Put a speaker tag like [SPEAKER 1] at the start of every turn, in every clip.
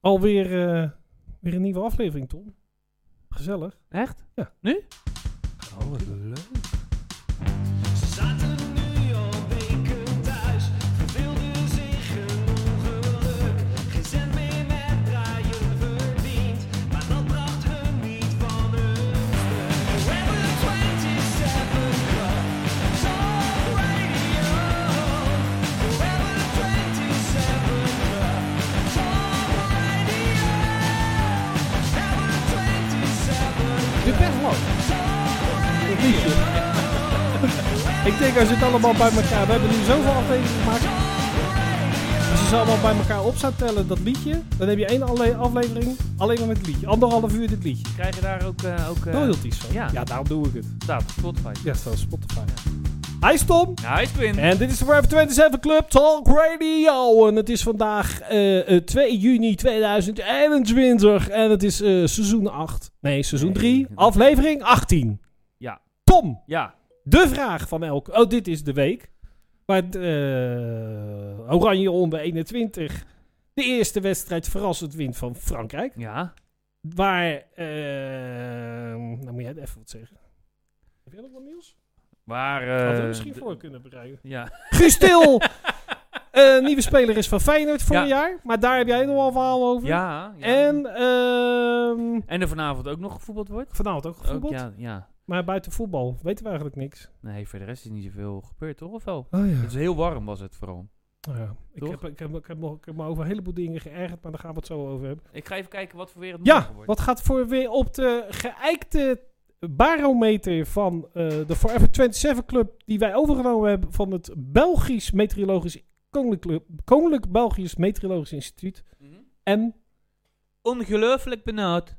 [SPEAKER 1] Alweer eh, weer een nieuwe aflevering, Tom. Gezellig.
[SPEAKER 2] Echt?
[SPEAKER 1] Ja.
[SPEAKER 2] Nu?
[SPEAKER 1] Oh, wat leuk.
[SPEAKER 3] Ze zaten nu al weken thuis, verveelden zich ongeluk. Geen cent meer met draaien verdiend, maar dat bracht hun niet van hun stuk. Forever 27 Club, it's all radio. Forever 27 Club, it's all radio. Forever 27
[SPEAKER 1] Dit is best lang. Dat liedje. Ik denk, als het allemaal bij elkaar... We hebben nu zoveel afleveringen gemaakt. Als je ze allemaal bij elkaar op zou tellen, dat liedje... Dan heb je één alle- aflevering alleen maar met het liedje. Anderhalf uur dit liedje. Oh,
[SPEAKER 2] Krijg je daar ook... eh ook eh,
[SPEAKER 1] Royalties van.
[SPEAKER 2] ja.
[SPEAKER 1] Ja, daarom doe ik het.
[SPEAKER 2] staat op Spotify.
[SPEAKER 1] Ja, staat op Spotify. Hi, Tom.
[SPEAKER 2] Nou, is Quinn.
[SPEAKER 1] En dit is de Forever 27 Club Talk Radio. En het is vandaag eh, eh, 2 juni 2021. En het is eh, seizoen 8. Nee, seizoen
[SPEAKER 2] Nee.
[SPEAKER 1] 3. Aflevering 18.
[SPEAKER 2] Ja.
[SPEAKER 1] Tom,
[SPEAKER 2] Ja.
[SPEAKER 1] de vraag van elke... Oh, dit is de week. Maar eh, Oranje onder 21. De eerste wedstrijd verrassend wint van Frankrijk.
[SPEAKER 2] Ja.
[SPEAKER 1] Waar... ehm nou moet jij even wat zeggen. Heb jij nog wat nieuws?
[SPEAKER 2] Maar...
[SPEAKER 1] Hadden
[SPEAKER 2] eh,
[SPEAKER 1] we misschien
[SPEAKER 2] d-
[SPEAKER 1] voor kunnen bereiden.
[SPEAKER 2] Ja.
[SPEAKER 1] Guus Til, eh, nieuwe speler is van Feyenoord vorig
[SPEAKER 2] Ja.
[SPEAKER 1] jaar. Maar daar heb jij nog wel een verhaal over.
[SPEAKER 2] Ja. ja.
[SPEAKER 1] En ehm,
[SPEAKER 2] En er vanavond ook nog gevoetbald wordt?
[SPEAKER 1] vanavond ook
[SPEAKER 2] Ook,
[SPEAKER 1] gevoetbald.
[SPEAKER 2] ja, ja.
[SPEAKER 1] Maar buiten voetbal weten we eigenlijk niks.
[SPEAKER 2] Nee, voor de rest is niet zoveel gebeurd, toch? Of wel?
[SPEAKER 1] Oh ja.
[SPEAKER 2] Het is heel warm, was het vooral.
[SPEAKER 1] nou Ik,
[SPEAKER 2] Toch?
[SPEAKER 1] heb, ik, heb, ik, heb, nog- ik heb me over een heleboel dingen geërgerd, maar daar gaan we het zo over hebben.
[SPEAKER 2] Ik ga even kijken wat voor weer het
[SPEAKER 1] Ja,
[SPEAKER 2] morgen wordt.
[SPEAKER 1] wat gaat voor weer op de geëikte barometer van eh, de Forever 27 Club... die wij overgenomen hebben van het Belgisch Meteorologisch... Koninklijk, Koninklijk Belgisch Meteorologisch Instituut,
[SPEAKER 2] Mhm.
[SPEAKER 1] en
[SPEAKER 2] Ongelooflijk benauwd.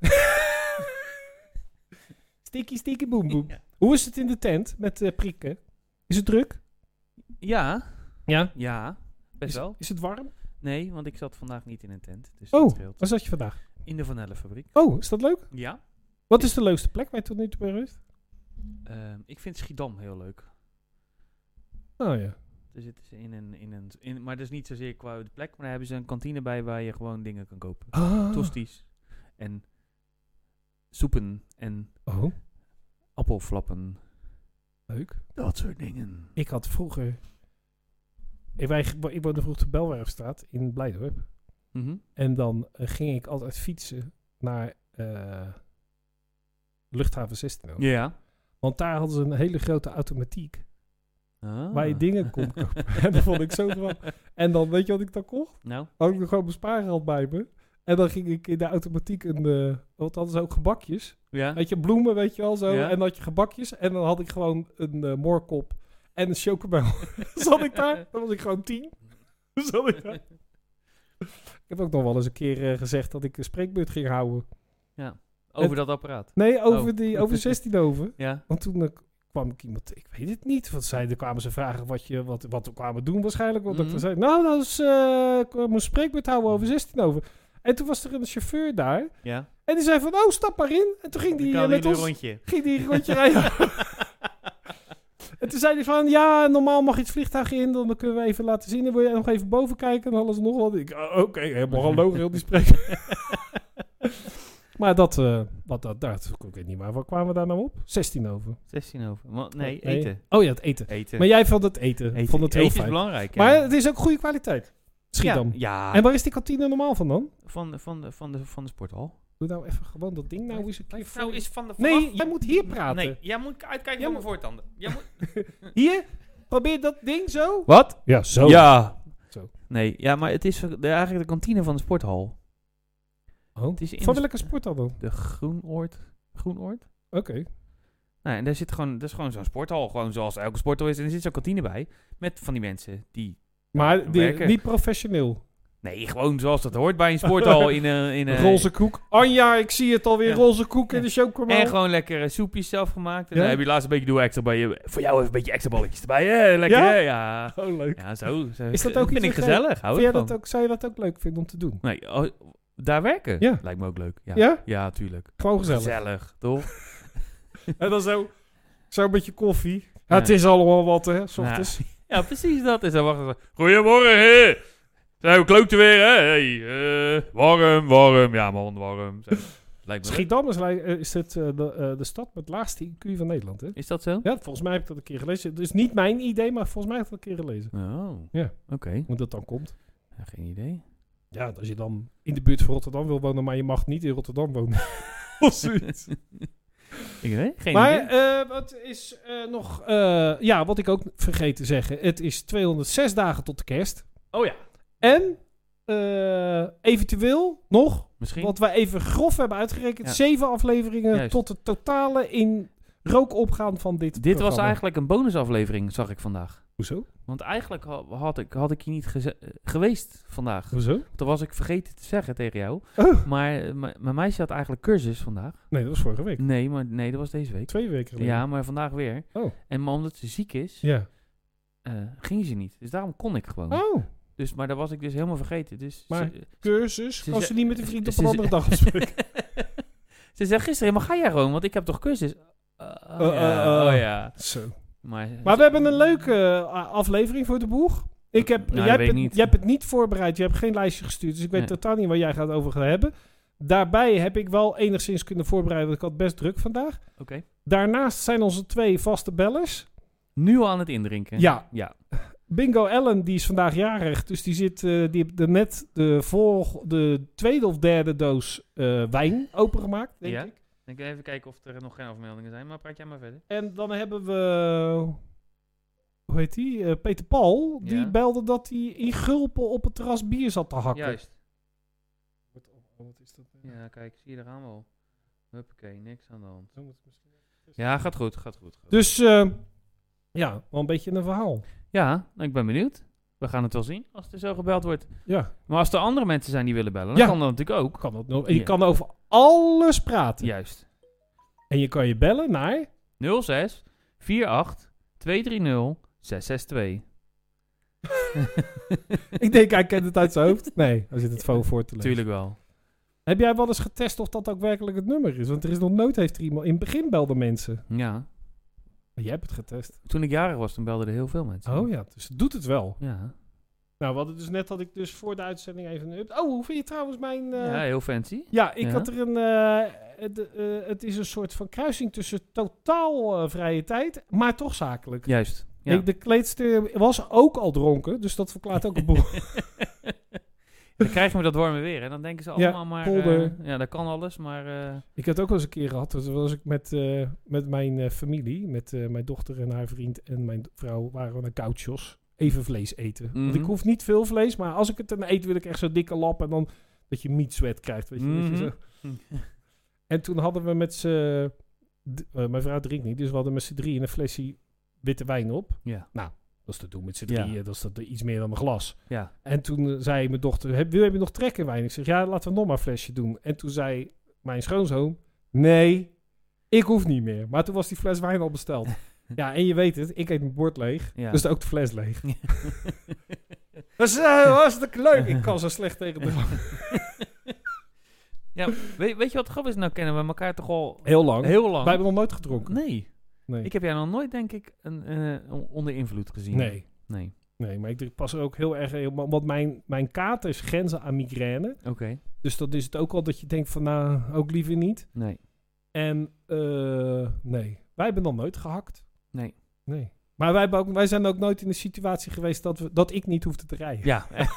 [SPEAKER 1] Sticky, sticky, boom, boom. Hoe is het in de tent met eh, prikken? Is het druk?
[SPEAKER 2] Ja.
[SPEAKER 1] Ja.
[SPEAKER 2] Ja. Best
[SPEAKER 1] Is,
[SPEAKER 2] wel.
[SPEAKER 1] is het warm?
[SPEAKER 2] Nee, want ik zat vandaag niet in een tent. Dus dat
[SPEAKER 1] Oh,
[SPEAKER 2] scheelt.
[SPEAKER 1] waar zat je vandaag?
[SPEAKER 2] In de Van Ellenfabriek.
[SPEAKER 1] Oh, is dat leuk?
[SPEAKER 2] Ja.
[SPEAKER 1] Wat is de leukste plek waar je tot nu toe bij rust?
[SPEAKER 2] Ehm, ik vind Schiedam heel leuk.
[SPEAKER 1] Oh ja.
[SPEAKER 2] Dus het is in een, in een, in, maar dat is niet zozeer qua de plek, maar daar hebben ze een kantine bij waar je gewoon dingen kan kopen.
[SPEAKER 1] Ah.
[SPEAKER 2] Tosties en soepen en
[SPEAKER 1] Oh,
[SPEAKER 2] appelflappen.
[SPEAKER 1] leuk.
[SPEAKER 2] Dat soort dingen.
[SPEAKER 1] Ik had vroeger... Ik, wij, ik woonde vroeger op de Belwerfstraat in Blijdorp.
[SPEAKER 2] Mhm.
[SPEAKER 1] En dan eh, ging ik altijd fietsen naar eh, luchthaven 16.
[SPEAKER 2] Ja.
[SPEAKER 1] Want daar hadden ze een hele grote automatiek
[SPEAKER 2] Ah.
[SPEAKER 1] waar je dingen kon kopen. en dat vond ik zo grappig. En dan, weet je wat ik dan kocht?
[SPEAKER 2] Nou,
[SPEAKER 1] had ik nog gewoon mijn spaargeld bij me. En dan ging ik in de automatiek een... eh wat hadden ze ook gebakjes?
[SPEAKER 2] ja.
[SPEAKER 1] Weet je, bloemen, weet je wel, zo.
[SPEAKER 2] Ja.
[SPEAKER 1] En dan had je gebakjes. En dan had ik gewoon een eh moorkop en een chocomel. Zat ik daar? Dan was ik gewoon tien. Zat ik daar? Ik heb ook nog wel eens een keer eh, gezegd dat ik een spreekbeurt ging houden.
[SPEAKER 2] Over dat apparaat.
[SPEAKER 1] Nee, over,
[SPEAKER 2] Oh.
[SPEAKER 1] die, over 16 over.
[SPEAKER 2] Ja.
[SPEAKER 1] Want toen eh, kwam ik iemand... Ik weet het niet. Want zij, er kwamen ze vragen wat, je, wat, wat we kwamen doen waarschijnlijk. Want
[SPEAKER 2] Mhm.
[SPEAKER 1] ik zei, nou, dat is... eh, ik moest spreekbeurt houden over 16 over. En toen was er een chauffeur daar.
[SPEAKER 2] Ja.
[SPEAKER 1] En die zei van, oh, stap maar in. En toen ging die
[SPEAKER 2] Ik
[SPEAKER 1] eh,
[SPEAKER 2] kan
[SPEAKER 1] met
[SPEAKER 2] hier een
[SPEAKER 1] ons...
[SPEAKER 2] rondje.
[SPEAKER 1] Ging die een rondje rijden. en toen zei hij van, ja, normaal mag je het vliegtuig in. Dan kunnen we even laten zien. Dan wil je nog even boven kijken. En alles en nog wat. Ik, oh, oké, helemaal gewoon logisch. Heel die spreker. maar dat, eh, wat, dat, dat, ik weet niet waar. Waar kwamen we daar nou op? 16 over.
[SPEAKER 2] 16 over. Wa- nee, eten.
[SPEAKER 1] Oh ja, het eten.
[SPEAKER 2] Eten.
[SPEAKER 1] Maar jij vond het eten.
[SPEAKER 2] eten.
[SPEAKER 1] Vond het heel
[SPEAKER 2] Eten is
[SPEAKER 1] fijn.
[SPEAKER 2] belangrijk. ja.
[SPEAKER 1] maar het is ook goede kwaliteit. Schiedam.
[SPEAKER 2] Ja, ja.
[SPEAKER 1] En waar is die kantine normaal van dan?
[SPEAKER 2] Van, van, de- van, de, van de sporthal.
[SPEAKER 1] Doe nou even gewoon dat ding nou eens een keer voor.
[SPEAKER 2] is van de
[SPEAKER 1] Nee, jij moet hier praten.
[SPEAKER 2] jij moet uitkijken
[SPEAKER 1] voor
[SPEAKER 2] voor
[SPEAKER 1] mijn
[SPEAKER 2] mijn voortanden. Jij moet...
[SPEAKER 1] Hier, probeer dat ding zo.
[SPEAKER 2] Wat?
[SPEAKER 1] Ja, zo.
[SPEAKER 2] Ja.
[SPEAKER 1] Oh. Zo.
[SPEAKER 2] Nee, ja, maar het is de- eigenlijk de kantine van de sporthal. Het is in
[SPEAKER 1] Oh. Van
[SPEAKER 2] de-
[SPEAKER 1] welke sport dan? Oké.
[SPEAKER 2] De Groenoord. Groenoord? Nou, en daar zit gewoon, dat is gewoon zo'n sporthal. Gewoon zoals elke sporthal is. En er zit zo'n kantine bij. Met van die mensen die...
[SPEAKER 1] Maar die-
[SPEAKER 2] werken.
[SPEAKER 1] niet professioneel.
[SPEAKER 2] Nee, gewoon zoals dat hoort bij een sporthal. in een... In een
[SPEAKER 1] roze koek. Anja, ik zie het alweer.
[SPEAKER 2] Ja.
[SPEAKER 1] Roze koek in de
[SPEAKER 2] En
[SPEAKER 1] chocomel.
[SPEAKER 2] gewoon lekker eh, soepjes zelf gemaakt. En
[SPEAKER 1] Ja?
[SPEAKER 2] dan heb je laatst een beetje doe extra bij je. Voor jou even een beetje extra balletjes erbij. Hè? Lekker,
[SPEAKER 1] Ja?
[SPEAKER 2] hè? Ja.
[SPEAKER 1] Oh, leuk.
[SPEAKER 2] Ja, zo. zo
[SPEAKER 1] Is dat ook
[SPEAKER 2] Vind
[SPEAKER 1] iets
[SPEAKER 2] ik
[SPEAKER 1] wat jij-
[SPEAKER 2] gezellig. Hou
[SPEAKER 1] Vind jij dat
[SPEAKER 2] ik van.
[SPEAKER 1] ook, zou je dat ook leuk vinden om te doen?
[SPEAKER 2] Nee, oh, daar werken?
[SPEAKER 1] Ja.
[SPEAKER 2] Lijkt me ook leuk. Ja,
[SPEAKER 1] Ja?
[SPEAKER 2] ja? tuurlijk.
[SPEAKER 1] Gewoon gezellig.
[SPEAKER 2] toch?
[SPEAKER 1] En dan zo, zo een beetje koffie. Ja,
[SPEAKER 2] Ja.
[SPEAKER 1] Het is allemaal wat, hè, s ochtends.
[SPEAKER 2] Ja, precies dat. is dan wachten ze. Goedemorgen, hè. Zijn we kloot weer, hè? Hey, eh, warm, warm. Ja, man, warm. Zijn we- Lijkt me.
[SPEAKER 1] Schiedam is, lij- eh, is het, eh, de, eh, de stad met laagste IQ van Nederland, hè?
[SPEAKER 2] Is dat zo?
[SPEAKER 1] Ja, volgens mij heb ik dat een keer gelezen. Dus niet mijn idee, maar volgens mij heb ik dat een keer gelezen.
[SPEAKER 2] Oh.
[SPEAKER 1] Ja.
[SPEAKER 2] Oké.
[SPEAKER 1] Hoe dat dan komt.
[SPEAKER 2] Ja, geen idee.
[SPEAKER 1] Ja, als je dan in de buurt van Rotterdam wil wonen, maar je mag niet in Rotterdam wonen. of zoiets.
[SPEAKER 2] Ik weet geen
[SPEAKER 1] maar
[SPEAKER 2] idee.
[SPEAKER 1] eh, wat is eh, nog... eh, ja, wat ik ook vergeet te zeggen. Het is 206 dagen tot de kerst.
[SPEAKER 2] Oh ja.
[SPEAKER 1] En eh, eventueel nog,
[SPEAKER 2] Misschien.
[SPEAKER 1] wat wij even grof hebben uitgerekend...
[SPEAKER 2] Ja.
[SPEAKER 1] zeven afleveringen
[SPEAKER 2] Juist.
[SPEAKER 1] tot het totale in rook opgaan van dit
[SPEAKER 2] Dit was
[SPEAKER 1] programma.
[SPEAKER 2] eigenlijk een bonusaflevering, zag ik vandaag.
[SPEAKER 1] Hoezo?
[SPEAKER 2] Want eigenlijk ha- had ik, had ik hier niet geze- eh, geweest vandaag.
[SPEAKER 1] Hoezo?
[SPEAKER 2] Toen was ik vergeten te zeggen tegen jou.
[SPEAKER 1] Oh.
[SPEAKER 2] Maar eh, mijn mijn meisje had eigenlijk cursus vandaag.
[SPEAKER 1] Nee, dat was vorige week.
[SPEAKER 2] Nee, maar nee, dat was deze week.
[SPEAKER 1] Twee weken geleden.
[SPEAKER 2] Ja, maar vandaag weer.
[SPEAKER 1] Oh.
[SPEAKER 2] En maar omdat ze ziek is,
[SPEAKER 1] Ja.
[SPEAKER 2] eh, ging ze niet. Dus daarom kon ik gewoon.
[SPEAKER 1] Oh,
[SPEAKER 2] Dus, maar dat was ik dus helemaal vergeten. Dus
[SPEAKER 1] Maar-
[SPEAKER 2] ze,
[SPEAKER 1] cursus.
[SPEAKER 2] Ze
[SPEAKER 1] Als
[SPEAKER 2] ze-
[SPEAKER 1] je niet met een vriend op
[SPEAKER 2] ze-
[SPEAKER 1] een
[SPEAKER 2] ze-
[SPEAKER 1] andere dag afspreken.
[SPEAKER 2] ze zei gisteren, maar ga jij gewoon, want ik heb toch cursus. Eh, oh,
[SPEAKER 1] Eh,
[SPEAKER 2] ja,
[SPEAKER 1] eh, eh.
[SPEAKER 2] oh ja.
[SPEAKER 1] Zo.
[SPEAKER 2] Maar,
[SPEAKER 1] Maar we hebben een leuke eh, aflevering voor de boeg. Ik heb,
[SPEAKER 2] Nou,
[SPEAKER 1] jij,
[SPEAKER 2] dat weet
[SPEAKER 1] hebt
[SPEAKER 2] ik
[SPEAKER 1] het,
[SPEAKER 2] niet.
[SPEAKER 1] jij hebt het niet voorbereid. Je hebt geen lijstje gestuurd. Dus ik weet
[SPEAKER 2] Nee.
[SPEAKER 1] totaal niet waar jij gaat over gaan hebben. Daarbij heb ik wel enigszins kunnen voorbereiden. Want ik had best druk vandaag.
[SPEAKER 2] Oké.
[SPEAKER 1] Daarnaast zijn onze twee vaste bellers.
[SPEAKER 2] Nu al aan het indrinken.
[SPEAKER 1] Ja.
[SPEAKER 2] Ja.
[SPEAKER 1] Bingo Ellen, die is vandaag jarig. Dus die, zit, eh, die heeft de- net de, volg, de tweede of derde doos eh, wijn opengemaakt, denk
[SPEAKER 2] Ja.
[SPEAKER 1] ik.
[SPEAKER 2] Ik even kijken of er nog geen afmeldingen zijn, maar praat jij maar verder.
[SPEAKER 1] En dan hebben we. Hoe heet die? Eh, Peter Paul. Die
[SPEAKER 2] Ja.
[SPEAKER 1] belde dat hij in Gulpen op het terras bier zat te hakken.
[SPEAKER 2] Juist.
[SPEAKER 1] Wat, is dat?
[SPEAKER 2] Ja, kijk, zie je, daar gaan we al. Huppakee, niks aan de hand. Ja, gaat goed, gaat goed. gaat
[SPEAKER 1] Dus eh, ja, wel een beetje een verhaal.
[SPEAKER 2] goed. Ja, nou, ik ben benieuwd. We gaan het wel zien als er zo gebeld wordt.
[SPEAKER 1] Ja,
[SPEAKER 2] Maar als er andere mensen zijn die willen bellen, dan
[SPEAKER 1] Ja.
[SPEAKER 2] kan dat natuurlijk ook.
[SPEAKER 1] kan dat nog. En je
[SPEAKER 2] Ja.
[SPEAKER 1] kan over alles praten.
[SPEAKER 2] Juist.
[SPEAKER 1] En je kan je bellen naar.
[SPEAKER 2] 06 48 230 662.
[SPEAKER 1] Ik denk, hij kent het uit zijn hoofd. Nee, hij zit het gewoon voor te lezen.
[SPEAKER 2] Tuurlijk wel.
[SPEAKER 1] Heb jij wel eens getest of dat ook werkelijk het nummer is? Want er is nog nooit heeft er iemand. In het begin belden mensen.
[SPEAKER 2] Ja.
[SPEAKER 1] Maar Oh, jij hebt het getest.
[SPEAKER 2] Toen ik jarig was, toen belden er heel veel mensen.
[SPEAKER 1] Oh ja, dus het doet het wel.
[SPEAKER 2] Ja,
[SPEAKER 1] Nou, we hadden dus net had ik dus voor de uitzending even een up. Oh, hoe vind je trouwens mijn? eh,
[SPEAKER 2] ja
[SPEAKER 1] Ja,
[SPEAKER 2] heel fancy.
[SPEAKER 1] ik
[SPEAKER 2] Ja.
[SPEAKER 1] had er een. eh, het, eh, het is een soort van kruising tussen totaal eh, vrije tijd, maar toch zakelijk.
[SPEAKER 2] Juist. Ja.
[SPEAKER 1] Ik- de kleedster was ook al dronken, dus dat verklaart ook een boel.
[SPEAKER 2] Dan krijgen we dat warme weer en dan denken ze
[SPEAKER 1] Ja,
[SPEAKER 2] allemaal maar...
[SPEAKER 1] polder.
[SPEAKER 2] eh, ja, dat kan alles, maar... eh,
[SPEAKER 1] ik heb het ook wel eens een keer gehad. Toen was ik met, eh, met mijn eh, familie, met eh, mijn dochter en haar vriend en mijn vrouw, waren we naar Couchos. Even vlees eten. Want ik
[SPEAKER 2] Mhm.
[SPEAKER 1] hoef niet veel vlees, maar als ik het dan eet, wil ik echt zo'n dikke lap en dan dat je meat sweat krijgt. Weet je, dat je
[SPEAKER 2] Mhm.
[SPEAKER 1] zo- En toen hadden we met z'n... d- eh, mijn vrouw drinkt niet, dus we hadden met z'n drieën een flesje witte wijn op.
[SPEAKER 2] ja,
[SPEAKER 1] Dat is te doen met z'n
[SPEAKER 2] Ja.
[SPEAKER 1] drieën, dat is dat, iets meer dan een glas.
[SPEAKER 2] ja.
[SPEAKER 1] En toen eh, zei mijn dochter, heb, wil heb je nog trek in wijn? Ik zeg, ja, laten we nog maar een flesje doen. En toen zei mijn schoonzoon, nee, ik hoef niet meer. Maar toen was die fles wijn al besteld. ja, en je weet het, ik eet mijn bord leeg,
[SPEAKER 2] ja.
[SPEAKER 1] dus ook de fles leeg. Dat is eh, hartstikke leuk. Ik kan zo slecht tegen de...
[SPEAKER 2] weet, weet je wat grappig is? Nou kennen we elkaar toch al
[SPEAKER 1] Heel lang.
[SPEAKER 2] heel lang.
[SPEAKER 1] Wij hebben nog nooit gedronken.
[SPEAKER 2] Nee.
[SPEAKER 1] Nee.
[SPEAKER 2] Ik heb jij nog nooit, denk ik, een, eh, on- onder invloed gezien.
[SPEAKER 1] nee.
[SPEAKER 2] Nee.
[SPEAKER 1] Nee, maar ik drink- pas er ook heel erg... heel- Want mijn, mijn kater is grenzen aan migraine.
[SPEAKER 2] Oké.
[SPEAKER 1] Dus dat is het ook al dat je denkt van... Nou, ook liever niet.
[SPEAKER 2] Nee.
[SPEAKER 1] En eh, nee, wij hebben nog nooit gehakt.
[SPEAKER 2] Nee.
[SPEAKER 1] Nee. Maar wij, hebben ook, wij zijn ook nooit in de situatie geweest dat, we, dat ik niet hoefde te rijden.
[SPEAKER 2] Ja. ik,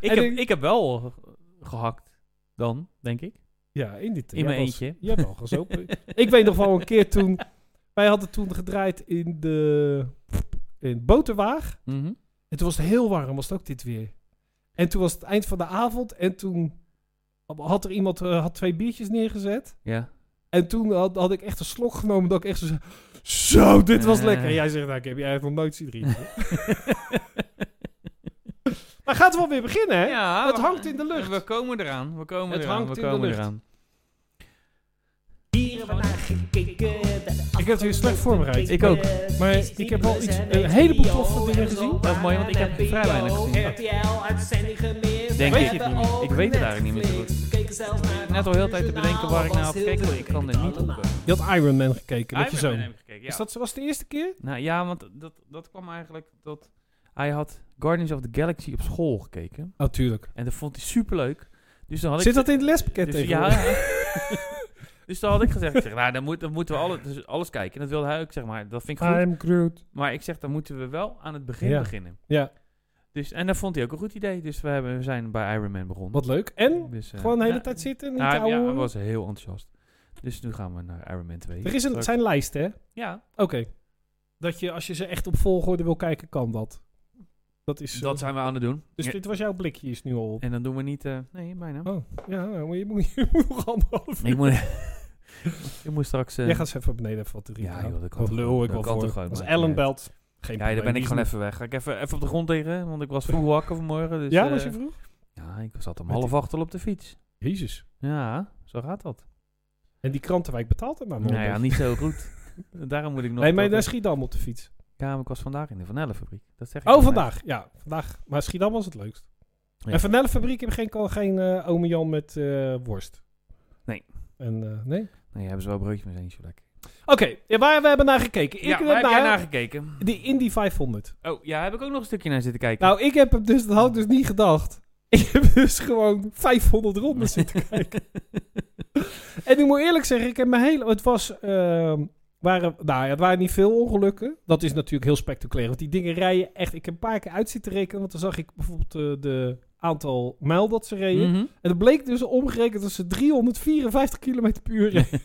[SPEAKER 1] En
[SPEAKER 2] heb,
[SPEAKER 1] ik-
[SPEAKER 2] ik heb wel gehakt dan, denk ik.
[SPEAKER 1] Ja, in dit
[SPEAKER 2] In mijn eentje.
[SPEAKER 1] Je hebt al gezopen. ik weet nog wel een keer toen... Wij hadden toen gedraaid in de... In Boterwaag.
[SPEAKER 2] Mhm.
[SPEAKER 1] En toen was het heel warm, was het ook dit weer. En toen was het eind van de avond en toen had er iemand eh, had twee biertjes neergezet.
[SPEAKER 2] Ja.
[SPEAKER 1] En toen had, had ik echt een slok genomen dat ik echt zo zei, zo, dit was
[SPEAKER 2] Eh.
[SPEAKER 1] lekker. En jij zegt, nou, ik heb je eigenlijk nog nooit zien drinken. maar gaat wel weer beginnen, hè?
[SPEAKER 2] ja
[SPEAKER 1] Het
[SPEAKER 2] we-
[SPEAKER 1] hangt in de lucht.
[SPEAKER 2] We komen eraan. We komen
[SPEAKER 1] Het
[SPEAKER 2] eraan.
[SPEAKER 1] hangt
[SPEAKER 2] we
[SPEAKER 1] in de
[SPEAKER 2] komen
[SPEAKER 1] lucht.
[SPEAKER 2] eraan.
[SPEAKER 4] Hier hebben we naar gekeken.
[SPEAKER 1] Ik heb het weer slecht voorbereid.
[SPEAKER 2] Ik ook.
[SPEAKER 1] Maar ik heb wel iets, een heleboel toffe dingen gezien.
[SPEAKER 2] Dat is mooi, want ik heb vrij weinig gezien. Denk ik. Ik weet het eigenlijk niet meer zo goed. Net al heel de tijd te bedenken waar ik nou naar had gekeken, maar ik kan dit niet op.
[SPEAKER 1] Je had Iron Man gekeken met je zoon.
[SPEAKER 2] gekeken, ja.
[SPEAKER 1] Is dat, was het de eerste keer?
[SPEAKER 2] Nou ja, want dat, dat kwam eigenlijk dat Hij had Guardians of the Galaxy op school gekeken.
[SPEAKER 1] Natuurlijk.
[SPEAKER 2] En dat vond hij superleuk. Dus dan had
[SPEAKER 1] Zit
[SPEAKER 2] ik
[SPEAKER 1] dat in het lespakket
[SPEAKER 2] dus,
[SPEAKER 1] tegenwoordig?
[SPEAKER 2] ja. dus dan had ik gezegd, ik zeg, nou, dan, moet, dan moeten we alle, dus alles kijken. En dat wilde hij ook, zeg maar. Dat vind ik goed.
[SPEAKER 1] I'm Groot.
[SPEAKER 2] Maar ik zeg, dan moeten we wel aan het begin
[SPEAKER 1] Ja.
[SPEAKER 2] beginnen.
[SPEAKER 1] Ja.
[SPEAKER 2] Dus, en dat vond hij ook een goed idee. Dus we, hebben, we zijn bij Iron Man begonnen.
[SPEAKER 1] Wat leuk. En?
[SPEAKER 2] Dus, eh,
[SPEAKER 1] Gewoon de hele
[SPEAKER 2] ja,
[SPEAKER 1] tijd zitten, niet
[SPEAKER 2] nou,
[SPEAKER 1] ouwe
[SPEAKER 2] ja, hij
[SPEAKER 1] hoeren?
[SPEAKER 2] was heel enthousiast. Dus nu gaan we naar Iron Man 2.
[SPEAKER 1] Er is een, het zijn lijsten, hè? Oké.
[SPEAKER 2] Ja,
[SPEAKER 1] Dat je, als je ze echt op volgorde wil kijken, kan dat. Dat is...
[SPEAKER 2] dat
[SPEAKER 1] eh,
[SPEAKER 2] zijn we aan het doen.
[SPEAKER 1] dus
[SPEAKER 2] Ja,
[SPEAKER 1] dit was jouw blikje, is nu al op.
[SPEAKER 2] En dan doen we niet... eh, nee, bijna.
[SPEAKER 1] Oh, ja, nou, maar je moet, je moet nog anderhalf uur.
[SPEAKER 2] Ik moet, ik moet straks... eh,
[SPEAKER 1] Jij gaat eens even beneden even wat te
[SPEAKER 2] Ja,
[SPEAKER 1] riepen.
[SPEAKER 2] joh, dat kan
[SPEAKER 1] Wat
[SPEAKER 2] toch
[SPEAKER 1] lul
[SPEAKER 2] gewoon.
[SPEAKER 1] ik
[SPEAKER 2] Dat
[SPEAKER 1] wel
[SPEAKER 2] kan toch
[SPEAKER 1] voor.
[SPEAKER 2] gewoon,
[SPEAKER 1] Als
[SPEAKER 2] maakt niet
[SPEAKER 1] Ellen
[SPEAKER 2] uit.
[SPEAKER 1] belt, geen
[SPEAKER 2] ja, daar
[SPEAKER 1] probleem,
[SPEAKER 2] ben ik
[SPEAKER 1] is
[SPEAKER 2] gewoon
[SPEAKER 1] niet-
[SPEAKER 2] even weg. Ga ik even, even op de grond liggen, want ik was vroeg wakker vanmorgen. Dus,
[SPEAKER 1] Ja,
[SPEAKER 2] eh,
[SPEAKER 1] was je vroeg?
[SPEAKER 2] Ja, ik zat om
[SPEAKER 1] Met
[SPEAKER 2] half acht al op de fiets.
[SPEAKER 1] Jezus.
[SPEAKER 2] Ja, zo gaat dat.
[SPEAKER 1] En die krantenwijk betaalt het maar nog.
[SPEAKER 2] Nou ja, niet zo goed. Daarom moet ik nog...
[SPEAKER 1] Nee, maar
[SPEAKER 2] tot-
[SPEAKER 1] naar Schiedam op de fiets.
[SPEAKER 2] Ja, maar ik was vandaag in de Vanellenfabriek. Dat zeg ik
[SPEAKER 1] Oh,
[SPEAKER 2] nog
[SPEAKER 1] vandaag. Ja, vandaag. Maar Schiedam was het leukst.
[SPEAKER 2] Ja.
[SPEAKER 1] En Van Fabriek heb geen, kan geen eh ome Jan met eh, worst.
[SPEAKER 2] Nee.
[SPEAKER 1] En, eh, nee?
[SPEAKER 2] even. Nee, hebben ze wel broodje, maar zijn niet zo lekker.
[SPEAKER 1] Oké, ja, waar we hebben naar gekeken. Ik
[SPEAKER 2] ja,
[SPEAKER 1] heb
[SPEAKER 2] waar heb jij
[SPEAKER 1] naar
[SPEAKER 2] naar gekeken?
[SPEAKER 1] die Indy 500.
[SPEAKER 2] Oh, ja, heb ik ook nog een stukje naar zitten kijken.
[SPEAKER 1] Nou, ik heb hem dus, dat had ik dus niet gedacht. Ik heb dus gewoon 500 ronden zitten kijken. En ik moet eerlijk zeggen, ik heb mijn hele... Het was... ehm, waren, nou ja, het waren niet veel ongelukken. Dat is natuurlijk heel spectaculair. Want die dingen rijden echt... Ik heb een paar keer uit zitten rekenen. Want dan zag ik bijvoorbeeld eh, de aantal mijl dat ze reden.
[SPEAKER 2] Mhm.
[SPEAKER 1] En het bleek dus omgerekend dat ze 354 km per uur reden.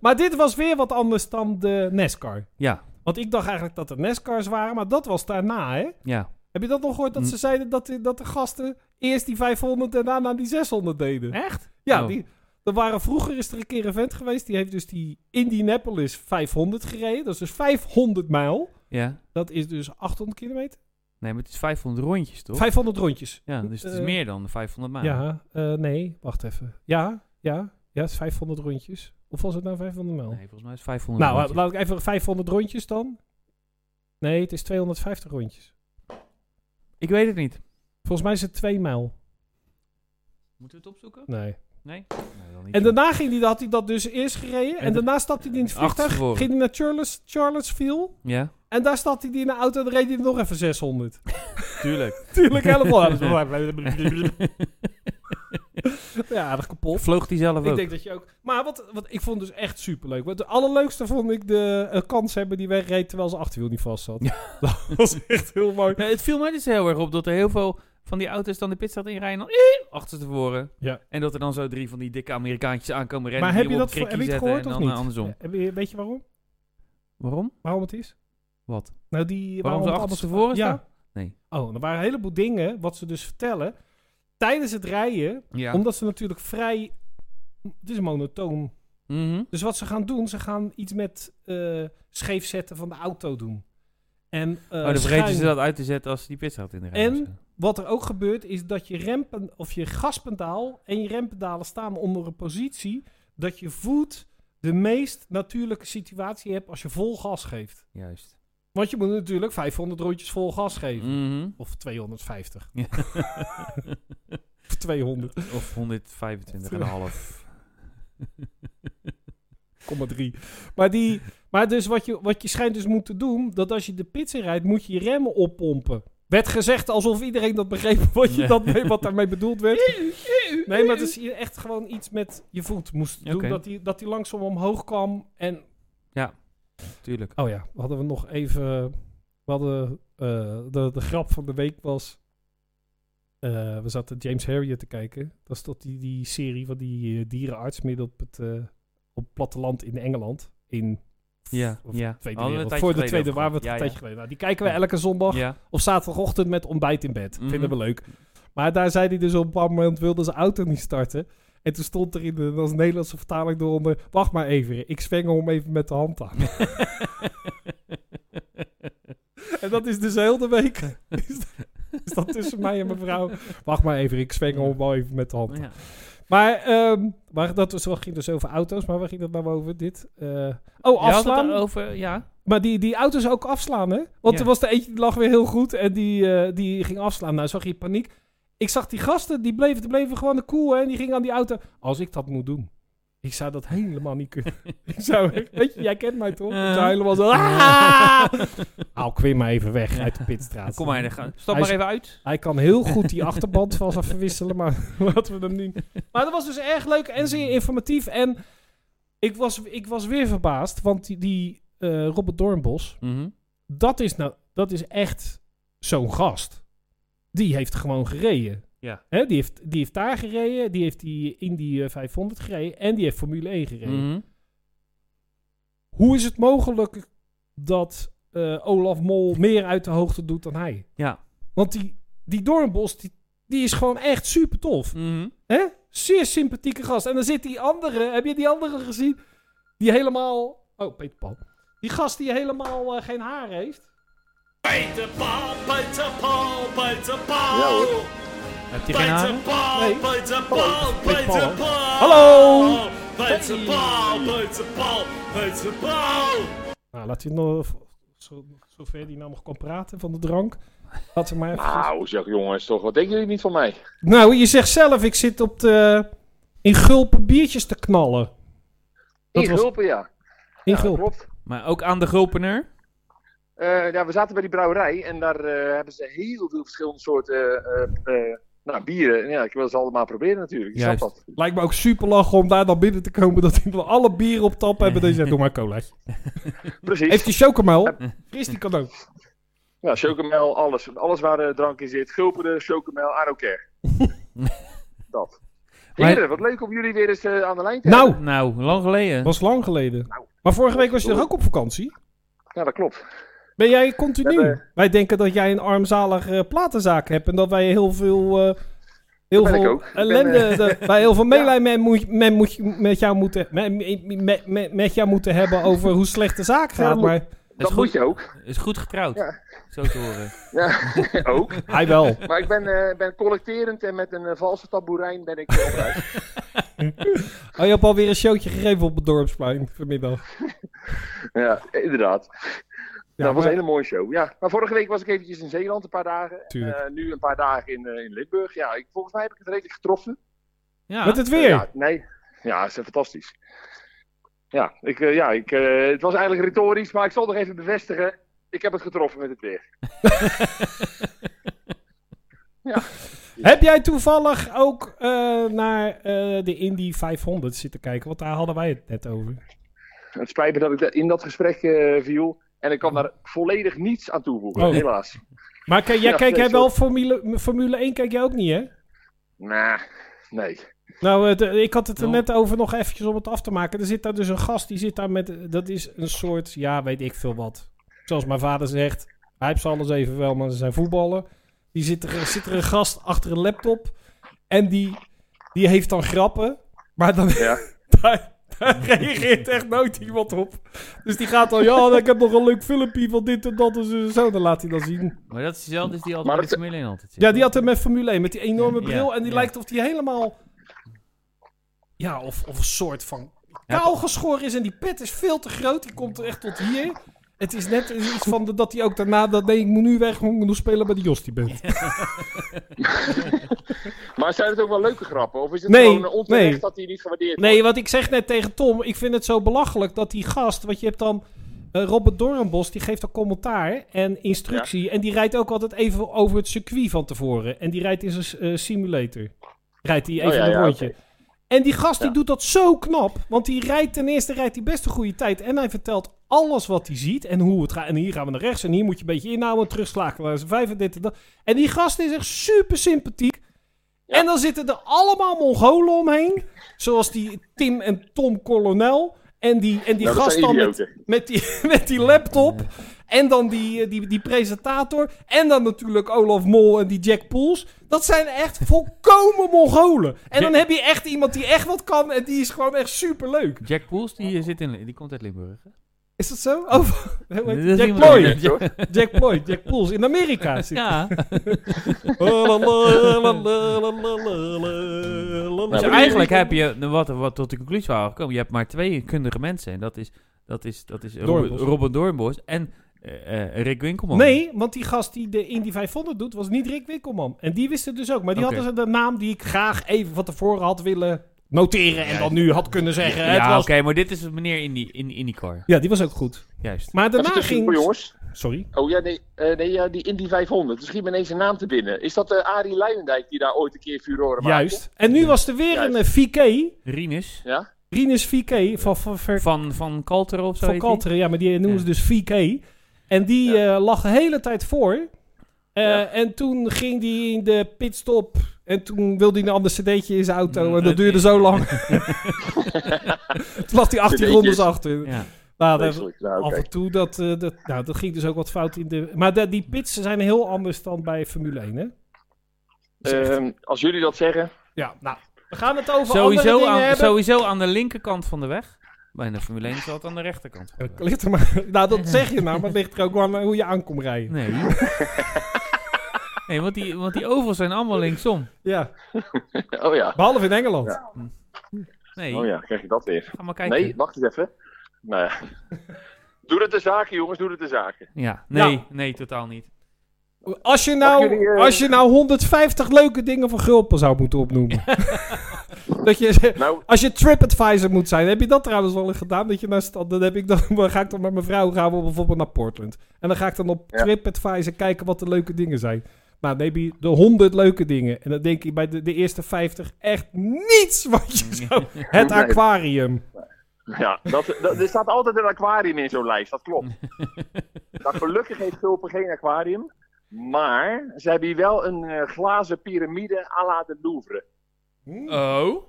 [SPEAKER 1] maar dit was weer wat anders dan de NASCAR.
[SPEAKER 2] Ja,
[SPEAKER 1] Want ik dacht eigenlijk dat het NASCAR's waren, maar dat was daarna, hè?
[SPEAKER 2] ja.
[SPEAKER 1] Heb je dat nog gehoord? Dat
[SPEAKER 2] Hm.
[SPEAKER 1] ze zeiden dat, de- dat de gasten eerst die 500 en daarna die 600 deden.
[SPEAKER 2] Echt?
[SPEAKER 1] Ja,
[SPEAKER 2] Oh.
[SPEAKER 1] die, er waren, vroeger is er een keer een vent geweest. Die heeft dus die Indianapolis 500 gereden. Dat is dus 500 mijl.
[SPEAKER 2] Ja.
[SPEAKER 1] Dat is dus 800 kilometer.
[SPEAKER 2] Nee, maar het is 500 rondjes, toch?
[SPEAKER 1] 500 rondjes.
[SPEAKER 2] ja, dus het is
[SPEAKER 1] Eh,
[SPEAKER 2] meer dan de 500 maanden.
[SPEAKER 1] Ja, eh, nee, wacht even. Ja, ja, ja, het is 500 rondjes. Of was het nou 500 mijl?
[SPEAKER 2] Nee, volgens mij is het 500
[SPEAKER 1] nou,
[SPEAKER 2] rondjes.
[SPEAKER 1] laat ik even 500 rondjes dan. Nee, het is 250 rondjes.
[SPEAKER 2] Ik weet het niet.
[SPEAKER 1] Volgens mij is het 2 mijl.
[SPEAKER 2] Moeten we het opzoeken?
[SPEAKER 1] Nee.
[SPEAKER 2] Nee? dan niet.
[SPEAKER 1] En daarna ging hij, had hij dat dus eerst gereden. En,
[SPEAKER 2] En de-
[SPEAKER 1] daarna stapte hij in het
[SPEAKER 2] Achter
[SPEAKER 1] vliegtuig.
[SPEAKER 2] tevoren.
[SPEAKER 1] Ging hij naar Charles, Charlottesville.
[SPEAKER 2] Ja,
[SPEAKER 1] En daar stapte hij in de auto en dan reed hij nog even 600.
[SPEAKER 2] tuurlijk.
[SPEAKER 1] Tuurlijk helemaal. ja, dat kapot.
[SPEAKER 2] Vloog die zelf
[SPEAKER 1] Ik
[SPEAKER 2] ook?
[SPEAKER 1] denk dat je ook... Maar wat, wat ik vond dus echt superleuk. Want het allerleukste vond ik de eh, kans hebben die wegreed terwijl zijn achterwiel niet vast zat. Dat was echt heel mooi.
[SPEAKER 2] Nee, het viel mij dus heel erg op dat er heel veel van die auto's dan de pitstraat inrijden en dan eh, achter tevoren.
[SPEAKER 1] Ja.
[SPEAKER 2] En dat er dan zo drie van die dikke Amerikaantjes aankomen rennen.
[SPEAKER 1] Maar
[SPEAKER 2] die
[SPEAKER 1] heb je
[SPEAKER 2] hem op
[SPEAKER 1] dat voor-
[SPEAKER 2] het
[SPEAKER 1] heb je
[SPEAKER 2] krikje
[SPEAKER 1] het
[SPEAKER 2] zetten
[SPEAKER 1] gehoord of
[SPEAKER 2] en dan,
[SPEAKER 1] niet?
[SPEAKER 2] eh, andersom.
[SPEAKER 1] Heb je- Weet je waarom?
[SPEAKER 2] Waarom?
[SPEAKER 1] Waarom het is?
[SPEAKER 2] Wat?
[SPEAKER 1] Nou, die...
[SPEAKER 2] Waarom ze
[SPEAKER 1] het
[SPEAKER 2] achter tevoren
[SPEAKER 1] Ja.
[SPEAKER 2] staan? Nee.
[SPEAKER 1] Oh, er waren een heleboel dingen wat ze dus vertellen tijdens het rijden.
[SPEAKER 2] Ja.
[SPEAKER 1] Omdat ze natuurlijk vrij... Het is monotoon.
[SPEAKER 2] Mhm.
[SPEAKER 1] Dus wat ze gaan doen, ze gaan iets met eh scheef zetten van de auto doen. En, eh,
[SPEAKER 2] oh, dan vergeten
[SPEAKER 1] schuin.
[SPEAKER 2] ze dat uit te zetten als ze die pitstraat inrijden.
[SPEAKER 1] En? Wat er ook gebeurt, is dat je rempen, of je gaspedaal en je rempedalen staan onder een positie dat je voet de meest natuurlijke situatie hebt als je vol gas geeft.
[SPEAKER 2] Juist.
[SPEAKER 1] Want je moet natuurlijk 500 rondjes vol gas geven.
[SPEAKER 2] Mhm.
[SPEAKER 1] Of 250.
[SPEAKER 2] Ja.
[SPEAKER 1] Of 200.
[SPEAKER 2] Of 125,5.
[SPEAKER 1] 0,3. Maar, die, maar dus wat je, wat je schijnt dus moeten doen, dat als je de pits in rijdt, moet je je remmen oppompen. Werd gezegd alsof iedereen dat begreep wat, je
[SPEAKER 2] Ja.
[SPEAKER 1] dat mee, wat daarmee bedoeld werd. Nee, maar het is hier echt gewoon iets met je voet moest doen.
[SPEAKER 2] Oké.
[SPEAKER 1] Dat, die, dat die langzaam omhoog kwam. En,
[SPEAKER 2] Tuurlijk.
[SPEAKER 1] oh ja, hadden we nog even... We hadden, eh, de, de grap van de week was... eh, we zaten James Harrier te kijken. Dat is tot die, die serie van die eh, dierenarts midden op het, eh, op het platteland in Engeland. In
[SPEAKER 2] Ja,
[SPEAKER 1] of
[SPEAKER 2] ja.
[SPEAKER 1] Tweede
[SPEAKER 2] Hadden we
[SPEAKER 1] wereld.
[SPEAKER 2] een tijdje
[SPEAKER 1] Voor de
[SPEAKER 2] geleden
[SPEAKER 1] tweede,
[SPEAKER 2] over
[SPEAKER 1] waar we het een
[SPEAKER 2] gehad.
[SPEAKER 1] tijdje geleden Nou, Die kijken we
[SPEAKER 2] Ja.
[SPEAKER 1] elke zondag
[SPEAKER 2] Ja,
[SPEAKER 1] of zaterdagochtend met ontbijt in bed.
[SPEAKER 2] Mhm.
[SPEAKER 1] Vinden we leuk. Maar daar zei hij dus op een bepaald moment wilde zijn auto niet starten. En toen stond er in de dat is een Nederlandse vertaling eronder... Wacht maar even, ik zwengel hem even met de hand aan. en dat is dus heel de week. is, dat, is dat tussen mij en mijn vrouw? Wacht maar even, ik zwengel hem wel even met de hand
[SPEAKER 2] ja.
[SPEAKER 1] aan.
[SPEAKER 2] ja.
[SPEAKER 1] Maar, ehm, maar dat was, ging dus over auto's. Maar waar ging dat nou over? Dit? eh, oh,
[SPEAKER 2] Je had het
[SPEAKER 1] afslaan.
[SPEAKER 2] over, ja.
[SPEAKER 1] Maar die, die auto's ook afslaan, hè? Want
[SPEAKER 2] Ja.
[SPEAKER 1] er was er eentje die lag weer heel goed en die, eh, die ging afslaan. Nou, zag je paniek. Ik zag die gasten, die bleven, die bleven gewoon de cool, hè? En die gingen aan die auto. Als ik dat moet doen. Ik zou dat helemaal niet kunnen. ik zou, echt- weet je, jij kent mij toch? Ik
[SPEAKER 2] Eh. Ja.
[SPEAKER 1] zou helemaal zo... "Ah!" Haal Quinn maar even weg uit de pitstraat.
[SPEAKER 2] Kom maar, dan gaan.
[SPEAKER 1] Hij
[SPEAKER 2] stap maar
[SPEAKER 1] is-
[SPEAKER 2] even uit.
[SPEAKER 1] Hij kan heel goed die achterband van zijn verwisselen, maar laten we hem niet. Maar dat was dus erg leuk en zeer informatief. En ik was, ik was weer verbaasd, want die, die eh, Robert Doornbos,
[SPEAKER 2] Mhm.
[SPEAKER 1] dat is, nou, dat is echt zo'n gast. Die heeft gewoon gereden.
[SPEAKER 2] Ja.
[SPEAKER 1] Hè, die, heeft, die heeft daar gereden, die heeft die Indy eh, 500 gereden en die heeft Formule 1 gereden.
[SPEAKER 2] Mhm.
[SPEAKER 1] Hoe is het mogelijk dat eh, Olaf Mol meer uit de hoogte doet dan hij?
[SPEAKER 2] Ja.
[SPEAKER 1] Want die, die Doornbos, die, die is gewoon echt super tof.
[SPEAKER 5] Mm.
[SPEAKER 2] Mhm.
[SPEAKER 1] Hè? Zeer sympathieke gast. En dan zit die andere, heb je die andere gezien? Die helemaal... Oh, Peter Pan. Die gast die helemaal eh, geen haar heeft.
[SPEAKER 4] Peter Paul, Peter Paul, Peter Paul.
[SPEAKER 5] Ja, hoor.
[SPEAKER 2] Heb je geen
[SPEAKER 4] Peter
[SPEAKER 2] haren?
[SPEAKER 4] Paul,
[SPEAKER 1] Nee.
[SPEAKER 4] Peter Paul,
[SPEAKER 1] Peter Paul,
[SPEAKER 4] Peter
[SPEAKER 1] hè?
[SPEAKER 4] Paul.
[SPEAKER 1] Hallo.
[SPEAKER 4] Peter
[SPEAKER 1] Hey.
[SPEAKER 4] Paul, Peter Paul, Peter Paul.
[SPEAKER 1] Nou, laat hij nog... v- Zo, zover die nou nog kan praten van de drank. Laat ze maar even...
[SPEAKER 5] Nou, zeg jongens, toch, wat denken jullie niet van mij?
[SPEAKER 1] Nou, je zegt zelf, ik zit op de... In gulpen biertjes te knallen. Dat was-
[SPEAKER 5] Ingulpen, ja.
[SPEAKER 1] In
[SPEAKER 5] Ja, dat
[SPEAKER 1] gulpen.
[SPEAKER 5] klopt.
[SPEAKER 2] Maar ook aan de gulpener?
[SPEAKER 5] Eh, ja, we zaten bij die brouwerij en daar eh, hebben ze heel veel verschillende soorten eh, eh, eh, nou, bieren. En ja, ik wil ze allemaal proberen natuurlijk. Ik snap
[SPEAKER 2] Juist.
[SPEAKER 5] dat.
[SPEAKER 1] Lijkt me ook super lachen om daar dan binnen te komen dat die van alle bieren op tap hebben. Dan zegt, doe maar cola.
[SPEAKER 5] Precies.
[SPEAKER 1] Heeft die chocomel? Fris die kan ook.
[SPEAKER 5] Ja, chocomel, alles. Alles waar eh, drank in zit. Gulperen, chocomel, I don't care. dat.
[SPEAKER 2] Maar-
[SPEAKER 5] Heren, wat leuk om jullie weer eens eh, aan de lijn te
[SPEAKER 1] Nou,
[SPEAKER 2] Nou, lang geleden.
[SPEAKER 1] was lang geleden.
[SPEAKER 5] Nou,
[SPEAKER 1] Maar vorige week was je toch ook op vakantie?
[SPEAKER 5] hebben. Ja, dat klopt.
[SPEAKER 1] Ben jij continu?
[SPEAKER 5] Ja, maar-
[SPEAKER 1] Wij denken dat jij een armzalig eh, platenzaak hebt en dat wij heel veel, eh, heel
[SPEAKER 5] Dat ben ik
[SPEAKER 1] veel
[SPEAKER 5] ook. Ik ben, eh,
[SPEAKER 1] ellende, dat wij heel veel meelij men moet, men moet, je- met, jou moeten, met, met, met, met jou moeten hebben over hoe slecht de zaak gaat.
[SPEAKER 5] moet-
[SPEAKER 1] Maar
[SPEAKER 5] Dat
[SPEAKER 2] goed.
[SPEAKER 5] moet je ook.
[SPEAKER 2] Is goed getrouwd.
[SPEAKER 5] Ja.
[SPEAKER 2] Zo te horen.
[SPEAKER 5] Ja, ook.
[SPEAKER 1] hij wel.
[SPEAKER 5] Maar ik ben, eh, ben collecterend en met een eh, valse tamboerijn ben ik eh, op reis.
[SPEAKER 1] Oh, je hebt alweer een showtje gegeven op het dorpsplein vanmiddag.
[SPEAKER 5] Ja, inderdaad.
[SPEAKER 1] Ja,
[SPEAKER 5] dat was
[SPEAKER 1] maar-
[SPEAKER 5] een hele mooie show. Ja. Maar vorige week was ik eventjes in Zeeland een paar dagen.
[SPEAKER 1] Tuurlijk.
[SPEAKER 5] Eh, nu een paar dagen in, eh, in Limburg. Ja, ik, volgens mij heb ik het redelijk getroffen.
[SPEAKER 2] Ja.
[SPEAKER 1] Met het weer.
[SPEAKER 5] Ja, nee. Ja, ze zijn fantastisch. Ja, ik, eh, ja ik, eh, het was eigenlijk retorisch, maar ik zal nog even bevestigen. Ik heb het getroffen met het weer.
[SPEAKER 1] Heb jij toevallig ook eh, naar eh, de Indy 500 zitten kijken? Want daar hadden wij het net over.
[SPEAKER 5] Het spijt me dat ik da- in dat gesprek eh, viel. En ik kan daar volledig niets aan toevoegen,
[SPEAKER 1] Oh.
[SPEAKER 5] helaas.
[SPEAKER 1] Maar kijk, jij,
[SPEAKER 5] Ja,
[SPEAKER 1] kijk
[SPEAKER 5] nee,
[SPEAKER 1] jij wel Formule, Formule 1? Kijk jij ook niet, hè?
[SPEAKER 5] Nah, nee.
[SPEAKER 1] Nou, eh, de- ik had het er
[SPEAKER 2] Nou.
[SPEAKER 1] net over nog eventjes om het af te maken. Er zit daar dus een gast, die zit daar met... eh, Dat is een soort, ja, weet ik veel wat. Zoals mijn vader zegt, hij heeft ze alles even wel, maar ze zijn voetballen. Die zit er, zit er een gast achter een laptop. En die, die heeft dan grappen. Maar dan,
[SPEAKER 5] Ja.
[SPEAKER 1] daar, daar reageert echt nooit iemand op. Dus die gaat dan, ja, ik heb nog een leuk filmpje van dit en dat en zo. en zo. Dan laat hij dat zien.
[SPEAKER 2] Maar dat is dezelfde als die altijd
[SPEAKER 5] Maar
[SPEAKER 2] bij de
[SPEAKER 5] dat-
[SPEAKER 2] Formule 1 altijd zit.
[SPEAKER 1] Ja, die had hem met Formule 1, met die enorme
[SPEAKER 2] Ja,
[SPEAKER 1] bril. en die
[SPEAKER 2] ja.
[SPEAKER 1] lijkt of die helemaal... Ja, of, of een soort van kaal geschoren is. En die pet is veel te groot. Die komt er echt tot hier. Het is net iets van de- dat hij ook daarna... Dat, nee, ik moet nu weg, want ik moet nog spelen bij de Jostie bent.
[SPEAKER 5] Maar zijn het ook wel leuke grappen? Of is het
[SPEAKER 1] Nee,
[SPEAKER 5] gewoon eh, onterecht
[SPEAKER 1] nee.
[SPEAKER 5] dat hij niet gewaardeerd wordt?
[SPEAKER 1] Nee, wat ik zeg net tegen Tom, ik vind het zo belachelijk dat die gast, want je hebt dan eh, Robert Doornbos, die geeft dan commentaar en instructie. En die rijdt ook altijd even over het circuit van tevoren. En die rijdt in zijn eh, simulator. Rijdt hij even
[SPEAKER 5] Oh, ja,
[SPEAKER 1] een
[SPEAKER 5] ja,
[SPEAKER 1] rondje. En die gast die
[SPEAKER 5] Ja.
[SPEAKER 1] doet dat zo knap. Want die rijdt ten eerste rijdt hij best een goede tijd. En hij vertelt alles wat hij ziet. En hoe het gaat. En hier gaan we naar rechts. En hier moet je een beetje inhouden. Terugslagen naar zijn vijf en dit en dat. En die gast is echt super sympathiek.
[SPEAKER 5] Ja.
[SPEAKER 1] En dan zitten er allemaal Mongolen omheen. Zoals die Tim en Tom Colonel. En die, en die
[SPEAKER 5] Nou, dat
[SPEAKER 1] gast dan
[SPEAKER 5] zijn
[SPEAKER 1] met,
[SPEAKER 5] idioten.
[SPEAKER 1] met, die, met die laptop. En dan die, eh, die, die presentator. En dan natuurlijk Olaf Mol en die Jack Pools. Dat zijn echt volkomen Mongolen. En dan heb je echt iemand die echt wat kan. En die is gewoon echt superleuk.
[SPEAKER 2] Jack Poels, die, eh, zit in, die komt uit Limburg. hè?
[SPEAKER 1] Is dat zo? Oh, hoe heet die?
[SPEAKER 2] Dat is
[SPEAKER 1] Jack
[SPEAKER 2] iemand-
[SPEAKER 1] Ploy.
[SPEAKER 5] Hoor.
[SPEAKER 1] Jack Ploy, Jack Pools. In Amerika zit
[SPEAKER 2] Ja. Dus
[SPEAKER 5] maar die-
[SPEAKER 2] eigenlijk heb je, nou, wat, wat tot de conclusie waren gekomen, je hebt maar twee kundige mensen. En dat is, dat is, dat is Robert,
[SPEAKER 1] Doornbos.
[SPEAKER 2] Robert Doornbos en eh, eh, Rick Winkelman.
[SPEAKER 1] Nee, want die gast die de Indy 500 doet, was niet Rick Wikkelman. En die wist het dus ook. Maar die
[SPEAKER 2] Oké.
[SPEAKER 1] hadden ze de naam die ik graag even van tevoren had willen noteren en dan nu had kunnen zeggen. het
[SPEAKER 2] Ja,
[SPEAKER 1] was...
[SPEAKER 2] oké, maar dit is meneer Indy, in, IndyCar.
[SPEAKER 1] ja, die was ook goed.
[SPEAKER 2] Juist.
[SPEAKER 1] Maar
[SPEAKER 5] Even
[SPEAKER 1] daarna
[SPEAKER 5] tussendoor,
[SPEAKER 1] ging...
[SPEAKER 5] jongens.
[SPEAKER 1] Sorry.
[SPEAKER 5] Oh ja, nee, eh, nee ja, die Indy 500. Er schiet me ineens een naam te binnen. Is dat eh Arie Luijendijk die daar ooit een keer furoren maakte?
[SPEAKER 1] Juist. En nu was er weer
[SPEAKER 5] Juist.
[SPEAKER 1] een eh, VK.
[SPEAKER 2] Rinus
[SPEAKER 5] Ja?
[SPEAKER 1] Rinus VK van, van, van,
[SPEAKER 2] van, van Kalter of zo.
[SPEAKER 1] van
[SPEAKER 2] heet die?
[SPEAKER 1] Kalteren. Ja, maar die noemen ze dus VK. En die eh, lag de hele tijd voor. Eh,
[SPEAKER 5] Ja.
[SPEAKER 1] En toen ging die in de pitstop. En toen wilde hij een ander cd'tje in zijn auto. En
[SPEAKER 2] Nee.
[SPEAKER 1] dat duurde zo lang. toen lag hij 18
[SPEAKER 5] Cd'tjes.
[SPEAKER 1] rondes achter.
[SPEAKER 2] Ja.
[SPEAKER 1] Nou, dat-
[SPEAKER 5] Vreselijk. Nou,
[SPEAKER 1] af
[SPEAKER 5] oké.
[SPEAKER 1] en toe, dat, eh, dat, nou, dat ging dus ook wat fout in de... Maar de- die pits zijn heel anders dan bij Formule 1, hè?
[SPEAKER 5] Ehm, als jullie dat zeggen.
[SPEAKER 1] Ja, nou, we gaan het over andere
[SPEAKER 2] Sowieso,
[SPEAKER 1] dingen
[SPEAKER 2] aan,
[SPEAKER 1] hebben.
[SPEAKER 2] sowieso aan de linkerkant van de weg. Bij de Formule 1 is dat aan de rechterkant van de
[SPEAKER 1] Het
[SPEAKER 2] weg.
[SPEAKER 1] ligt er maar... Nou, dat zeg je nou, maar het ligt er ook wel aan hoe je aankomt rijden.
[SPEAKER 2] Nee. nee, want die, want die ovals zijn allemaal linksom.
[SPEAKER 1] Ja,
[SPEAKER 5] Oh ja.
[SPEAKER 1] behalve in Engeland.
[SPEAKER 5] Ja.
[SPEAKER 2] Nee,
[SPEAKER 5] Oh ja, krijg je dat weer.
[SPEAKER 2] ga maar kijken.
[SPEAKER 5] Nee, wacht eens even. Nou ja. Doe het de zaken, jongens, doe het de zaken.
[SPEAKER 2] Ja, nee,
[SPEAKER 1] Ja.
[SPEAKER 2] nee, totaal niet.
[SPEAKER 1] Als, je
[SPEAKER 5] Mag
[SPEAKER 1] nou,
[SPEAKER 5] jullie, eh,
[SPEAKER 1] als je nou 150 leuke dingen van Gulpen zou moeten opnoemen. dat je,
[SPEAKER 5] Nou,
[SPEAKER 1] als je TripAdvisor moet zijn, heb je dat trouwens wel eens gedaan? Dat je naar stand, dan, heb ik dan, dan ga ik dan met mijn vrouw gaan we bijvoorbeeld naar Portland. En dan ga ik dan op
[SPEAKER 5] Ja.
[SPEAKER 1] TripAdvisor kijken wat de leuke dingen zijn. Nou, dan heb je de 100 leuke dingen. En dan denk je bij de, de eerste 50 echt niets wat je zou... Het
[SPEAKER 5] Nee.
[SPEAKER 1] aquarium.
[SPEAKER 5] ja, dat, dat- er staat altijd een aquarium in zo'n lijst, dat klopt. nou, gelukkig heeft Gulpen geen aquarium. Maar ze hebben hier wel een eh, glazen piramide à la de Louvre.
[SPEAKER 2] Oh?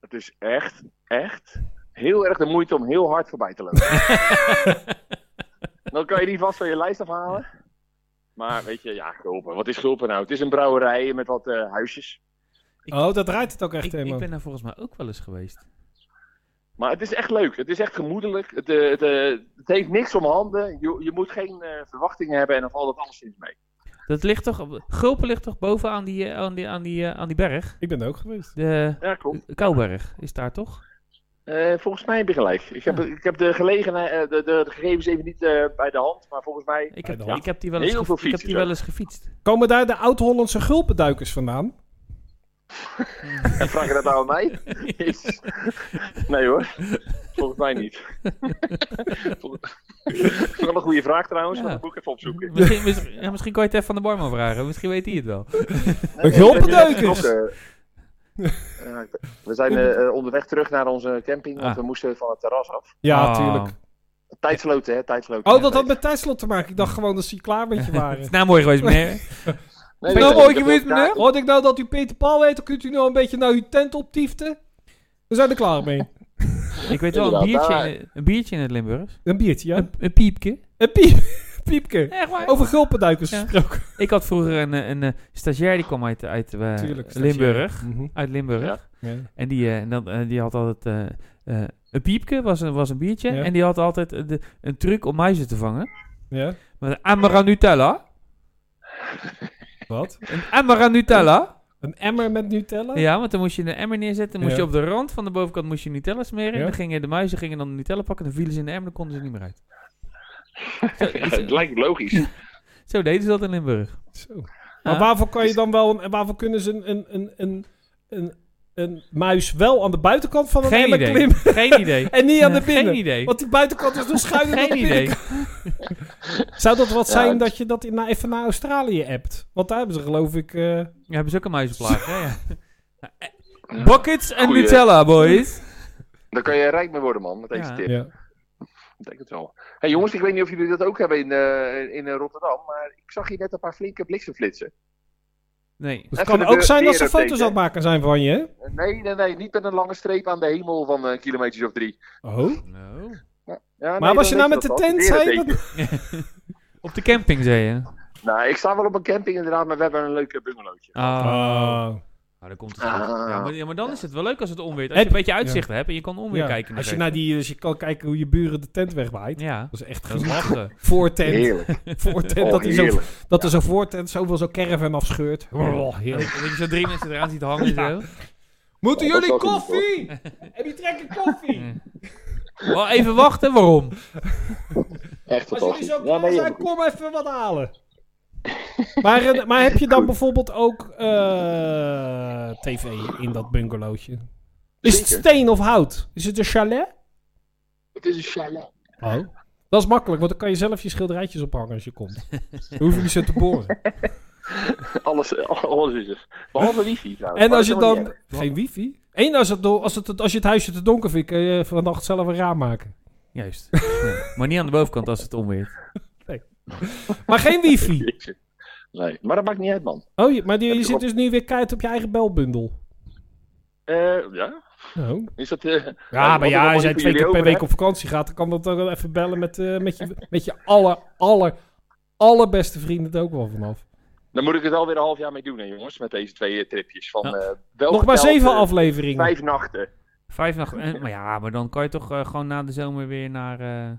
[SPEAKER 5] Het is echt, echt heel erg de moeite om heel hard voorbij te lopen. Dan kan je die vast van je lijst afhalen. Maar weet je, ja, Gulpen. Wat is Gulpen nou? Het is een brouwerij met wat eh, huisjes.
[SPEAKER 2] Ik-
[SPEAKER 1] Oh, dat draait het ook echt
[SPEAKER 2] Ik, ik
[SPEAKER 1] helemaal.
[SPEAKER 2] ben daar volgens mij ook wel eens geweest.
[SPEAKER 5] Maar het is echt leuk. Het is echt gemoedelijk. Het, eh, het, eh, het heeft niks om handen. Je, je moet geen eh, verwachtingen hebben en dan valt het alleszins mee.
[SPEAKER 2] Dat ligt toch, op- Gulpen ligt toch boven aan die, eh, aan die, aan die, eh, aan die berg?
[SPEAKER 1] Ik ben er ook geweest.
[SPEAKER 2] De eh,
[SPEAKER 5] Ja, klopt.
[SPEAKER 2] Kouberg is daar toch?
[SPEAKER 5] Eh, volgens mij heb je gelijk. Ik heb, ik heb de, gelegenheid, eh, de, de, de gegevens even niet eh, bij de hand, maar volgens mij...
[SPEAKER 2] Ik
[SPEAKER 1] Bij
[SPEAKER 2] heb,
[SPEAKER 1] de hand.
[SPEAKER 2] ik heb die wel eens,
[SPEAKER 5] Heel
[SPEAKER 2] ge-
[SPEAKER 5] veel
[SPEAKER 2] ik heb
[SPEAKER 5] fietsers
[SPEAKER 2] die wel eens gefietst.
[SPEAKER 1] Komen daar de oud-Hollandse Gulpenduikers vandaan?
[SPEAKER 5] En vraag je dat nou aan mij? Jezus. Nee hoor, volgens mij niet. Vol- Wel een goede vraag trouwens,
[SPEAKER 2] Ja.
[SPEAKER 5] maar dat moet ik even opzoeken.
[SPEAKER 2] Misschien, misschien, ja, misschien kan je het even van de barman vragen. Misschien weet hij het wel.
[SPEAKER 1] Een Gulpenduikers!
[SPEAKER 5] Klokken. Eh, we zijn eh, eh, onderweg terug naar onze camping, want
[SPEAKER 2] Ah.
[SPEAKER 5] we moesten van het terras af.
[SPEAKER 1] Ja,
[SPEAKER 2] Ah.
[SPEAKER 1] tuurlijk.
[SPEAKER 5] Tijdsloten, hè? Tijdsloten.
[SPEAKER 1] Oh, dat had met tijdslot te maken. Ik dacht gewoon dat ze hier klaar met je
[SPEAKER 2] Het is
[SPEAKER 1] waren.
[SPEAKER 2] nou mooi geweest, meneer.
[SPEAKER 5] Nee,
[SPEAKER 1] Nou,
[SPEAKER 5] nee,
[SPEAKER 1] mooi
[SPEAKER 5] ik heb
[SPEAKER 2] geweest,
[SPEAKER 5] wel
[SPEAKER 2] meneer.
[SPEAKER 5] kaarten.
[SPEAKER 1] Hoorde ik nou dat u Peter Paul heet, dan kunt u nou een beetje naar uw tent optieften. We zijn er klaar mee.
[SPEAKER 2] Ik weet wel, een
[SPEAKER 5] Inderdaad,
[SPEAKER 2] biertje,
[SPEAKER 5] daar-
[SPEAKER 2] in, de- een biertje in het Limburgs.
[SPEAKER 1] Een biertje, ja.
[SPEAKER 2] Een, een piepje.
[SPEAKER 1] Een piep, piepke.
[SPEAKER 2] Echt waar?
[SPEAKER 1] Over gulpenduikers
[SPEAKER 2] Ja.
[SPEAKER 1] gesproken.
[SPEAKER 2] Ik had vroeger een, eh, een, eh, stagiair die kwam uit, uit eh,
[SPEAKER 1] Tuurlijk, stagiair.
[SPEAKER 2] Limburg.
[SPEAKER 1] Mhm.
[SPEAKER 2] Uit Limburg.
[SPEAKER 5] Ja.
[SPEAKER 1] Ja.
[SPEAKER 2] En die, eh, en dan, eh, die had altijd... eh, eh, een piepje was een, was een biertje.
[SPEAKER 1] Ja.
[SPEAKER 2] En die had altijd eh, de, een truc om muizen te vangen.
[SPEAKER 1] Ja.
[SPEAKER 2] Met een Amara Nutella.
[SPEAKER 1] Wat?
[SPEAKER 2] Een Amara Nutella.
[SPEAKER 1] Een emmer met Nutella?
[SPEAKER 2] Ja, want dan moest je een emmer neerzetten. Dan moest
[SPEAKER 1] Ja.
[SPEAKER 2] je op de rand van de bovenkant moest je Nutella smeren.
[SPEAKER 1] Ja.
[SPEAKER 2] En dan gingen de muizen gingen dan de Nutella pakken. Dan vielen ze in de emmer. Dan konden ze niet meer uit.
[SPEAKER 5] Ja, het lijkt logisch.
[SPEAKER 2] Zo deden ze dat in Limburg.
[SPEAKER 1] Zo. Maar waarvoor kan je dan wel... Een, waarvoor kunnen ze een, een, een, een, een, een muis wel aan de buitenkant van een
[SPEAKER 2] Geen
[SPEAKER 1] emmer
[SPEAKER 2] idee.
[SPEAKER 1] klimmen?
[SPEAKER 2] Geen idee.
[SPEAKER 1] En niet aan de
[SPEAKER 2] Eh,
[SPEAKER 1] binnen?
[SPEAKER 2] Geen idee.
[SPEAKER 1] Want die buitenkant is nog schuin.
[SPEAKER 2] Geen idee.
[SPEAKER 1] Zou dat wat
[SPEAKER 5] Ja,
[SPEAKER 1] zijn
[SPEAKER 5] het-
[SPEAKER 1] dat je dat in, na- even naar Australië appt? Want daar hebben ze geloof ik... eh,
[SPEAKER 2] Ja, hebben ze ook een muizenplaag, hè? Ja. Buckets en
[SPEAKER 5] Goeie.
[SPEAKER 2] Nutella, boys.
[SPEAKER 5] Daar kan je rijk mee worden, man, met deze
[SPEAKER 2] Ja.
[SPEAKER 5] tip.
[SPEAKER 1] ja.
[SPEAKER 5] Ik denk het wel. Hey, jongens, ik weet niet of jullie dat ook hebben in, eh, in eh, Rotterdam, maar ik zag hier net een paar flinke bliksemflitsen.
[SPEAKER 2] Nee.
[SPEAKER 1] Dus het
[SPEAKER 5] Even
[SPEAKER 1] kan
[SPEAKER 5] de
[SPEAKER 1] ook zijn dat ze
[SPEAKER 5] deur
[SPEAKER 1] foto's
[SPEAKER 5] tegen.
[SPEAKER 1] aan het maken zijn van je. hè?
[SPEAKER 5] Eh, Nee, nee, nee, niet met een lange streep aan de hemel van eh kilometers of drie.
[SPEAKER 1] Oh.
[SPEAKER 2] No.
[SPEAKER 5] Ja, nee,
[SPEAKER 1] Maar was je
[SPEAKER 5] dan
[SPEAKER 1] nou
[SPEAKER 5] weet
[SPEAKER 1] met de
[SPEAKER 5] dat wel.
[SPEAKER 1] tent?
[SPEAKER 5] Weer
[SPEAKER 1] Zei
[SPEAKER 5] een
[SPEAKER 1] je dat?
[SPEAKER 2] Op de camping, zei je?
[SPEAKER 5] teken. Nou, ik sta wel op een camping inderdaad, maar we hebben een leuke bungalowtje.
[SPEAKER 2] Ah,
[SPEAKER 1] Ah.
[SPEAKER 2] daar Nou, komt het.
[SPEAKER 5] Ah.
[SPEAKER 2] goed. Ja, maar, ja, maar dan is het wel leuk als het onweert. Als
[SPEAKER 1] Heb-
[SPEAKER 2] je een beetje uitzicht hebt en je kan onweer
[SPEAKER 1] Ja.
[SPEAKER 2] kijken.
[SPEAKER 1] Als je,
[SPEAKER 2] naar
[SPEAKER 1] naar die, als je kan kijken hoe je buren de tent wegwaait.
[SPEAKER 2] Ja,
[SPEAKER 1] Dat is echt
[SPEAKER 2] dat is
[SPEAKER 1] geniet.
[SPEAKER 2] lachen.
[SPEAKER 1] Voortent.
[SPEAKER 5] Heerlijk.
[SPEAKER 1] Voortent.
[SPEAKER 5] Oh,
[SPEAKER 1] dat is zo,
[SPEAKER 5] heerlijk.
[SPEAKER 1] dat er zo'n voortent zoveel zo'n caravan afscheurt. Oh, heerlijk.
[SPEAKER 2] Dat je zo drie mensen eraan ziet hangen. Zo.
[SPEAKER 1] Moeten
[SPEAKER 5] Oh, dat
[SPEAKER 1] jullie
[SPEAKER 5] is wel geniet,
[SPEAKER 1] koffie? Heb je trek in koffie?
[SPEAKER 2] Wel even wachten, waarom?
[SPEAKER 5] Echt
[SPEAKER 1] Als jullie
[SPEAKER 5] fantastisch.
[SPEAKER 1] zo
[SPEAKER 5] Ja,
[SPEAKER 1] klaar
[SPEAKER 5] nee,
[SPEAKER 1] zijn,
[SPEAKER 5] helemaal goed.
[SPEAKER 1] kom even wat halen. maar, eh, maar heb je dan
[SPEAKER 5] Goed.
[SPEAKER 1] bijvoorbeeld ook eh, tv in dat bungalowtje? Is het
[SPEAKER 5] Zeker.
[SPEAKER 1] steen of hout? Is het een chalet?
[SPEAKER 5] Het is een chalet.
[SPEAKER 1] Oh. Dat is makkelijk, want dan kan je zelf je schilderijtjes ophangen als je komt. Dan hoef je niet zo te boren.
[SPEAKER 5] Alles, alles is er. Behalve wifi trouwens.
[SPEAKER 1] En
[SPEAKER 5] Maar
[SPEAKER 1] als je
[SPEAKER 5] dat is helemaal
[SPEAKER 1] dan... Geen wifi? Eén, als het, do- als, het, als je het huisje te donker vindt, kun je vannacht zelf een raam maken.
[SPEAKER 2] Juist. Ja. Maar niet aan de bovenkant als het onweert.
[SPEAKER 1] Maar geen wifi.
[SPEAKER 5] niet erg. Nee, maar dat maakt niet uit, man.
[SPEAKER 1] Oh, je- maar die, je
[SPEAKER 5] je
[SPEAKER 1] zit
[SPEAKER 5] op-
[SPEAKER 1] dus nu weer keihard op je eigen belbundel.
[SPEAKER 5] Eh, ja?
[SPEAKER 1] Oh.
[SPEAKER 5] Is dat... eh, nou,
[SPEAKER 1] Ja,
[SPEAKER 5] wat
[SPEAKER 1] maar
[SPEAKER 5] ik
[SPEAKER 1] ja,
[SPEAKER 5] allemaal
[SPEAKER 1] als jij
[SPEAKER 5] niet
[SPEAKER 1] twee
[SPEAKER 5] voor
[SPEAKER 1] keer per
[SPEAKER 5] jullie
[SPEAKER 1] week op vakantie gaat, dan kan dat toch wel even bellen met, eh, met je, met je aller, aller, allerbeste vrienden er ook wel vanaf.
[SPEAKER 5] Dan moet ik het alweer een half jaar mee doen, hè, jongens. Met deze twee eh, tripjes. Van,
[SPEAKER 2] Ja.
[SPEAKER 5] eh, wel
[SPEAKER 1] Nog maar
[SPEAKER 5] geteld,
[SPEAKER 1] zeven
[SPEAKER 5] eh,
[SPEAKER 1] afleveringen.
[SPEAKER 5] Vijf nachten.
[SPEAKER 2] Vijf nacht. eh, Maar ja, maar dan kan je toch eh, gewoon na de zomer weer naar. eh,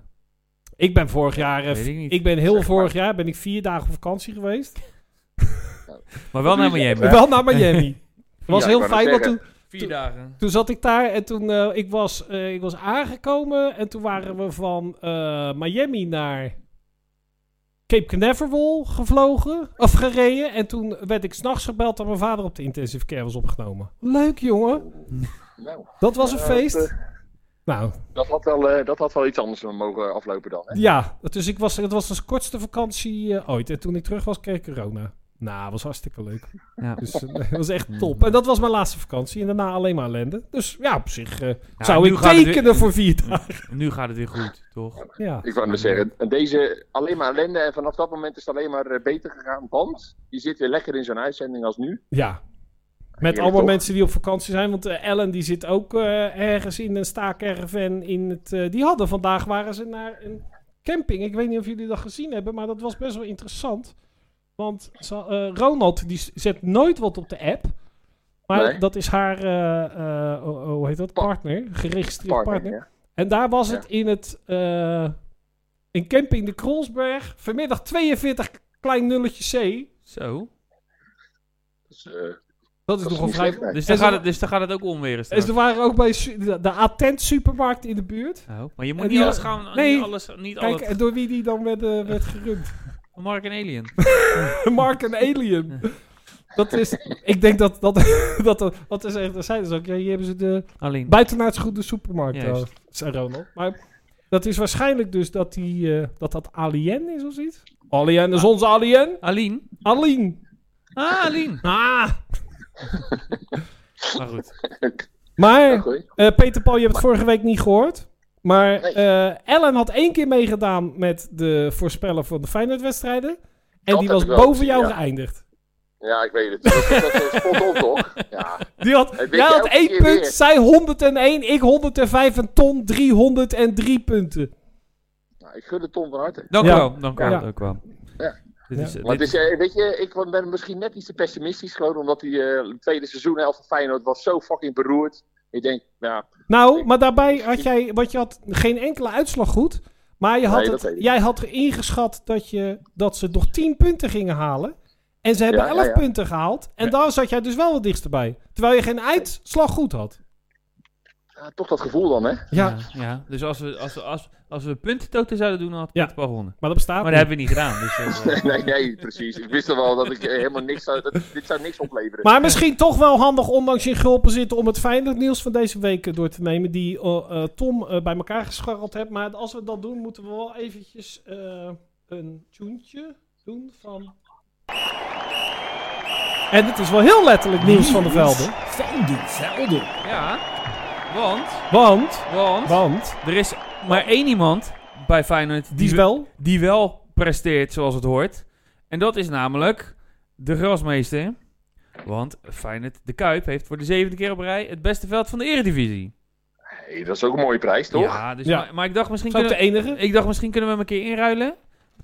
[SPEAKER 1] Ik ben vorig jaar, eh,
[SPEAKER 2] Weet ik niet.
[SPEAKER 1] ik ben heel vorig jaar, ben ik vier dagen op vakantie geweest.
[SPEAKER 2] maar wel
[SPEAKER 5] Wat
[SPEAKER 2] naar
[SPEAKER 5] doe je?
[SPEAKER 2] Miami.
[SPEAKER 1] Wel naar Miami. Het was
[SPEAKER 5] Ja, ik
[SPEAKER 1] heel
[SPEAKER 5] wou net
[SPEAKER 1] fijn, want toen,
[SPEAKER 5] zeggen.
[SPEAKER 2] Vier dagen.
[SPEAKER 1] Toen zat ik daar en toen eh, ik, was, eh, ik was aangekomen en toen waren we van eh, Miami naar Cape Canaveral gevlogen of gereden. En toen werd ik s'nachts gebeld dat mijn vader op de intensive care was opgenomen. Leuk jongen,
[SPEAKER 5] Nou,
[SPEAKER 1] dat was een
[SPEAKER 5] eh,
[SPEAKER 1] feest.
[SPEAKER 5] dat, eh,
[SPEAKER 1] nou
[SPEAKER 5] dat, had wel, eh, dat had wel iets anders mogen aflopen dan. Hè?
[SPEAKER 1] ja, dus ik was, het was de kortste vakantie eh, ooit. En toen ik terug was kreeg ik corona. Nou, was hartstikke leuk.
[SPEAKER 2] Ja.
[SPEAKER 1] Dus eh, dat was echt top. En dat was mijn laatste vakantie. En daarna alleen maar ellende. Dus ja, op zich eh, zou
[SPEAKER 2] nu
[SPEAKER 1] ik
[SPEAKER 2] gaat het weer-
[SPEAKER 1] tekenen voor vier dagen.
[SPEAKER 2] Nu gaat het weer goed, toch?
[SPEAKER 1] Ja.
[SPEAKER 5] Ik wou maar zeggen, en deze alleen maar ellende en vanaf dat moment is het alleen maar eh, beter gegaan. Want je zit weer lekker in zo'n uitzending als nu.
[SPEAKER 1] Ja. Met
[SPEAKER 5] Ja,
[SPEAKER 1] allemaal
[SPEAKER 5] toch?
[SPEAKER 1] mensen die op vakantie zijn. Want eh, Ellen die zit ook eh, ergens in een staakerven in het... eh, die hadden vandaag, waren ze naar een camping. Ik weet niet of jullie dat gezien hebben, maar dat was best wel interessant. Want ze- eh, Ronald die s- zet nooit wat op de app. Maar
[SPEAKER 5] Nee.
[SPEAKER 1] dat is haar, eh, eh, oh, oh, hoe heet dat?
[SPEAKER 5] Pa-
[SPEAKER 1] Partner. Geregistreerd partner.
[SPEAKER 5] Partner, ja.
[SPEAKER 1] En daar was
[SPEAKER 5] Ja.
[SPEAKER 1] het in het... eh, in camping de Krolsberg. Vanmiddag 42 klein nulletje C.
[SPEAKER 2] Zo.
[SPEAKER 5] Dus, eh,
[SPEAKER 1] Dat is
[SPEAKER 5] Dat is
[SPEAKER 1] nogal
[SPEAKER 5] niet
[SPEAKER 1] vrij...
[SPEAKER 5] slecht, nee.
[SPEAKER 2] Dus
[SPEAKER 1] En
[SPEAKER 2] dan,
[SPEAKER 1] ze-
[SPEAKER 2] gaat het, dus dan gaat het ook onweer.
[SPEAKER 1] Dus er waren ook bij su- de, de attent supermarkt in de buurt.
[SPEAKER 2] Oh, maar je moet
[SPEAKER 1] En
[SPEAKER 2] niet
[SPEAKER 1] die-
[SPEAKER 2] alles gaan.
[SPEAKER 1] nee.
[SPEAKER 2] Niet alles. Niet
[SPEAKER 1] Kijk,
[SPEAKER 2] alles.
[SPEAKER 1] en door wie die dan werd, eh, werd gerund.
[SPEAKER 2] Mark en Alien.
[SPEAKER 1] Mark en Alien. Dat is, ik denk dat, dat, dat, dat wat is echt, dat zijn dus ook, ja, hier hebben ze de
[SPEAKER 2] Alleen.
[SPEAKER 1] buitenaards goede supermarkt,
[SPEAKER 2] Juist.
[SPEAKER 1] eh, zei Ronald. Maar dat is waarschijnlijk dus dat die, eh, dat, dat Alien is of zoiets. Alien is onze Alien.
[SPEAKER 2] Aline.
[SPEAKER 1] Alien.
[SPEAKER 2] Ah, Aline.
[SPEAKER 1] Ah.
[SPEAKER 2] Maar goed.
[SPEAKER 1] Maar
[SPEAKER 5] oké.
[SPEAKER 1] Eh, Peter Paul, je hebt het vorige week niet gehoord. Maar
[SPEAKER 5] Nee.
[SPEAKER 1] eh, Ellen had één keer meegedaan met de voorspellen van de Feyenoord-wedstrijden. En
[SPEAKER 5] Dat
[SPEAKER 1] die
[SPEAKER 5] heb
[SPEAKER 1] was
[SPEAKER 5] ik wel
[SPEAKER 1] boven
[SPEAKER 5] gezien,
[SPEAKER 1] jou
[SPEAKER 5] ja.
[SPEAKER 1] geëindigd.
[SPEAKER 5] Ja, ik weet het. Dat is eh, spot on, toch? Ja.
[SPEAKER 1] Die had,
[SPEAKER 5] weet
[SPEAKER 1] jij
[SPEAKER 5] je
[SPEAKER 1] had
[SPEAKER 5] elke
[SPEAKER 1] één
[SPEAKER 5] keer
[SPEAKER 1] punt,
[SPEAKER 5] weer.
[SPEAKER 1] zij 101, ik 105 en Ton 303 punten.
[SPEAKER 5] Nou, ik gun het Tom van harte.
[SPEAKER 2] Dank
[SPEAKER 1] Ja.
[SPEAKER 2] u wel. Dank u wel.
[SPEAKER 1] Ja.
[SPEAKER 2] Dank u wel.
[SPEAKER 5] Ja.
[SPEAKER 2] Dit
[SPEAKER 1] Ja.
[SPEAKER 2] is,
[SPEAKER 5] Maar
[SPEAKER 2] dit
[SPEAKER 5] dus, eh, weet je, ik ben misschien net iets te pessimistisch. Gewoon omdat die eh, tweede seizoen van Feyenoord was zo fucking beroerd. Ik denk, nou,
[SPEAKER 1] Nou, maar daarbij had jij, want je had geen enkele uitslag goed. Maar je had
[SPEAKER 5] Nee, dat
[SPEAKER 1] het,
[SPEAKER 5] weet ik.
[SPEAKER 1] jij had ingeschat dat, je, dat ze nog 10 punten gingen halen. En ze hebben
[SPEAKER 5] Ja,
[SPEAKER 1] 11
[SPEAKER 5] ja, ja.
[SPEAKER 1] punten gehaald. En
[SPEAKER 2] Ja.
[SPEAKER 1] daar zat jij dus wel wat dichtstbij. Terwijl je geen uitslag goed had.
[SPEAKER 5] ja, toch dat gevoel dan, hè?
[SPEAKER 1] Ja,
[SPEAKER 2] ja. ja. Dus als we, als, we- als, als we puntentoten zouden doen, dan had
[SPEAKER 1] Ja.
[SPEAKER 2] het wel gewonnen.
[SPEAKER 1] Maar dat bestaat
[SPEAKER 2] Maar
[SPEAKER 1] niet.
[SPEAKER 2] dat hebben we niet gedaan. Dus, eh, eh,
[SPEAKER 5] Nee, nee, precies. Ik wist toch wel dat ik eh, helemaal niks zou... Dat, dit zou niks opleveren.
[SPEAKER 1] Maar misschien toch wel handig, ondanks je gulpen zitten, om het fijne nieuws van deze week eh, door te nemen. Die eh, eh, Tom eh, bij elkaar gescharreld heeft. Maar als we dat doen, moeten we wel eventjes eh, een tuentje doen van. En het is wel heel letterlijk nieuws van de velden.
[SPEAKER 4] Van de velden.
[SPEAKER 2] ja. Want,
[SPEAKER 1] Want,
[SPEAKER 2] want,
[SPEAKER 1] want,
[SPEAKER 2] er is maar één iemand bij Feyenoord
[SPEAKER 1] die is wel.
[SPEAKER 2] die wel presteert zoals het hoort. En dat is namelijk de grasmeester. Want Feyenoord de Kuip heeft voor de zevende keer op rij het beste veld van de Eredivisie.
[SPEAKER 5] Hey, dat is ook een mooie prijs, toch?
[SPEAKER 2] Ja, dus
[SPEAKER 1] Ja.
[SPEAKER 2] Maar, maar ik dacht misschien
[SPEAKER 1] Is ook
[SPEAKER 2] kunnen
[SPEAKER 1] de enige?
[SPEAKER 2] Ik dacht, misschien kunnen we hem een keer inruilen.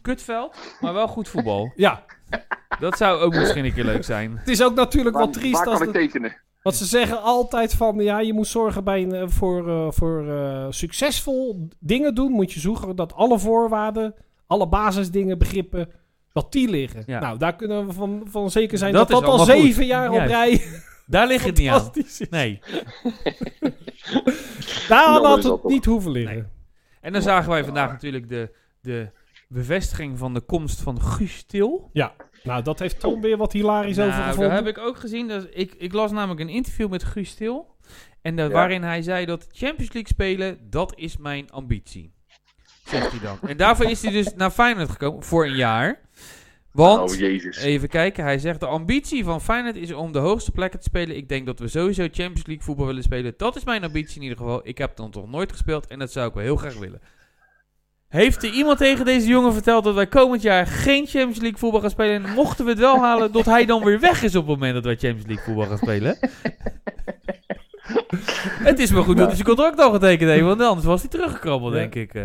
[SPEAKER 2] Kutveld, maar wel goed voetbal.
[SPEAKER 1] Ja.
[SPEAKER 2] Dat zou ook misschien een keer leuk zijn.
[SPEAKER 1] Het is ook natuurlijk
[SPEAKER 5] Waar,
[SPEAKER 1] wel triest
[SPEAKER 5] waar
[SPEAKER 1] als
[SPEAKER 5] kan ik
[SPEAKER 1] de-
[SPEAKER 5] tekenen?
[SPEAKER 1] Want ze zeggen altijd van ja, je moet zorgen bij een, eh, voor, eh, voor eh, succesvol dingen doen. Moet je zorgen dat alle voorwaarden, alle basisdingen, begrippen, dat die liggen.
[SPEAKER 2] Ja.
[SPEAKER 1] Nou, daar kunnen we van, van zeker zijn dat
[SPEAKER 2] Dat
[SPEAKER 1] dat,
[SPEAKER 2] is
[SPEAKER 1] al
[SPEAKER 2] allemaal goed.
[SPEAKER 1] zeven jaar op
[SPEAKER 2] Juist.
[SPEAKER 1] rij
[SPEAKER 2] Daar ligt het niet aan.
[SPEAKER 1] fantastisch is.
[SPEAKER 2] Nee.
[SPEAKER 1] Daar
[SPEAKER 5] Nou,
[SPEAKER 1] had
[SPEAKER 5] is dat
[SPEAKER 1] het
[SPEAKER 5] toch.
[SPEAKER 1] niet hoeven liggen.
[SPEAKER 2] En dan zagen wij vandaag natuurlijk de, de bevestiging van de komst van Guus Til.
[SPEAKER 1] Nou, dat heeft Tom weer wat hilarisch over
[SPEAKER 2] Nou, dat
[SPEAKER 1] gevonden.
[SPEAKER 2] heb ik ook gezien. Dus ik, ik las namelijk een interview met Guus Til. En eh,
[SPEAKER 5] Ja.
[SPEAKER 2] waarin hij zei dat Champions League spelen, dat is mijn ambitie. Zegt hij dan. En daarvoor is hij dus naar Feyenoord gekomen voor een jaar. Want,
[SPEAKER 5] Oh jezus.
[SPEAKER 2] even kijken, hij zegt de ambitie van Feyenoord is om de hoogste plekken te spelen. Ik denk dat we sowieso Champions League voetbal willen spelen. Dat is mijn ambitie in ieder geval. Ik heb dan toch nooit gespeeld en dat zou ik wel heel graag willen. Heeft er iemand tegen deze jongen verteld dat wij komend jaar geen Champions League voetbal gaan spelen? En mochten we het wel halen, dat hij dan weer weg is op het moment dat wij Champions League voetbal gaan spelen? het is maar goed
[SPEAKER 5] Nou.
[SPEAKER 2] dat hij zijn contract al getekend heeft, want anders was hij teruggekrabbeld,
[SPEAKER 1] Ja.
[SPEAKER 2] denk ik. eh.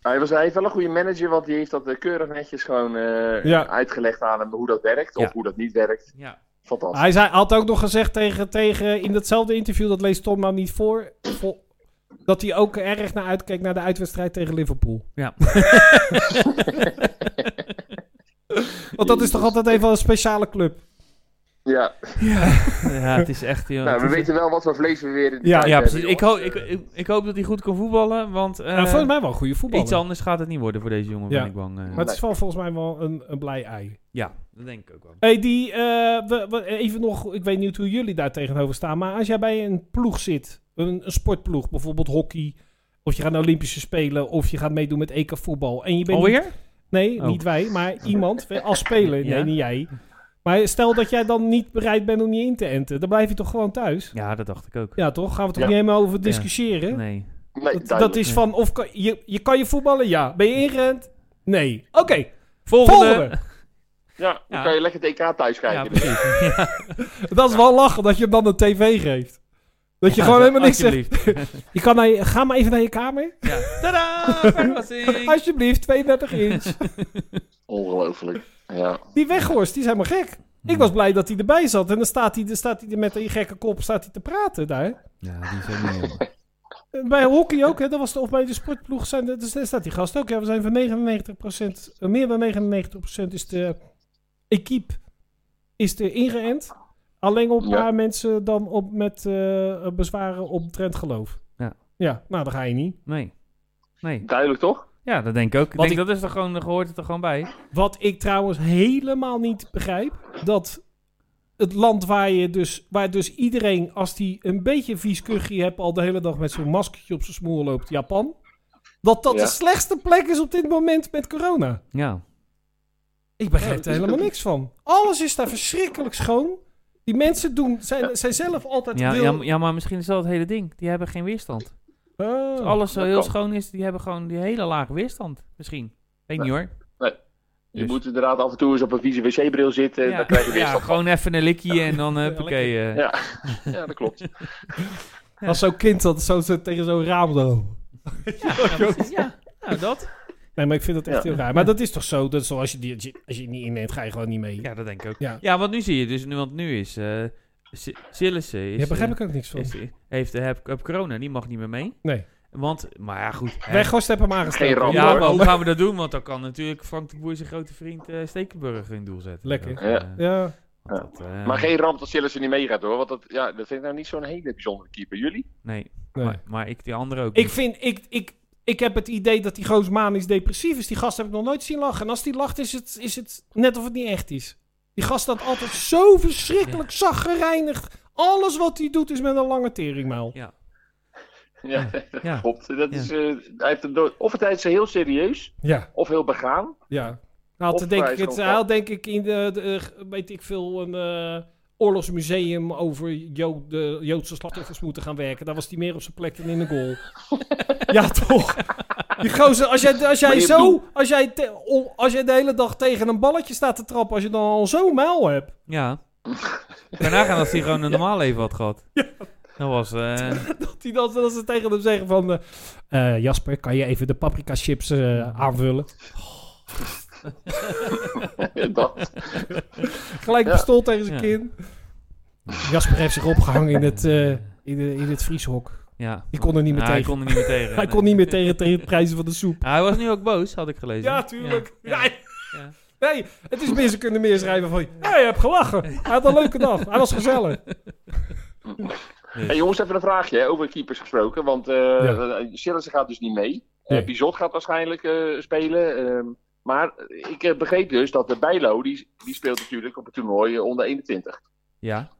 [SPEAKER 5] Hij, was, hij heeft wel een goede manager, want die heeft dat eh, keurig netjes gewoon eh,
[SPEAKER 1] Ja.
[SPEAKER 5] uitgelegd aan hem hoe dat werkt
[SPEAKER 2] Ja.
[SPEAKER 5] of hoe dat niet werkt.
[SPEAKER 2] ja.
[SPEAKER 5] Fantastisch.
[SPEAKER 1] Hij zei, had ook nog gezegd tegen, tegen, in datzelfde interview, dat leest Tom nou niet voor, vol- dat hij ook erg naar uitkeek naar de uitwedstrijd tegen Liverpool.
[SPEAKER 2] Ja.
[SPEAKER 1] Want dat is toch altijd even een speciale club.
[SPEAKER 2] Eh,
[SPEAKER 5] Ja,
[SPEAKER 2] ja, het is echt... joh,
[SPEAKER 5] nou,
[SPEAKER 2] het
[SPEAKER 5] we
[SPEAKER 2] is-
[SPEAKER 5] weten wel wat voor vlees we weer in de
[SPEAKER 1] Ja,
[SPEAKER 5] tijd
[SPEAKER 2] Ja,
[SPEAKER 5] hebben,
[SPEAKER 2] precies. Ik, hoop
[SPEAKER 5] jongens.
[SPEAKER 2] ik, ik, ik hoop dat hij goed kan voetballen, want eh,
[SPEAKER 1] En Nou, volgens mij wel een goede voetballer.
[SPEAKER 2] iets anders gaat het niet worden voor deze jongen,
[SPEAKER 1] Ja.
[SPEAKER 2] ben ik bang. eh.
[SPEAKER 1] Maar het is wel volgens mij wel een, een blij ei.
[SPEAKER 2] ja, dat denk ik ook wel.
[SPEAKER 1] Hey, die, eh, we, we- even nog, ik weet niet hoe jullie daar tegenover staan, maar als jij bij een ploeg zit, een, een sportploeg, bijvoorbeeld hockey, of je gaat naar Olympische Spelen, of je gaat meedoen met EK voetbal, en je bent niet-
[SPEAKER 2] Alweer?
[SPEAKER 1] nee,
[SPEAKER 2] Oh.
[SPEAKER 1] niet wij, maar iemand als speler,
[SPEAKER 2] Ja?
[SPEAKER 1] nee, niet jij. Maar stel dat jij dan niet bereid bent om je in te enten, dan blijf je toch gewoon thuis?
[SPEAKER 2] Ja, dat dacht ik ook.
[SPEAKER 1] Ja, toch? Gaan we toch
[SPEAKER 5] Ja.
[SPEAKER 1] niet helemaal over discussiëren?
[SPEAKER 2] Nee.
[SPEAKER 5] Nee,
[SPEAKER 1] Dat, dat
[SPEAKER 5] duidelijk.
[SPEAKER 1] is
[SPEAKER 2] Nee.
[SPEAKER 1] van, of kan, je, je kan je voetballen? Ja. Ben je ingerend? Nee. Oké,
[SPEAKER 2] Volgende.
[SPEAKER 1] volgende.
[SPEAKER 5] Ja, dan
[SPEAKER 2] Ja.
[SPEAKER 5] kan je lekker het EK thuis
[SPEAKER 2] Ja,
[SPEAKER 5] kijken. dus.
[SPEAKER 2] precies. Ja,
[SPEAKER 1] Dat is wel lachen dat je hem dan een tv geeft. Dat je gewoon helemaal niks zegt.
[SPEAKER 2] alsjeblieft.
[SPEAKER 1] Je kan naar je- ga maar even naar je kamer.
[SPEAKER 2] Ja. Tadaa, verrassing.
[SPEAKER 1] Alsjeblieft, 32 inch.
[SPEAKER 5] Ongelooflijk. Ja.
[SPEAKER 1] Die weghorst, die is helemaal gek. Ik was blij dat hij erbij zat. En dan staat hij, dan staat hij er met die gekke kop staat hij te praten daar.
[SPEAKER 2] Ja, die zijn niet helemaal.
[SPEAKER 1] En Bij hockey ook, hè, dat was de, of bij de sportploeg. Zijn, de- dus daar staat die gast ook. Ja, we zijn van 99%, eh, meer dan 99% is de equipe is er ingeënt. Alleen op een
[SPEAKER 5] Ja.
[SPEAKER 1] paar mensen dan op, met eh, bezwaren op trend geloof.
[SPEAKER 2] Ja.
[SPEAKER 1] ja, nou dan ga je niet.
[SPEAKER 2] Nee. Nee.
[SPEAKER 5] Duidelijk toch?
[SPEAKER 2] Ja, dat denk ik ook. Ik
[SPEAKER 1] Wat
[SPEAKER 2] denk, dat is er gewoon, gehoord het er gewoon bij.
[SPEAKER 1] Wat ik trouwens helemaal niet begrijp, dat het land waar je dus, waar dus iedereen, als die een beetje een vies kuchje hebt, al de hele dag met zo'n maskertje op zijn smoel loopt, Japan, dat dat
[SPEAKER 5] Ja.
[SPEAKER 1] de slechtste plek is op dit moment met corona.
[SPEAKER 2] Ja.
[SPEAKER 1] Ik begrijp er helemaal niks van. Alles is daar verschrikkelijk schoon. Die mensen doen, zijn, zijn zelf altijd
[SPEAKER 2] Ja,
[SPEAKER 1] wil...
[SPEAKER 2] ja, m- ja, maar misschien is dat het hele ding. Die hebben geen weerstand.
[SPEAKER 1] Oh.
[SPEAKER 2] Als alles zo
[SPEAKER 5] dat
[SPEAKER 2] heel
[SPEAKER 5] kan.
[SPEAKER 2] schoon is, die hebben gewoon die hele lage weerstand. Misschien. Weet niet hoor.
[SPEAKER 5] Je
[SPEAKER 2] Dus.
[SPEAKER 5] moet inderdaad af en toe eens op een vieze wc-bril zitten. en
[SPEAKER 2] ja.
[SPEAKER 5] eh, Dan krijg je weer
[SPEAKER 2] Ja,
[SPEAKER 5] ja,
[SPEAKER 2] gewoon even een likkie en dan huppakee. eh.
[SPEAKER 5] ja. ja, dat klopt.
[SPEAKER 1] Als zo'n kind dat zo, zo tegen zo'n raam loopt.
[SPEAKER 2] Ja, precies, ja. Nou, dat.
[SPEAKER 1] Nee, maar ik vind dat echt
[SPEAKER 5] Ja.
[SPEAKER 1] heel raar. Maar dat is toch zo, dat is zoals je, die, als je niet inneemt, ga je gewoon niet mee.
[SPEAKER 2] Ja, dat denk ik ook.
[SPEAKER 1] Ja.
[SPEAKER 2] Ja, want nu zie je dus, nu, want nu is... eh Si- Sillissen is...
[SPEAKER 1] Daar begrijp
[SPEAKER 2] eh,
[SPEAKER 1] ik ook niks van.
[SPEAKER 2] is, heeft, eh, heb, heb corona, die mag niet meer mee.
[SPEAKER 1] Nee.
[SPEAKER 2] Want, maar ja, goed. hè.
[SPEAKER 1] Weghorst heb hem aangesteld.
[SPEAKER 5] Geen ramp,
[SPEAKER 2] Ja,
[SPEAKER 5] hoor.
[SPEAKER 2] maar hoe gaan we dat doen? Want dan kan natuurlijk Frank de Boer zijn grote vriend eh, Stekenburg in het doel zetten.
[SPEAKER 1] Lekker.
[SPEAKER 2] Dat, eh,
[SPEAKER 5] Ja.
[SPEAKER 1] Ja.
[SPEAKER 2] want dat, eh,
[SPEAKER 5] Maar geen ramp dat Sillissen niet meegaat hoor. Want dat, ja, dat vind ik nou niet zo'n hele bijzondere keeper. Jullie?
[SPEAKER 2] Nee,
[SPEAKER 1] Nee.
[SPEAKER 2] Maar, maar ik die andere ook
[SPEAKER 1] Ik
[SPEAKER 2] niet.
[SPEAKER 1] vind, ik, ik, ik heb het idee dat die goos manisch depressief is. Die gast heb ik nog nooit zien lachen. En als die lacht, is het, is het net of het niet echt is. Die gast staat altijd zo verschrikkelijk zacht gereinigd. Alles wat hij doet is met een lange teringmuil.
[SPEAKER 5] Ja,
[SPEAKER 2] Ja.
[SPEAKER 5] klopt. Dat
[SPEAKER 2] Ja.
[SPEAKER 5] is, eh, hij heeft een dood- of het hij is heel serieus
[SPEAKER 1] Ja,
[SPEAKER 5] of heel begaan.
[SPEAKER 1] ja. Hij had,
[SPEAKER 5] Of
[SPEAKER 1] denk
[SPEAKER 5] hij
[SPEAKER 1] ik,
[SPEAKER 5] is
[SPEAKER 1] het,
[SPEAKER 5] gewoon
[SPEAKER 1] hij had denk ik in de, de- weet ik veel, een eh, oorlogsmuseum over Jood, de Joodse slachtoffers moeten gaan werken. Daar was hij meer op zijn plek dan in de goal. ja, toch? Die gozer, als jij, als
[SPEAKER 5] Maar
[SPEAKER 1] jij
[SPEAKER 5] je
[SPEAKER 1] zo,
[SPEAKER 5] bedoelt-
[SPEAKER 1] als jij, te- o- als jij de hele dag tegen een balletje staat te trappen, als je dan al zo'n muil hebt.
[SPEAKER 2] Ja. Daarna gaan als hij gewoon een normaal leven had gehad. Dat was... eh,
[SPEAKER 1] Dat, die dan, dat ze tegen hem zeggen van, eh, eh, Jasper, kan je even de paprika chips eh, aanvullen?
[SPEAKER 5] dat.
[SPEAKER 1] Gelijk
[SPEAKER 5] Ja.
[SPEAKER 1] pistool tegen zijn
[SPEAKER 2] Ja.
[SPEAKER 1] kin. Jasper heeft zich opgehangen in het, eh, in de, in het vrieshok.
[SPEAKER 2] ja.
[SPEAKER 1] Die kon er niet meer
[SPEAKER 2] Ja, Hij
[SPEAKER 1] tegen.
[SPEAKER 2] kon er niet meer tegen.
[SPEAKER 1] Hij
[SPEAKER 2] nee.
[SPEAKER 1] kon niet meer tegen, tegen de prijzen van de soep.
[SPEAKER 2] Ja, hij was nu ook boos, had ik gelezen.
[SPEAKER 1] Ja, tuurlijk.
[SPEAKER 2] Ja,
[SPEAKER 1] Nee.
[SPEAKER 2] ja.
[SPEAKER 1] Nee, het is meer, ze kunnen meer schrijven van... Ja, je hebt gelachen. Hij had een leuke dag. Hij was gezellig.
[SPEAKER 5] Hey, jongens, even een vraagje hè, over keepers gesproken. Want eh
[SPEAKER 1] Dus- Ja.
[SPEAKER 5] eh, Sillissen gaat dus niet mee. Eh,
[SPEAKER 1] Nee.
[SPEAKER 5] Bizot gaat waarschijnlijk eh, spelen. ehm, maar ik eh, begreep dus dat de Bijlo, die, die speelt natuurlijk op het toernooi eh, onder 21.
[SPEAKER 2] ja.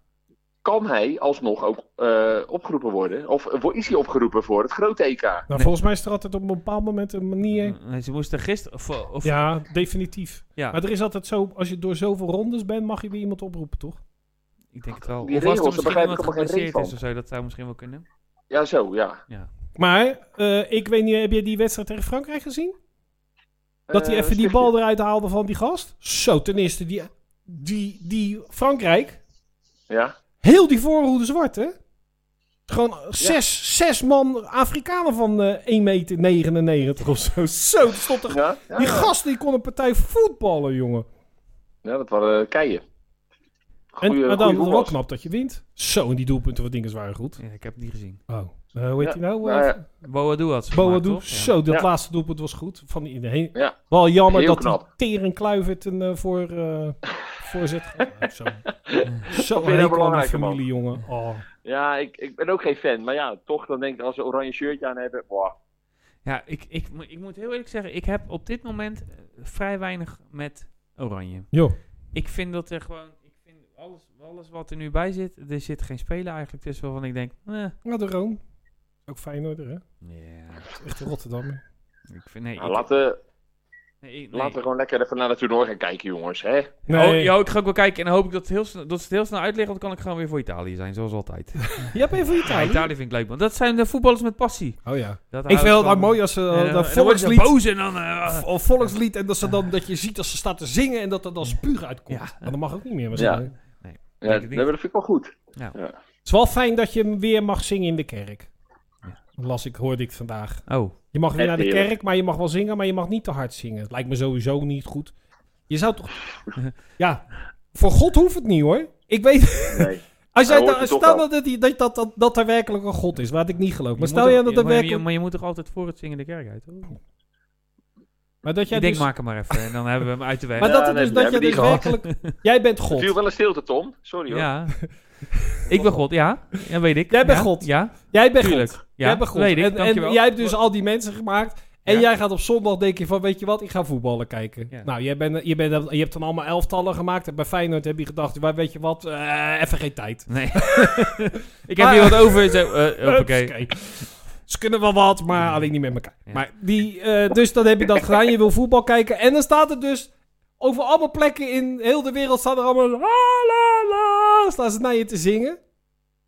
[SPEAKER 5] kan hij alsnog ook eh, opgeroepen worden? Of voor, is hij opgeroepen voor het grote EK?
[SPEAKER 1] Nou, volgens mij is er altijd op een bepaald moment een manier.
[SPEAKER 2] Nee, Ze moesten gisteren... Of, of, ja.
[SPEAKER 1] Ja, definitief. Maar er is altijd zo, als je door zoveel rondes bent, mag je weer iemand oproepen, toch?
[SPEAKER 2] ik denk het wel.
[SPEAKER 5] Die
[SPEAKER 2] Of als er
[SPEAKER 5] regels, daar
[SPEAKER 2] misschien
[SPEAKER 5] begrijp ik
[SPEAKER 2] iemand
[SPEAKER 5] helemaal geen
[SPEAKER 2] geblesseerd
[SPEAKER 5] reet
[SPEAKER 2] is of zo, dat zou misschien wel kunnen.
[SPEAKER 5] Ja, zo, ja.
[SPEAKER 1] Maar, eh, ik weet niet, heb jij die wedstrijd tegen Frankrijk gezien? Dat hij
[SPEAKER 5] Eh,
[SPEAKER 1] even die
[SPEAKER 5] stichtje.
[SPEAKER 1] bal eruit haalde van die gast? Zo, ten eerste, die, die, die Frankrijk,
[SPEAKER 5] Ja,
[SPEAKER 1] heel die voorhoede zwart, hè? Gewoon zes, zes man Afrikanen van eh 1,99 meter 99 of zo. Zo, dat stond er...
[SPEAKER 5] ja, ja,
[SPEAKER 1] Die
[SPEAKER 5] ja.
[SPEAKER 1] gast die kon een partij voetballen, jongen.
[SPEAKER 5] Ja, dat waren eh, keien.
[SPEAKER 1] En,
[SPEAKER 5] Goeie,
[SPEAKER 1] maar dan
[SPEAKER 5] goeie
[SPEAKER 1] wel
[SPEAKER 5] voetballers.
[SPEAKER 1] knap dat je wint. Zo, en die doelpunten van Dinkers waren goed.
[SPEAKER 2] Ja, ik heb het niet gezien.
[SPEAKER 1] Oh. Eh, hoe heet
[SPEAKER 5] Ja,
[SPEAKER 1] die nou?
[SPEAKER 5] nou
[SPEAKER 1] Eh,
[SPEAKER 5] ja.
[SPEAKER 2] Boadu had ze gemaakt,
[SPEAKER 1] Boadu.
[SPEAKER 2] toch? Ja.
[SPEAKER 1] Zo, dat
[SPEAKER 5] Ja.
[SPEAKER 1] laatste doelpunt was goed. Van iedereen.
[SPEAKER 5] Ja.
[SPEAKER 1] Wel jammer
[SPEAKER 5] Heel
[SPEAKER 1] dat
[SPEAKER 5] knap.
[SPEAKER 1] die Teren Kluivert een eh, voor, eh voorzet gaf. Zo, zo
[SPEAKER 5] nou
[SPEAKER 1] een
[SPEAKER 5] belangrijker,
[SPEAKER 1] familie, jongen. Oh.
[SPEAKER 5] Ja, ik, ik ben ook geen fan. Maar ja, toch dan denk ik als ze een oranje shirtje aan hebben. Boah.
[SPEAKER 2] Ja, ik, ik, mo- ik moet heel eerlijk zeggen, ik heb op dit moment eh, vrij weinig met Oranje.
[SPEAKER 1] Joh.
[SPEAKER 2] Ik vind dat er gewoon, ik vind alles, alles wat er nu bij zit, er zit geen speler eigenlijk tussen waarvan ik denk, eh.
[SPEAKER 1] Nou, de Room. Ook Feyenoorder, hè?
[SPEAKER 2] Ja,
[SPEAKER 1] Echt een Rotterdammer.
[SPEAKER 2] ik vind, nee,
[SPEAKER 5] Nou,
[SPEAKER 2] ik-
[SPEAKER 5] laten,
[SPEAKER 2] nee, ik- nee.
[SPEAKER 5] laten we gewoon lekker even naar het toernooi gaan kijken, jongens. Hè?
[SPEAKER 2] Oh, ja, ik ga ook wel kijken en dan hoop ik dat, het heel snel, dat ze het heel snel uitleggen, want dan kan ik gewoon weer voor Italië zijn, zoals altijd.
[SPEAKER 1] Je hebt even voor
[SPEAKER 2] Ja,
[SPEAKER 1] Italië.
[SPEAKER 2] Italië vind ik leuk, want dat zijn de voetballers met passie.
[SPEAKER 1] Oh ja.
[SPEAKER 2] Dat
[SPEAKER 1] Ik vind het
[SPEAKER 2] daar
[SPEAKER 1] wel mooi als ze
[SPEAKER 2] En,
[SPEAKER 1] eh,
[SPEAKER 2] dan-
[SPEAKER 1] dat
[SPEAKER 2] en dan worden ze
[SPEAKER 1] volkslied
[SPEAKER 2] boos en dan... eh,
[SPEAKER 1] of volkslied en dat, ze dan, dat je ziet dat ze staat te zingen en dat er dan spuug uitkomt.
[SPEAKER 2] Ja.
[SPEAKER 1] Maar dat mag ook niet meer waarschijnlijk.
[SPEAKER 5] Ja,
[SPEAKER 2] Denk
[SPEAKER 5] dat
[SPEAKER 2] het
[SPEAKER 5] dat
[SPEAKER 2] niet.
[SPEAKER 5] vind ik wel goed.
[SPEAKER 1] Het is wel fijn dat je hem weer mag zingen in de kerk. Dat Las ik, hoorde ik vandaag.
[SPEAKER 2] oh,
[SPEAKER 1] Je mag weer
[SPEAKER 5] Echt
[SPEAKER 1] naar de
[SPEAKER 5] heerlijk.
[SPEAKER 1] kerk, maar je mag wel zingen, maar je mag niet te hard zingen. Het lijkt me sowieso niet goed. Je zou toch... ja, voor God hoeft het niet hoor. Ik weet...
[SPEAKER 5] Nee.
[SPEAKER 1] Als jij
[SPEAKER 5] Hij hoort
[SPEAKER 1] da-
[SPEAKER 5] het toch
[SPEAKER 1] stel
[SPEAKER 5] wel.
[SPEAKER 1] dat, het- dat, dat, dat, dat er werkelijk een God is, wat ik niet geloof.
[SPEAKER 2] Je
[SPEAKER 1] Maar stel
[SPEAKER 2] moet
[SPEAKER 1] jij
[SPEAKER 2] toch-
[SPEAKER 1] dat
[SPEAKER 2] je-
[SPEAKER 1] er
[SPEAKER 2] maar je-
[SPEAKER 1] werkelijk...
[SPEAKER 2] Maar je moet toch altijd voor het zingen de kerk uit, hoor?
[SPEAKER 1] Maar dat jij
[SPEAKER 2] ik denk,
[SPEAKER 1] dus...
[SPEAKER 2] maak hem maar even en dan hebben we hem uit de weg.
[SPEAKER 1] Maar
[SPEAKER 5] Ja,
[SPEAKER 1] dat, het
[SPEAKER 5] nee,
[SPEAKER 1] dus,
[SPEAKER 5] we
[SPEAKER 1] dat je
[SPEAKER 5] hebben
[SPEAKER 1] dus
[SPEAKER 5] die gehad.
[SPEAKER 1] werkelijk... Jij bent
[SPEAKER 5] Het viel
[SPEAKER 1] God.
[SPEAKER 5] wel een stilte, Tom. Sorry hoor.
[SPEAKER 2] ja. ik ben God, ja. Ja, weet ik.
[SPEAKER 1] Jij bent
[SPEAKER 2] Ja,
[SPEAKER 1] God.
[SPEAKER 2] Ja,
[SPEAKER 1] Jij bent
[SPEAKER 2] tuurlijk.
[SPEAKER 1] God.
[SPEAKER 2] Ja,
[SPEAKER 1] jij bent God.
[SPEAKER 2] weet ik.
[SPEAKER 1] en, en
[SPEAKER 2] dankjewel.
[SPEAKER 1] jij hebt dus al die mensen gemaakt. En
[SPEAKER 2] Ja.
[SPEAKER 1] jij gaat op zondag denken van, weet je wat, ik ga voetballen kijken.
[SPEAKER 2] Ja.
[SPEAKER 1] Nou, jij bent, je, bent, je hebt dan allemaal elftallen gemaakt. En bij Feyenoord heb je gedacht, "Waar weet je wat, eh, even geen tijd.
[SPEAKER 2] Nee. ik heb
[SPEAKER 1] Maar-
[SPEAKER 2] hier wat over. Zo, eh, hoppakee.
[SPEAKER 1] Oké. Ze kunnen wel wat, maar alleen niet met elkaar.
[SPEAKER 2] Ja.
[SPEAKER 1] Maar die, eh, dus dan heb je dat gedaan. Je wil voetbal kijken. En dan staat er dus over allemaal plekken in heel de wereld staan er allemaal... La, la, la, staan ze naar je te zingen.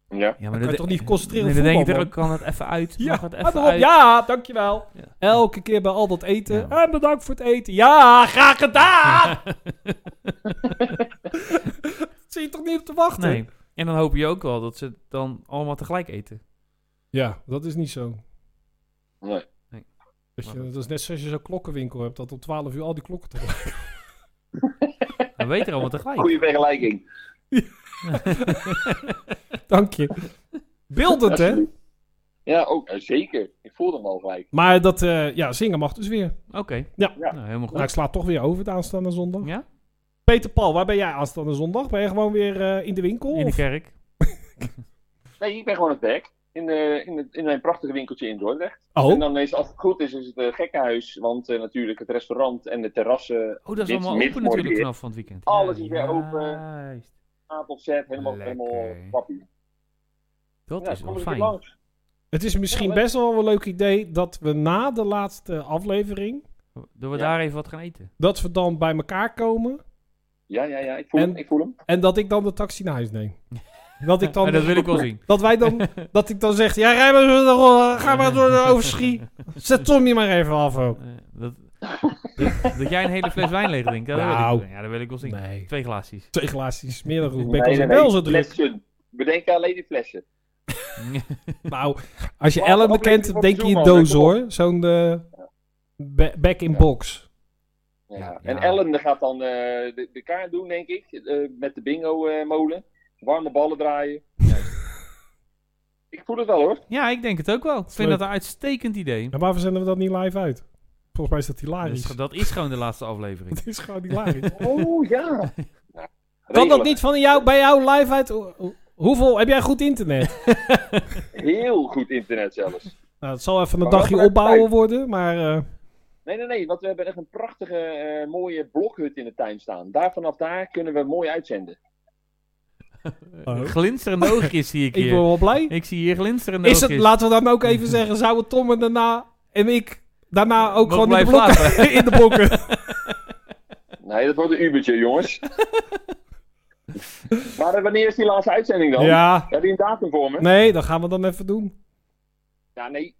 [SPEAKER 5] Ja.
[SPEAKER 2] Ja,
[SPEAKER 1] Dan kan je toch niet concentreren op
[SPEAKER 2] Nee, dan denk ik
[SPEAKER 1] voetbal,
[SPEAKER 2] er ook, kan het even uit.
[SPEAKER 1] Ja,
[SPEAKER 2] Mag het
[SPEAKER 1] maar
[SPEAKER 2] even
[SPEAKER 1] erop,
[SPEAKER 2] uit.
[SPEAKER 1] ja, dankjewel.
[SPEAKER 2] Ja.
[SPEAKER 1] Elke keer bij al dat eten.
[SPEAKER 2] Ja.
[SPEAKER 1] En bedankt voor het eten. Ja, graag gedaan! Zie je toch niet op te wachten?
[SPEAKER 2] Nee. En dan hoop je ook wel dat ze het dan allemaal tegelijk eten.
[SPEAKER 1] Ja, dat is niet zo.
[SPEAKER 5] Nee.
[SPEAKER 1] Dat, je, dat is net zoals je zo'n klokkenwinkel hebt, dat om 12 uur al die klokken te
[SPEAKER 2] Dan weten er allemaal tegelijk.
[SPEAKER 5] Goeie vergelijking.
[SPEAKER 1] Dank je. Beeldend, hè?
[SPEAKER 5] Absoluut. Ja, ook eh, zeker. Ik voelde hem al gelijk.
[SPEAKER 1] Maar dat, eh, ja, zingen mag dus weer.
[SPEAKER 2] Oké.
[SPEAKER 1] Ja.
[SPEAKER 2] Nou, helemaal
[SPEAKER 1] Nou, ik
[SPEAKER 2] goed.
[SPEAKER 1] sla toch weer over de aanstaande zondag.
[SPEAKER 2] Ja?
[SPEAKER 1] Peter Paul, waar ben jij aanstaande zondag? Ben je gewoon weer eh, in de winkel?
[SPEAKER 2] In de
[SPEAKER 1] of-
[SPEAKER 2] kerk.
[SPEAKER 5] Nee, ik ben gewoon aan het werk. In, eh, in, het, in mijn prachtige winkeltje in Dordrecht. En
[SPEAKER 1] Oh,
[SPEAKER 5] dan is, als het goed is, is het een gekkenhuis. Want eh, natuurlijk het restaurant en de terrassen.
[SPEAKER 2] Oh, dat is
[SPEAKER 5] Dit
[SPEAKER 2] allemaal
[SPEAKER 5] mid-
[SPEAKER 2] open natuurlijk
[SPEAKER 5] morgen.
[SPEAKER 2] vanaf van het weekend.
[SPEAKER 5] Alles
[SPEAKER 2] Ja,
[SPEAKER 5] is weer open.
[SPEAKER 2] juist.
[SPEAKER 5] A tot Z. Helemaal,
[SPEAKER 2] Lekker.
[SPEAKER 5] helemaal pappie.
[SPEAKER 2] Dat
[SPEAKER 5] Ja,
[SPEAKER 2] is
[SPEAKER 5] kom
[SPEAKER 2] wel
[SPEAKER 5] eens een keer
[SPEAKER 2] fijn.
[SPEAKER 5] langs.
[SPEAKER 1] het is misschien
[SPEAKER 5] Ja, leuk.
[SPEAKER 1] best wel een leuk idee dat we na de laatste aflevering,
[SPEAKER 2] Door we
[SPEAKER 5] Ja.
[SPEAKER 2] daar even wat gaan eten.
[SPEAKER 1] dat we dan bij elkaar komen
[SPEAKER 5] Ja, ja, ja. Ik voel
[SPEAKER 1] En-
[SPEAKER 5] hem. Ik voel hem.
[SPEAKER 1] en dat ik dan de taxi naar huis neem. Dat ik dan...
[SPEAKER 2] En dat wil ik wel zien.
[SPEAKER 1] Dat wij dan, dat ik dan zeg, ja, rij maar, door de ro- ga maar door de overschie. Zet Tommy maar even af ook.
[SPEAKER 2] Eh, dat, dat, dat jij een hele fles wijn leeg drinkt, ja, dat, wil
[SPEAKER 1] Nou.
[SPEAKER 2] ik, wel- ja, dat wil ik wel zien.
[SPEAKER 1] Nee.
[SPEAKER 2] Twee glaasjes.
[SPEAKER 1] Twee glaasjes smerig roep.
[SPEAKER 5] Nee,
[SPEAKER 1] Ik
[SPEAKER 5] nee,
[SPEAKER 1] was
[SPEAKER 5] nee,
[SPEAKER 1] wel zo druk.
[SPEAKER 5] Flessen. We denken alleen die flessen.
[SPEAKER 1] Nou, als je
[SPEAKER 5] Laat de
[SPEAKER 1] Ellen
[SPEAKER 5] aflevering
[SPEAKER 1] bekent,
[SPEAKER 5] van
[SPEAKER 1] denk je in
[SPEAKER 5] Zoom
[SPEAKER 1] doos
[SPEAKER 5] al,
[SPEAKER 1] hoor. Zo'n eh, ba- back in box.
[SPEAKER 5] Ja.
[SPEAKER 2] Ja,
[SPEAKER 5] En
[SPEAKER 2] ja.
[SPEAKER 5] Ellen gaat dan eh, de, de kaart doen, denk ik. eh, met de bingo-molen. Warme ballen draaien. ik voel het wel hoor.
[SPEAKER 2] ja, ik denk het ook wel. Ik vind
[SPEAKER 1] leuk.
[SPEAKER 2] dat een uitstekend idee.
[SPEAKER 1] En waarom zenden we dat niet live uit? Volgens mij is dat hilarisch.
[SPEAKER 2] Dus dat is gewoon de laatste aflevering.
[SPEAKER 1] Het is gewoon hilarisch.
[SPEAKER 5] Oh ja. Nou,
[SPEAKER 1] kan dat
[SPEAKER 5] regelen.
[SPEAKER 1] niet van jou, bij jou live uit? Hoe- hoe- Hoeveel, heb jij goed internet?
[SPEAKER 5] Heel goed internet zelfs.
[SPEAKER 1] Nou, het zal even een
[SPEAKER 5] Maar wel
[SPEAKER 1] dagje
[SPEAKER 5] vanuit
[SPEAKER 1] opbouwen
[SPEAKER 5] tijd.
[SPEAKER 1] worden, maar... eh,
[SPEAKER 5] Nee, nee, nee. Want we hebben echt een prachtige, eh, mooie blokhut in de tuin staan. Daar vanaf daar kunnen we mooi uitzenden.
[SPEAKER 1] Oh.
[SPEAKER 2] Glinsterende oogjes zie ik
[SPEAKER 1] Ik ben
[SPEAKER 2] hier.
[SPEAKER 1] wel blij.
[SPEAKER 2] Ik zie hier glinsterende
[SPEAKER 1] Is het,
[SPEAKER 2] oogjes.
[SPEAKER 1] laten we dan ook even zeggen, zouden Tom en daarna en ik daarna ook
[SPEAKER 2] Mogen
[SPEAKER 1] gewoon in de,
[SPEAKER 2] blijven
[SPEAKER 1] blokken, in de blokken.
[SPEAKER 5] Nee, dat wordt een Ubertje, jongens. maar eh, wanneer is die laatste uitzending dan?
[SPEAKER 1] Ja,
[SPEAKER 5] Heb je een datum voor me?
[SPEAKER 1] nee, dat gaan we dan even doen.
[SPEAKER 5] Ja, nee.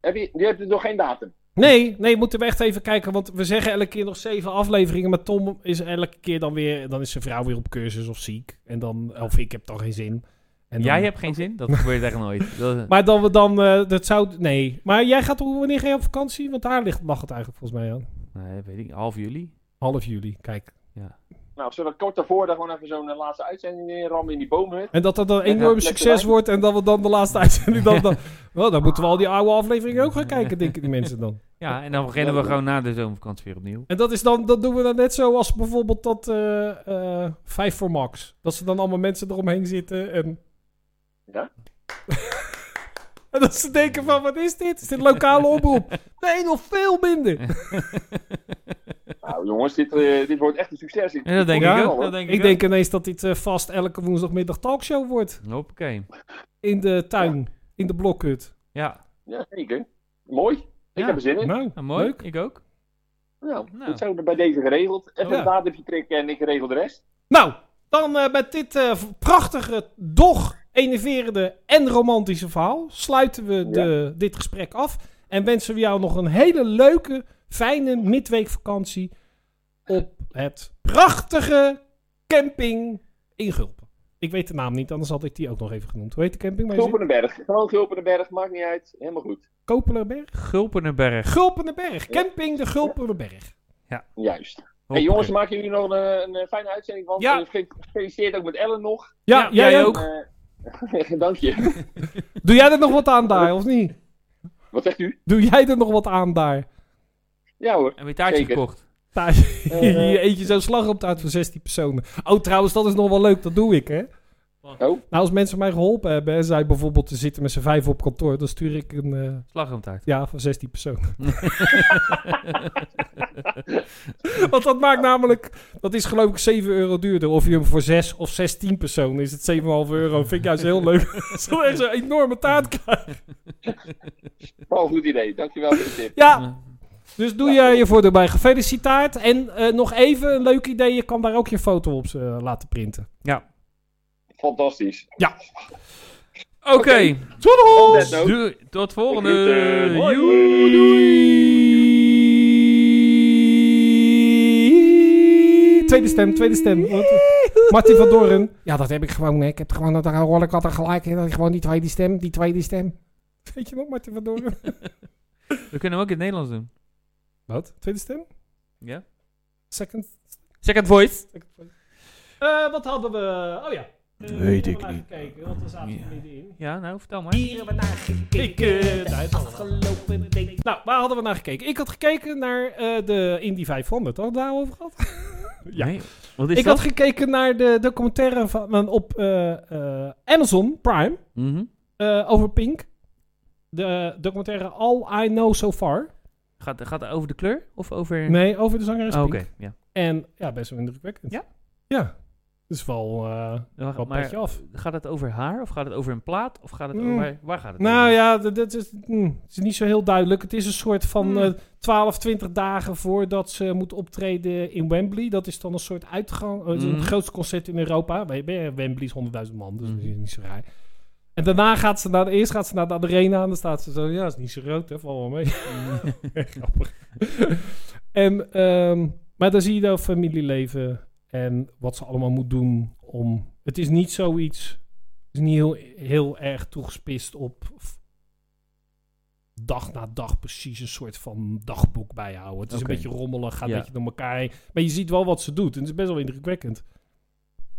[SPEAKER 5] Heb je, die heeft nog geen datum.
[SPEAKER 1] Nee, nee, moeten we echt even kijken, want we zeggen elke keer nog zeven afleveringen, maar Tom is elke keer dan weer, dan is zijn vrouw weer op cursus of ziek. En dan, of ik heb dan geen zin. En dan-
[SPEAKER 2] Jij hebt geen zin? Dat gebeurt echt nooit. Dat is-
[SPEAKER 1] Maar dan we dan, eh, dat zou, nee. Maar jij gaat, hoe- wanneer ga je op vakantie? Want daar ligt, mag het eigenlijk volgens mij aan.
[SPEAKER 2] nee, weet ik, niet. half juli.
[SPEAKER 1] Half juli, kijk.
[SPEAKER 5] Nou, zullen we kort daarvoor daar gewoon even zo'n eh, laatste uitzending neerrammen in die boomhut?
[SPEAKER 1] En dat dat een
[SPEAKER 5] Ja,
[SPEAKER 1] enorm
[SPEAKER 5] lekker
[SPEAKER 1] succes
[SPEAKER 5] wijn.
[SPEAKER 1] wordt en dat we dan de laatste uitzending dan... dan wel, dan moeten we al die oude afleveringen ook gaan kijken, denken die mensen dan.
[SPEAKER 2] Ja, en dan beginnen we gewoon na de zomervakantie weer opnieuw.
[SPEAKER 1] En dat, is dan, dat doen we dan net zoals bijvoorbeeld dat eh eh 5 voor Max. Dat ze dan allemaal mensen eromheen zitten en...
[SPEAKER 5] Ja?
[SPEAKER 1] en dat ze denken van, wat is dit? Is dit lokale oproep? Nee, nog veel minder.
[SPEAKER 5] Nou, jongens, dit, eh, dit wordt echt een succes. Ik-
[SPEAKER 2] En dat denk
[SPEAKER 1] Ja,
[SPEAKER 2] ik
[SPEAKER 5] wel,
[SPEAKER 2] ook.
[SPEAKER 5] hoor.
[SPEAKER 2] Dat denk ik,
[SPEAKER 1] Ik denk ineens dat dit eh, vast elke woensdagmiddag talkshow wordt.
[SPEAKER 2] ook. Hoppakee.
[SPEAKER 1] In de tuin. In de blokhut.
[SPEAKER 2] Ja,
[SPEAKER 5] Ja, zeker. Mooi. Ik
[SPEAKER 2] Ja.
[SPEAKER 5] heb er zin in.
[SPEAKER 1] Nou,
[SPEAKER 2] nou, mooi.
[SPEAKER 1] leuk.
[SPEAKER 2] Ik ook.
[SPEAKER 5] Nou,
[SPEAKER 2] Nou. Oh,
[SPEAKER 5] goed zo bij deze geregeld. Even
[SPEAKER 1] Ja.
[SPEAKER 5] een datumje prikken en ik regel de rest.
[SPEAKER 1] Nou, dan eh, met dit eh, v- prachtige, doch enerverende en romantische verhaal... sluiten we de, dit gesprek af. En wensen we jou nog een hele leuke, fijne midweekvakantie... op het prachtige camping in Gulpen. Ik weet de naam niet, anders had ik die ook nog even genoemd. Hoe heet de camping? waar je zit?
[SPEAKER 5] Gulpenenberg. Gewoon Gulpenenberg, maakt niet uit. Helemaal goed.
[SPEAKER 1] Kopelerberg?
[SPEAKER 2] Gulpenenberg.
[SPEAKER 1] Gulpenenberg. Camping de Gulpenenberg.
[SPEAKER 5] Juist. Hey,
[SPEAKER 2] Hoppakee.
[SPEAKER 5] jongens, maken jullie nog een, eh, een eh, fijne uitzending van?
[SPEAKER 1] Ja.
[SPEAKER 5] Eh, ge- Gefeliciteerd ook met Ellen nog.
[SPEAKER 1] Ja,
[SPEAKER 2] Ja,
[SPEAKER 1] jij,
[SPEAKER 2] jij
[SPEAKER 1] ook.
[SPEAKER 2] ook.
[SPEAKER 5] Eh, Dank je.
[SPEAKER 1] Doe jij er nog wat aan daar, of niet?
[SPEAKER 5] Wat zegt u?
[SPEAKER 1] Doe jij er nog wat aan daar?
[SPEAKER 5] Ja hoor.
[SPEAKER 2] En weer taartje
[SPEAKER 5] Zeker.
[SPEAKER 2] gekocht.
[SPEAKER 1] Daar- je eet je zo'n slag op taart voor 16 personen. Oh, trouwens, dat is nog wel leuk. Dat doe ik, hè?
[SPEAKER 2] Oh.
[SPEAKER 1] Nou, als mensen mij geholpen hebben en zij bijvoorbeeld zitten met z'n vijf op kantoor, dan stuur ik een... eh,
[SPEAKER 2] Slagroomtaart.
[SPEAKER 1] ja, van 16 personen. Want dat maakt namelijk... Dat is geloof ik 7 euro duurder. Of je hem voor 6 of 16 personen is het 7,5 euro. Vind ik juist heel leuk. Zo echt zo'n enorme taart
[SPEAKER 5] Oh, goed idee. Dankjewel voor de tip.
[SPEAKER 1] Ja,
[SPEAKER 2] Ja.
[SPEAKER 1] dus doe jij je voordeel bij. Gefeliciteerd. En eh, nog even een leuk idee. Je kan daar ook je foto op eh, laten printen.
[SPEAKER 5] Fantastisch.
[SPEAKER 2] Oké.
[SPEAKER 5] On that note.
[SPEAKER 2] Doei. Tot volgende.
[SPEAKER 1] eh,
[SPEAKER 5] Groeten. Hoi.
[SPEAKER 2] Joe, doei.
[SPEAKER 1] Tweede stem, tweede stem. Want, eh, Martin van Doren. Ja, dat heb ik gewoon. hè. Ik heb gewoon dat hoor ik altijd gelijk. hè. Dat is Gewoon die tweede stem, die tweede stem. Weet je nog, Martin van Doren?
[SPEAKER 2] We kunnen hem ook in het Nederlands doen.
[SPEAKER 1] Wat? Tweede stem?
[SPEAKER 2] Ja.
[SPEAKER 1] Second.
[SPEAKER 2] Second voice.
[SPEAKER 1] second voice. Eh, wat hadden we? Oh ja. Weet ik niet. Kijken, want we zaten
[SPEAKER 2] Ja.
[SPEAKER 1] middenin.
[SPEAKER 2] Ja, nou vertel maar.
[SPEAKER 1] Ik, eh, daar is alles. Nou, waar hadden we naar gekeken? Ik had gekeken naar eh, de Indy 500. Hadden we het daarover gehad? Ja.
[SPEAKER 2] Nee. Wat is
[SPEAKER 1] ik
[SPEAKER 2] dat?
[SPEAKER 1] had gekeken naar de documentaire van, van- op eh, eh, Amazon Prime
[SPEAKER 2] Mhm.
[SPEAKER 1] eh, over Pink. De documentaire All I Know So Far.
[SPEAKER 2] gaat, gaat het over de kleur? Of over...
[SPEAKER 1] Nee, over de zangeres
[SPEAKER 2] Oh,
[SPEAKER 1] Pink.
[SPEAKER 2] Oké, ja.
[SPEAKER 1] En ja, best wel indrukwekkend.
[SPEAKER 2] Ja?
[SPEAKER 1] Ja. Dus wel, eh
[SPEAKER 2] Wacht,
[SPEAKER 1] wel een
[SPEAKER 2] maar
[SPEAKER 1] petje af.
[SPEAKER 2] gaat het over haar? Of gaat het over een plaat? Of gaat het
[SPEAKER 1] Mm.
[SPEAKER 2] over... Waar gaat het
[SPEAKER 1] Nou
[SPEAKER 2] over?
[SPEAKER 1] ja, d- dat is, mm, het is niet zo heel duidelijk. Het is een soort van
[SPEAKER 2] Hmm.
[SPEAKER 1] eh, 12, 20 dagen voordat ze moet optreden in Wembley. Dat is dan een soort uitgang. eh, het is
[SPEAKER 2] Hmm.
[SPEAKER 1] Het grootste concert in Europa. Bij- bij Wembley is 100.000 man, dus
[SPEAKER 2] Hmm.
[SPEAKER 1] dat is niet zo raar. En daarna gaat ze naar de, eerst gaat ze naar de arena en dan staat ze zo... Ja, is niet zo rood, hè? Val wel mee.
[SPEAKER 2] Hmm.
[SPEAKER 1] Grappig. en, ehm, maar dan zie je dat familieleven en wat ze allemaal moet doen om... Het is niet zoiets... Het is niet heel, heel erg toegespitst op f- dag na dag precies een soort van dagboek bijhouden. Het is
[SPEAKER 2] Oké.
[SPEAKER 1] een beetje rommelig, gaat
[SPEAKER 2] Ja.
[SPEAKER 1] een beetje door elkaar heen. Maar je ziet wel wat ze doet. En het is best wel indrukwekkend.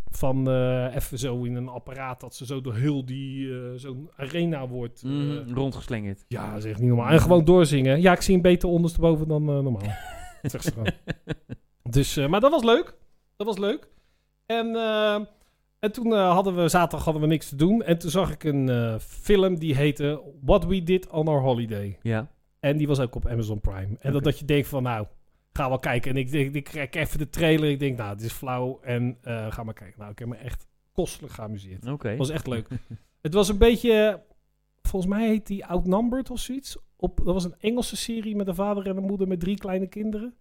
[SPEAKER 1] Van eh, even zo in een apparaat dat ze zo door heel die eh, zo'n arena wordt. eh,
[SPEAKER 2] Mhm, Rondgeslingerd.
[SPEAKER 1] ja, dat is echt niet normaal. En gewoon doorzingen. Ja, ik zie hem beter ondersteboven dan eh, normaal. Dat zegt ze gewoon. Dus, eh, maar dat was leuk. Dat was leuk. En, eh, en toen eh, hadden we, zaterdag hadden we niks te doen. En toen zag ik een eh, film die heette What We Did on Our Holiday.
[SPEAKER 2] Ja.
[SPEAKER 1] En die was ook op Amazon Prime. En dat,
[SPEAKER 2] Oké.
[SPEAKER 1] dat je denkt van, nou, ga wel kijken. En ik, ik, ik kijk even de trailer. Ik denk, nou, dit is flauw. En eh, ga maar kijken. Nou, ik heb me echt kostelijk geamuseerd.
[SPEAKER 2] Oké.
[SPEAKER 1] was echt leuk. het was een beetje, volgens mij heet die Outnumbered of zoiets. Op, dat was een Engelse serie met een vader en een moeder met drie kleine kinderen.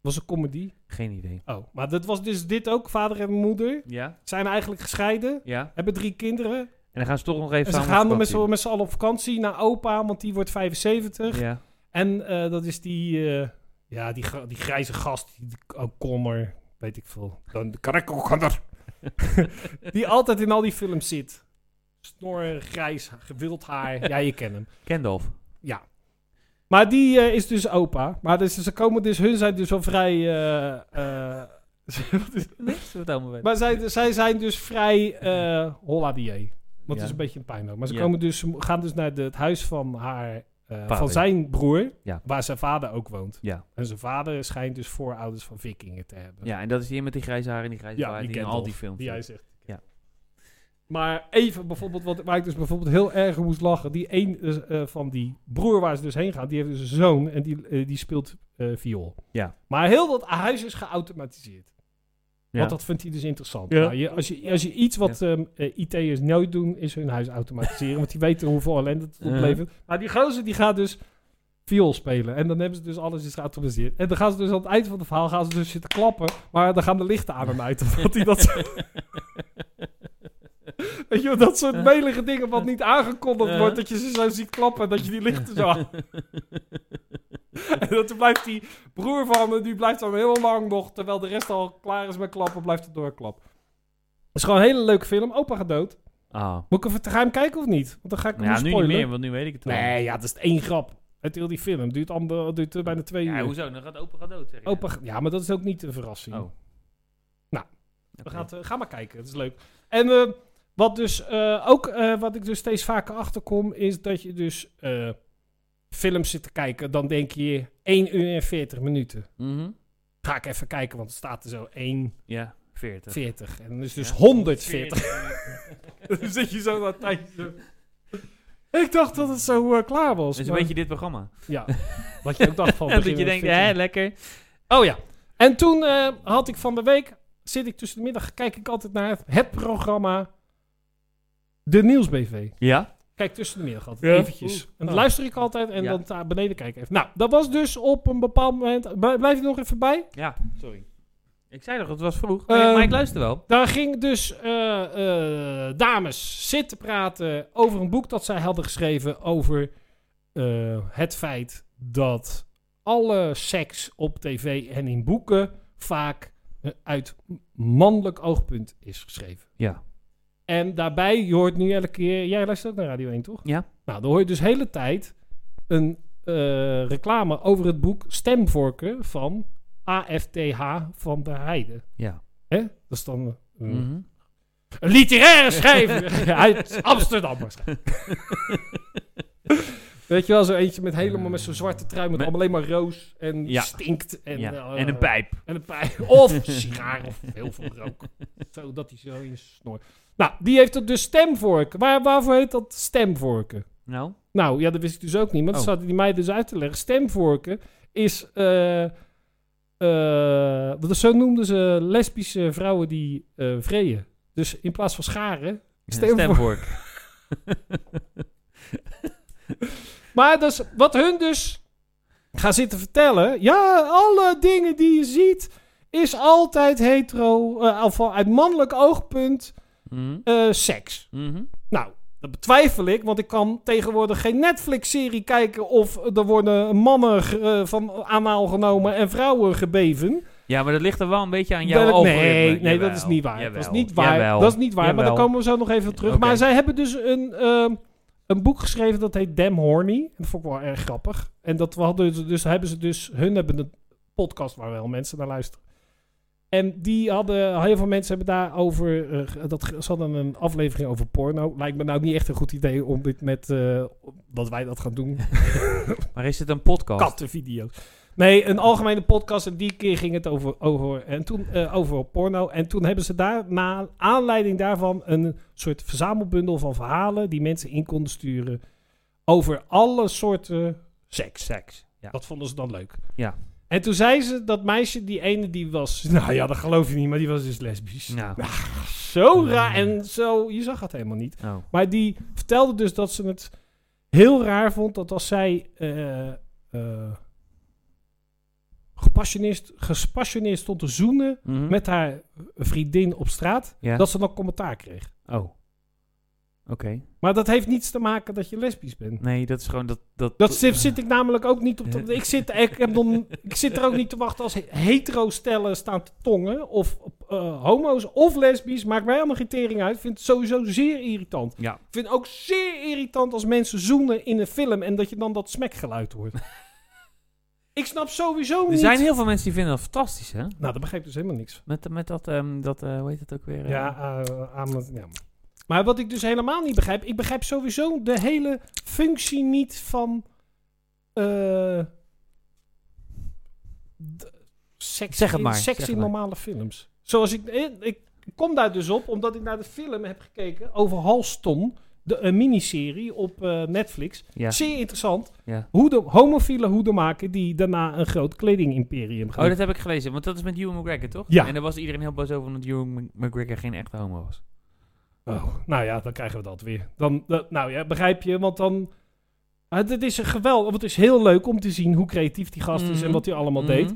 [SPEAKER 1] was een comedy.
[SPEAKER 2] Geen idee.
[SPEAKER 1] Oh, maar dat was dus dit ook, vader en moeder.
[SPEAKER 2] Ja?
[SPEAKER 1] Zijn eigenlijk gescheiden,
[SPEAKER 2] Ja? En
[SPEAKER 1] hebben drie kinderen.
[SPEAKER 2] dan gaan ze toch nog even
[SPEAKER 1] En ze
[SPEAKER 2] samen
[SPEAKER 1] gaan
[SPEAKER 2] op
[SPEAKER 1] dan met z'n
[SPEAKER 2] vakantie.
[SPEAKER 1] met z'n allen op vakantie naar opa, want die wordt 75.
[SPEAKER 2] Ja.
[SPEAKER 1] En eh, dat is die, eh, ja, die, gra- die grijze gast, die O'Connor, weet ik veel. Dan kan ik O'Connor. die altijd in al die films zit. Snor, grijs, gewild haar. Ja, je kent hem.
[SPEAKER 2] Gandalf.
[SPEAKER 1] Ja. Maar die eh, is dus opa. Maar dus, ze komen dus, hun zijn dus wel vrij... eh, eh,
[SPEAKER 2] Niks, wat allemaal weten.
[SPEAKER 1] maar zij, zij zijn dus vrij eh holla die jee. Want
[SPEAKER 2] Ja.
[SPEAKER 1] het is een beetje een pijn ook. Maar ze
[SPEAKER 2] Ja.
[SPEAKER 1] komen dus, ze gaan dus naar de, het huis van haar... eh, van
[SPEAKER 2] Vader.
[SPEAKER 1] zijn broer,
[SPEAKER 2] Ja.
[SPEAKER 1] waar zijn vader ook woont.
[SPEAKER 2] Ja.
[SPEAKER 1] En zijn vader schijnt dus voorouders van vikingen te hebben.
[SPEAKER 2] ja, en dat is die met die grijze haar en die grijze
[SPEAKER 1] Ja,
[SPEAKER 2] baard
[SPEAKER 1] die
[SPEAKER 2] die in
[SPEAKER 1] Gandalf,
[SPEAKER 2] al die films.
[SPEAKER 1] Die jij zegt.
[SPEAKER 2] Ja.
[SPEAKER 1] Maar even bijvoorbeeld, wat, waar ik dus bijvoorbeeld heel erg om moest lachen. Die een eh, eh, van die broer waar ze dus heen gaan, die heeft dus een zoon en die, eh, die speelt eh, viool.
[SPEAKER 2] Ja.
[SPEAKER 1] Maar heel dat huis is geautomatiseerd.
[SPEAKER 2] Ja.
[SPEAKER 1] Want dat vindt hij dus interessant.
[SPEAKER 2] Ja.
[SPEAKER 1] Nou, je, als, je, als je iets wat ehm, eh, IT'ers nooit doen, is hun huis automatiseren. want die weten hoeveel ellende het
[SPEAKER 2] Ja.
[SPEAKER 1] oplevert. Maar die gozer die gaat dus viool spelen. En dan hebben ze dus alles is geautomatiseerd. En dan gaan ze dus aan het eind van het verhaal gaan ze dus zitten klappen. Maar dan gaan de lichten aan hem uit. Omdat hij dat... Weet je wel, dat soort melige dingen wat niet aangekondigd
[SPEAKER 2] Ja.
[SPEAKER 1] wordt. Dat je ze zo ziet klappen en dat je die lichten zo aan... en dat blijft die broer van me, die blijft dan heel lang nog. Terwijl de rest al klaar is met klappen, blijft het doorklappen. Het is gewoon een hele leuke film. Opa gaat dood.
[SPEAKER 2] Ah.
[SPEAKER 1] Moet ik even te gaan kijken of niet? Want dan ga ik hem
[SPEAKER 2] Ja, nu niet
[SPEAKER 1] spoilen.
[SPEAKER 2] meer, want nu weet ik het al.
[SPEAKER 1] Nee, ja, dat is één grap. Uit heel die film. Duurt, ander, duurt eh, bijna twee
[SPEAKER 2] Ja,
[SPEAKER 1] uur.
[SPEAKER 2] hoezo? Dan gaat opa gaat dood, zeg je.
[SPEAKER 1] Opa, ja, maar dat is ook niet een verrassing.
[SPEAKER 2] Oh.
[SPEAKER 1] Nou,
[SPEAKER 2] Oké.
[SPEAKER 1] We gaan, het, eh, ga maar kijken, het is leuk. En eh, wat, dus, eh, ook, eh, wat ik dus steeds vaker achterkom, is dat je dus eh, films zit te kijken. Dan denk je 1 uur en 40 minuten.
[SPEAKER 2] Mhm.
[SPEAKER 1] Ga ik even kijken, want het staat er zo 1,40.
[SPEAKER 2] Ja, 40.
[SPEAKER 1] En dan is dus
[SPEAKER 2] Ja.
[SPEAKER 1] 140. dan zit je zo dat tijdje. Ik dacht dat het zo eh, klaar was.
[SPEAKER 2] Dat is Dus een
[SPEAKER 1] maar-
[SPEAKER 2] beetje dit programma.
[SPEAKER 1] Ja, wat je ook dacht van.
[SPEAKER 2] En dat je
[SPEAKER 1] beginnen
[SPEAKER 2] denkt,
[SPEAKER 1] met
[SPEAKER 2] hè,
[SPEAKER 1] fietsen.
[SPEAKER 2] lekker.
[SPEAKER 1] Oh ja. En toen eh, had ik van de week, zit ik tussen de middag, kijk ik altijd naar het, het programma De Nieuwsbv.
[SPEAKER 2] Ja?
[SPEAKER 1] Kijk tussen de middag altijd,
[SPEAKER 2] Ja?
[SPEAKER 1] eventjes.
[SPEAKER 2] Oeh.
[SPEAKER 1] En dan
[SPEAKER 2] Oh.
[SPEAKER 1] luister ik altijd en
[SPEAKER 2] Ja.
[SPEAKER 1] dan daar beneden kijk ik even. Nou, dat was dus op een bepaald moment, Bl- blijf je nog even bij?
[SPEAKER 2] Ja, sorry. Ik zei toch, het was vroeg. Maar,
[SPEAKER 1] Ehm,
[SPEAKER 2] maar ik luister wel.
[SPEAKER 1] Daar ging dus eh, eh, dames zitten praten over een boek dat zij hadden geschreven over eh, het feit dat alle seks op tv en in boeken vaak eh, uit mannelijk oogpunt is geschreven.
[SPEAKER 2] Ja.
[SPEAKER 1] En daarbij, je hoort nu elke keer... Jij luistert ook naar Radio 1, toch?
[SPEAKER 2] Ja.
[SPEAKER 1] Nou, dan hoor je dus de hele tijd een eh, reclame over het boek Stemvorken van AFTH van der Heijden.
[SPEAKER 2] Ja.
[SPEAKER 1] Hè? Dat is dan... eh,
[SPEAKER 2] Mhm.
[SPEAKER 1] een literaire schrijver uit Amsterdam waarschijnlijk. Weet je wel, zo eentje met helemaal met zo'n zwarte trui met
[SPEAKER 2] Met-
[SPEAKER 1] allemaal alleen maar roos en
[SPEAKER 2] Ja.
[SPEAKER 1] stinkt. En,
[SPEAKER 2] ja.
[SPEAKER 1] eh,
[SPEAKER 2] en een pijp.
[SPEAKER 1] En een pijp. Of sigaar of heel veel rook. Zodat hij zo in snor. Nou, die heeft dat dus stemvorken. Waar, waarvoor heet dat stemvorken?
[SPEAKER 2] Nou?
[SPEAKER 1] Nou, ja, dat wist ik dus ook niet. Maar dat
[SPEAKER 2] Oh.
[SPEAKER 1] zaten die mij dus uit te leggen. Stemvorken is... eh, eh, dat is- zo noemden ze lesbische vrouwen die eh vreden. Dus in plaats van scharen... Stemvork.
[SPEAKER 2] Stemvork.
[SPEAKER 1] Maar dat is wat hun dus gaan zitten vertellen. Ja, alle dingen die je ziet... is altijd hetero... eh, of uit mannelijk oogpunt
[SPEAKER 2] Mhm.
[SPEAKER 1] eh, seks.
[SPEAKER 2] Mhm.
[SPEAKER 1] Nou, dat betwijfel ik, want ik kan tegenwoordig geen Netflix-serie kijken of er worden mannen ge- eh, van anaal genomen en vrouwen gebeven.
[SPEAKER 2] Ja, maar dat ligt er wel een beetje aan jouw
[SPEAKER 1] Dat-
[SPEAKER 2] algoritme.
[SPEAKER 1] nee, nee,
[SPEAKER 2] Jawel,
[SPEAKER 1] dat is niet waar. dat is
[SPEAKER 2] jawel,
[SPEAKER 1] niet waar.
[SPEAKER 2] jawel,
[SPEAKER 1] dat is niet waar, maar daar
[SPEAKER 2] jawel.
[SPEAKER 1] komen we zo nog even op terug.
[SPEAKER 2] Oké.
[SPEAKER 1] Maar zij hebben dus een, ehm, een boek geschreven dat heet Damn Horny. Dat vond ik wel erg grappig. En dat we hadden ze dus, hebben ze dus, hun hebben een podcast waar wel mensen naar luisteren. En die hadden, heel veel mensen hebben daarover, eh, dat, ze hadden een aflevering over porno. Lijkt me nou niet echt een goed idee om dit met, eh, dat wij dat gaan doen,
[SPEAKER 2] Maar is het een podcast?
[SPEAKER 1] kattenvideo's. Nee, een algemene podcast en die keer ging het over, over, en toen, eh, over porno. En toen hebben ze daar, na aanleiding daarvan, een soort verzamelbundel van verhalen die mensen in konden sturen over alle soorten seks.
[SPEAKER 2] Seks. Ja.
[SPEAKER 1] Dat vonden ze dan leuk.
[SPEAKER 2] Ja.
[SPEAKER 1] En toen zei ze dat meisje, die ene die was... Nou ja, dat geloof je niet, maar die was dus lesbisch.
[SPEAKER 2] Nou.
[SPEAKER 1] zo raar en zo, je zag het helemaal niet.
[SPEAKER 2] Oh.
[SPEAKER 1] Maar die vertelde dus dat ze het heel raar vond dat als zij eh, eh, gepassioneerd, gespassioneerd stond te zoenen
[SPEAKER 2] Mhm.
[SPEAKER 1] met haar vriendin op straat,
[SPEAKER 2] Ja.
[SPEAKER 1] dat ze dan commentaar kreeg.
[SPEAKER 2] Oh. Oké.
[SPEAKER 1] Maar dat heeft niets te maken dat je lesbisch bent.
[SPEAKER 2] Nee, dat is gewoon dat... Dat,
[SPEAKER 1] Dat zit, zit ik namelijk ook niet op. te- ik, zit, ik, heb dan, ik zit er ook niet te wachten als hetero stellen staan te tongen. Of eh, homo's of lesbisch. Maakt mij helemaal geen tering uit. Ik vind het sowieso zeer irritant.
[SPEAKER 2] Ja.
[SPEAKER 1] Ik vind het ook zeer irritant als mensen zoenen in een film. En dat je dan dat smekgeluid hoort. ik snap sowieso
[SPEAKER 2] Er
[SPEAKER 1] niet.
[SPEAKER 2] zijn heel veel mensen die vinden dat fantastisch, hè?
[SPEAKER 1] Nou, daar begreep ik dus helemaal niks van.
[SPEAKER 2] Met, met dat, ehm, dat eh, hoe heet dat ook weer? eh?
[SPEAKER 1] Ja, eh, aan het- ja. Maar wat ik dus helemaal niet begrijp, ik begrijp sowieso de hele functie niet van eh, d- seks,
[SPEAKER 2] Zeg het
[SPEAKER 1] in-
[SPEAKER 2] maar,
[SPEAKER 1] seks
[SPEAKER 2] zeg
[SPEAKER 1] in
[SPEAKER 2] het maar.
[SPEAKER 1] normale films. Zoals ik, eh, ik kom daar dus op, omdat ik naar de film heb gekeken over Halston, de een miniserie op eh, Netflix.
[SPEAKER 2] Ja.
[SPEAKER 1] Zeer interessant.
[SPEAKER 2] Ja.
[SPEAKER 1] Hoe de homofiele hoedemaker die daarna een groot kledingimperium gaat.
[SPEAKER 2] Oh, dat heb ik gelezen. Want dat is met Ewan McGregor, toch?
[SPEAKER 1] Ja.
[SPEAKER 2] En daar was iedereen heel boos over omdat Ewan Mc- McGregor geen echte homo was.
[SPEAKER 1] Oh, nou ja, dan krijgen we dat weer. Dan, dat- nou ja, begrijp je, want dan... Ah, Het, het is een geweld, want het is heel leuk om te zien hoe creatief die gast is en
[SPEAKER 2] Mhm.
[SPEAKER 1] wat hij allemaal deed.
[SPEAKER 2] Mhm.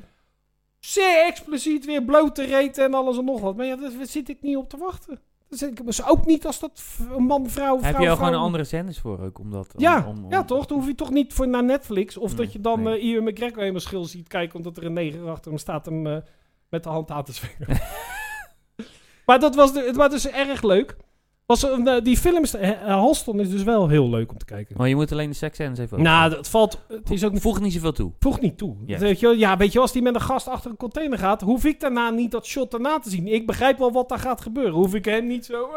[SPEAKER 1] Zeer expliciet weer blote reet en alles en nog wat. Maar ja, daar zit ik niet op te wachten. Dat zit ik dus ook niet als dat v- een man, vrouw, vrouw,
[SPEAKER 2] Heb je al
[SPEAKER 1] vrouw-
[SPEAKER 2] gewoon een andere zenders voor ook? Om dat, om-
[SPEAKER 1] Ja,
[SPEAKER 2] om- om-
[SPEAKER 1] ja toch? Dan hoef je toch niet voor naar Netflix. Of
[SPEAKER 2] Nee,
[SPEAKER 1] dat je dan
[SPEAKER 2] nee.
[SPEAKER 1] eh Ian McGregor helemaal schil ziet kijken... omdat er een neger achter hem staat hem eh, met de hand aan te zwingen. maar dat was, de, het was dus erg leuk. Was, een, eh, die films... eh, eh, Halston is dus wel heel leuk om te kijken.
[SPEAKER 2] Maar je moet alleen de seksscènes even...
[SPEAKER 1] Nou, dat valt... Het is ook
[SPEAKER 2] opzoeken. voeg niet zoveel toe.
[SPEAKER 1] voegt niet toe.
[SPEAKER 2] Ja.
[SPEAKER 1] Weet je, wel, ja, weet je, wel, als die met een gast achter een container gaat... hoef ik daarna niet dat shot daarna te zien. Ik begrijp wel wat daar gaat gebeuren. Hoef ik hem niet zo...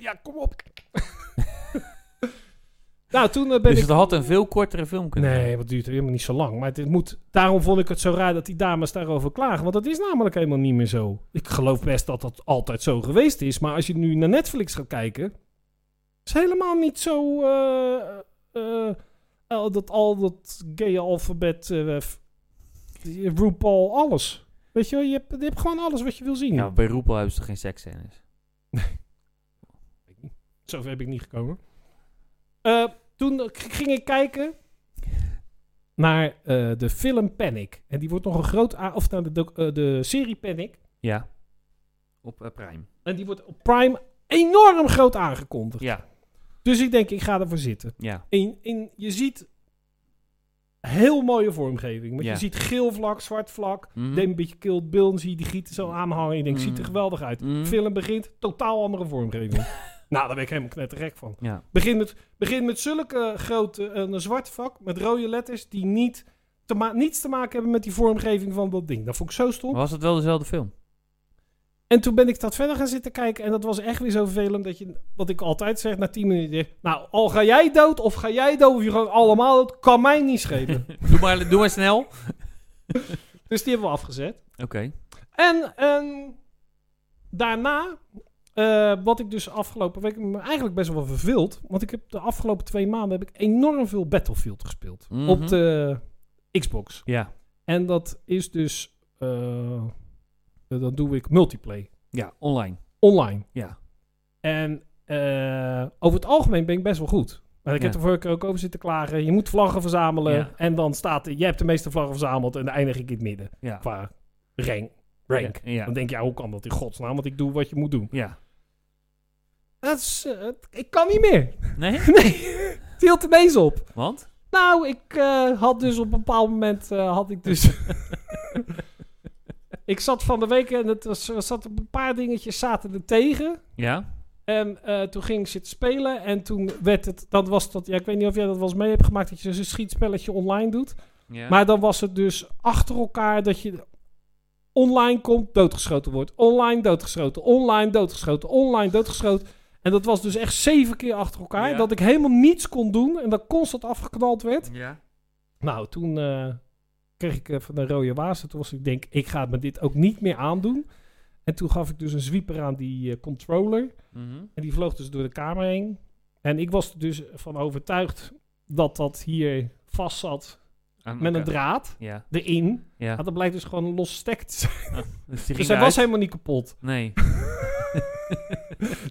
[SPEAKER 1] Ja, kom op. nou, toen eh, ben
[SPEAKER 2] dus
[SPEAKER 1] ik...
[SPEAKER 2] het had een veel kortere film kunnen zijn.
[SPEAKER 1] Nee, want het duurt helemaal niet zo lang. Maar het moet, daarom vond ik het zo raar dat die dames daarover klagen. Want dat is namelijk helemaal niet meer zo. Ik geloof best dat dat altijd zo geweest is. Maar als je nu naar Netflix gaat kijken... is helemaal niet zo... eh, eh, al dat al dat gay alfabet... eh, f- RuPaul, alles. Weet je wel, je hebt, je hebt gewoon alles wat je wil zien.
[SPEAKER 2] Ja, bij RuPaul hebben ze toch geen seksscènes?
[SPEAKER 1] Zover heb ik niet gekomen. Eh, toen k- ging ik kijken naar eh, de film Panic. En die wordt nog een groot... a- Of naar de, doc- eh, de serie Panic.
[SPEAKER 2] Ja. Op eh, Prime.
[SPEAKER 1] En die wordt op Prime enorm groot aangekondigd.
[SPEAKER 2] Ja,
[SPEAKER 1] Dus ik denk, ik ga ervoor zitten.
[SPEAKER 2] ja.
[SPEAKER 1] In, in, je ziet heel mooie vormgeving. Want
[SPEAKER 2] Ja.
[SPEAKER 1] je ziet geel vlak, zwart vlak.
[SPEAKER 2] Mhm.
[SPEAKER 1] Denk een beetje Kilt Bill. Dan zie je die gieten zo aanhangen. Je denkt, ziet er
[SPEAKER 2] Mhm.
[SPEAKER 1] geweldig uit.
[SPEAKER 2] Mhm.
[SPEAKER 1] Film begint, totaal andere vormgeving. nou, daar ben ik helemaal knetterrek van.
[SPEAKER 2] Ja.
[SPEAKER 1] Begin met, begin met zulke grote, eh, een zwart vak met rode letters die niet te ma- niets te maken hebben met die vormgeving van dat ding. Dat vond ik zo stom.
[SPEAKER 2] Was het wel dezelfde film?
[SPEAKER 1] En toen ben ik dat verder gaan zitten kijken en dat was echt weer zo vervelend dat je, wat ik altijd zeg, na 10 minuten, denk, nou, al ga jij dood of ga jij dood of je gewoon allemaal dood, kan mij niet schelen.
[SPEAKER 2] Doe maar, doe maar snel. Oké.
[SPEAKER 1] dus die hebben we afgezet. En, en daarna, eh, wat ik dus afgelopen week me eigenlijk best wel verveeld. Want ik heb de afgelopen twee maanden heb ik enorm veel Battlefield gespeeld.
[SPEAKER 2] Mhm.
[SPEAKER 1] Op de Xbox.
[SPEAKER 2] Ja.
[SPEAKER 1] En dat is dus, eh, dat doe ik multiplayer.
[SPEAKER 2] Ja, online.
[SPEAKER 1] Online.
[SPEAKER 2] Ja.
[SPEAKER 1] En eh, over het algemeen ben ik best wel goed. Maar ik
[SPEAKER 2] Ja.
[SPEAKER 1] heb er vorige keer ook over zitten klagen. Je moet vlaggen verzamelen.
[SPEAKER 2] Ja.
[SPEAKER 1] En dan staat er, je hebt de meeste vlaggen verzameld. En dan eindig ik in het midden.
[SPEAKER 2] Ja.
[SPEAKER 1] Qua rank. rank.
[SPEAKER 2] Ja. ja.
[SPEAKER 1] Dan denk je, ja, hoe kan dat in godsnaam? Want ik doe wat je moet doen.
[SPEAKER 2] Ja.
[SPEAKER 1] Dat is, eh, ik kan niet meer.
[SPEAKER 2] Nee?
[SPEAKER 1] Nee, het hield ineens op.
[SPEAKER 2] Want?
[SPEAKER 1] Nou, ik eh, had dus op een bepaald moment, eh, had ik dus... ik zat van de week en het was, er zat op een paar dingetjes zaten er tegen.
[SPEAKER 2] Ja.
[SPEAKER 1] En eh, toen ging ik zitten spelen en toen werd het, dat was dat, ja ik weet niet of jij dat wel eens mee hebt gemaakt, dat je dus een schietspelletje online doet.
[SPEAKER 2] ja.
[SPEAKER 1] Maar dan was het dus achter elkaar dat je online komt, doodgeschoten wordt. Online doodgeschoten, online doodgeschoten, online doodgeschoten. En dat was dus echt zeven keer achter elkaar.
[SPEAKER 2] Ja.
[SPEAKER 1] Dat ik helemaal niets kon doen en dat constant afgeknald werd.
[SPEAKER 2] Ja.
[SPEAKER 1] Nou, toen eh, kreeg ik van een rode waas. En Toen was ik denk, ik ga me dit ook niet meer aandoen. En toen gaf ik dus een zwieper aan die eh, controller.
[SPEAKER 2] Mhm.
[SPEAKER 1] En die vloog dus door de kamer heen. En ik was er dus van overtuigd dat dat hier vast zat
[SPEAKER 2] Aan
[SPEAKER 1] met een
[SPEAKER 2] elkaar.
[SPEAKER 1] draad
[SPEAKER 2] Ja.
[SPEAKER 1] erin.
[SPEAKER 2] Ja.
[SPEAKER 1] Maar dat blijkt dus gewoon een los stek te zijn. Dus
[SPEAKER 2] Dus die
[SPEAKER 1] hij
[SPEAKER 2] ging
[SPEAKER 1] was
[SPEAKER 2] eruit.
[SPEAKER 1] helemaal niet kapot.
[SPEAKER 2] Nee.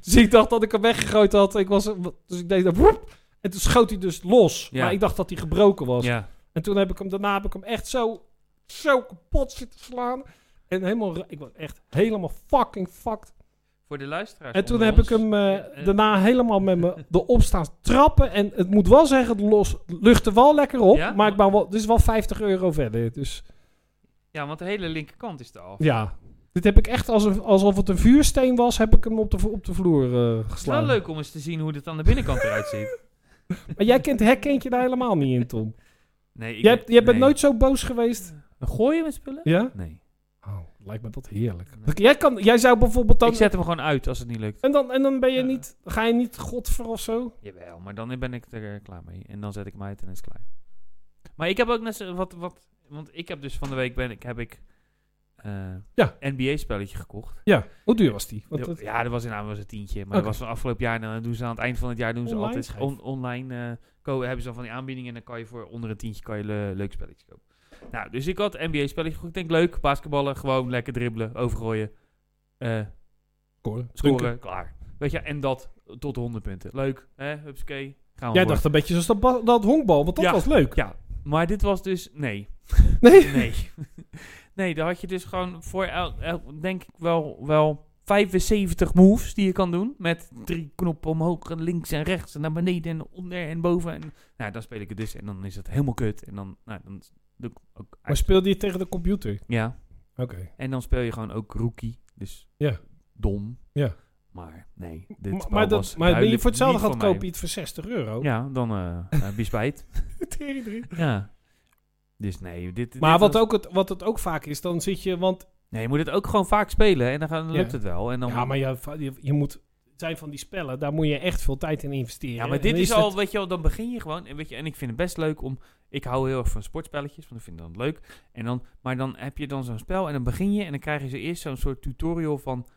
[SPEAKER 1] dus ik dacht dat ik hem weggegooid had. Ik was, dus ik deed dat. woep. En toen schoot hij dus los.
[SPEAKER 2] Ja.
[SPEAKER 1] Maar ik dacht dat hij gebroken was.
[SPEAKER 2] Ja.
[SPEAKER 1] En toen heb ik hem, daarna heb ik hem echt zo, zo kapot zitten slaan. En helemaal, ra- ik was echt helemaal fucking fucked.
[SPEAKER 2] Voor de luisteraars.
[SPEAKER 1] En toen
[SPEAKER 2] onder
[SPEAKER 1] heb
[SPEAKER 2] ons.
[SPEAKER 1] ik hem eh,
[SPEAKER 2] Ja, eh,
[SPEAKER 1] daarna helemaal met me erop staan trappen. En het moet wel zeggen, het los, luchtte wel lekker op.
[SPEAKER 2] Ja?
[SPEAKER 1] Maar ik ben wel, dit is wel 50 euro verder. Dus
[SPEAKER 2] Ja, want de hele linkerkant is er af.
[SPEAKER 1] ja, dit heb ik echt alsof, alsof het een vuursteen was, heb ik hem op de, vo- op de vloer eh,
[SPEAKER 2] Het is wel
[SPEAKER 1] geslagen.
[SPEAKER 2] leuk om eens te zien hoe het aan de binnenkant eruit ziet.
[SPEAKER 1] Maar jij kent, herkent je daar helemaal niet in, Tom.
[SPEAKER 2] Nee, ik
[SPEAKER 1] Jij, hebt- jij bent
[SPEAKER 2] nee.
[SPEAKER 1] nooit zo boos geweest.
[SPEAKER 2] Gooien met spullen?
[SPEAKER 1] Ja?
[SPEAKER 2] Nee.
[SPEAKER 1] Oh, lijkt me dat heerlijk. Jij, kan, jij zou bijvoorbeeld dan...
[SPEAKER 2] Ik zet hem gewoon uit als het niet lukt.
[SPEAKER 1] En dan, en dan ben je
[SPEAKER 2] Ja.
[SPEAKER 1] niet, ga je niet godver of zo?
[SPEAKER 2] Jawel, maar dan ben ik er eh, klaar mee. En dan zet ik hem uit en is het klaar. Maar ik heb ook net zo wat, wat... Want ik heb dus van de week ben ik, heb ik... eh,
[SPEAKER 1] Ja.
[SPEAKER 2] NBA-spelletje gekocht.
[SPEAKER 1] Ja. Hoe duur was die? Want dat-
[SPEAKER 2] ja, dat was in was een tientje. Maar dat
[SPEAKER 1] Oké.
[SPEAKER 2] was van afgelopen jaar. En dan doen ze aan het eind van het jaar doen ze
[SPEAKER 1] Online?
[SPEAKER 2] altijd on- online eh, ko- hebben ze dan van die aanbiedingen. En dan kan je voor onder een tientje kan je le- leuk spelletje kopen. Nou, dus ik had NBA-spelletje gekocht. Ik denk leuk, basketballen, gewoon lekker dribbelen, overgooien. Eh
[SPEAKER 1] Scoren.
[SPEAKER 2] scoren,
[SPEAKER 1] Dunker.
[SPEAKER 2] klaar. Weet je, en dat tot 100 punten. Leuk, hè? Hupsakee. Gaan we
[SPEAKER 1] Jij
[SPEAKER 2] voor.
[SPEAKER 1] dacht een beetje zoals dat, ba- dat honkbal, want dat
[SPEAKER 2] Ja.
[SPEAKER 1] was leuk.
[SPEAKER 2] Ja, maar dit was dus... Nee,
[SPEAKER 1] Nee?
[SPEAKER 2] nee. nee, daar had je dus gewoon voor, el- el- denk ik wel, wel 75 moves die je kan doen. Met drie knoppen omhoog, en links en rechts, en naar beneden en onder en boven. En, nou, dan speel ik het dus en dan is dat helemaal kut. En dan, nou, dan doe ik ook...
[SPEAKER 1] Maar speelde je tegen de computer?
[SPEAKER 2] ja,
[SPEAKER 1] Oké.
[SPEAKER 2] en dan speel je gewoon ook rookie. Dus
[SPEAKER 1] Ja.
[SPEAKER 2] dom.
[SPEAKER 1] Ja.
[SPEAKER 2] Maar nee, dit
[SPEAKER 1] Maar,
[SPEAKER 2] spel
[SPEAKER 1] maar, dat,
[SPEAKER 2] was
[SPEAKER 1] maar ben je
[SPEAKER 2] duidelijk
[SPEAKER 1] voor hetzelfde
[SPEAKER 2] niet
[SPEAKER 1] gaat
[SPEAKER 2] van mij.
[SPEAKER 1] kopen je iets voor 60 euro?
[SPEAKER 2] Ja, dan eh eh, wie spijt.
[SPEAKER 1] Tering drie.
[SPEAKER 2] ja. Dus nee, dit, dit
[SPEAKER 1] Maar wat,
[SPEAKER 2] was-
[SPEAKER 1] ook het, wat het ook vaak is, dan zit je... Want,
[SPEAKER 2] Nee, je moet het ook gewoon vaak spelen en dan, gaan, dan
[SPEAKER 1] Ja.
[SPEAKER 2] lukt het wel. En dan,
[SPEAKER 1] ja, maar je, je, je moet... Het zijn van die spellen, daar moet je echt veel tijd in investeren.
[SPEAKER 2] Ja, maar
[SPEAKER 1] En
[SPEAKER 2] dit
[SPEAKER 1] dan
[SPEAKER 2] is
[SPEAKER 1] het-
[SPEAKER 2] al, weet je wel, dan begin je gewoon. En, weet je, en ik vind het best leuk om. Ik hou heel erg van sportspelletjes, want ik vind dat leuk. En dan, maar dan heb je dan zo'n spel en dan begin je en dan krijg je zo eerst zo'n soort tutorial van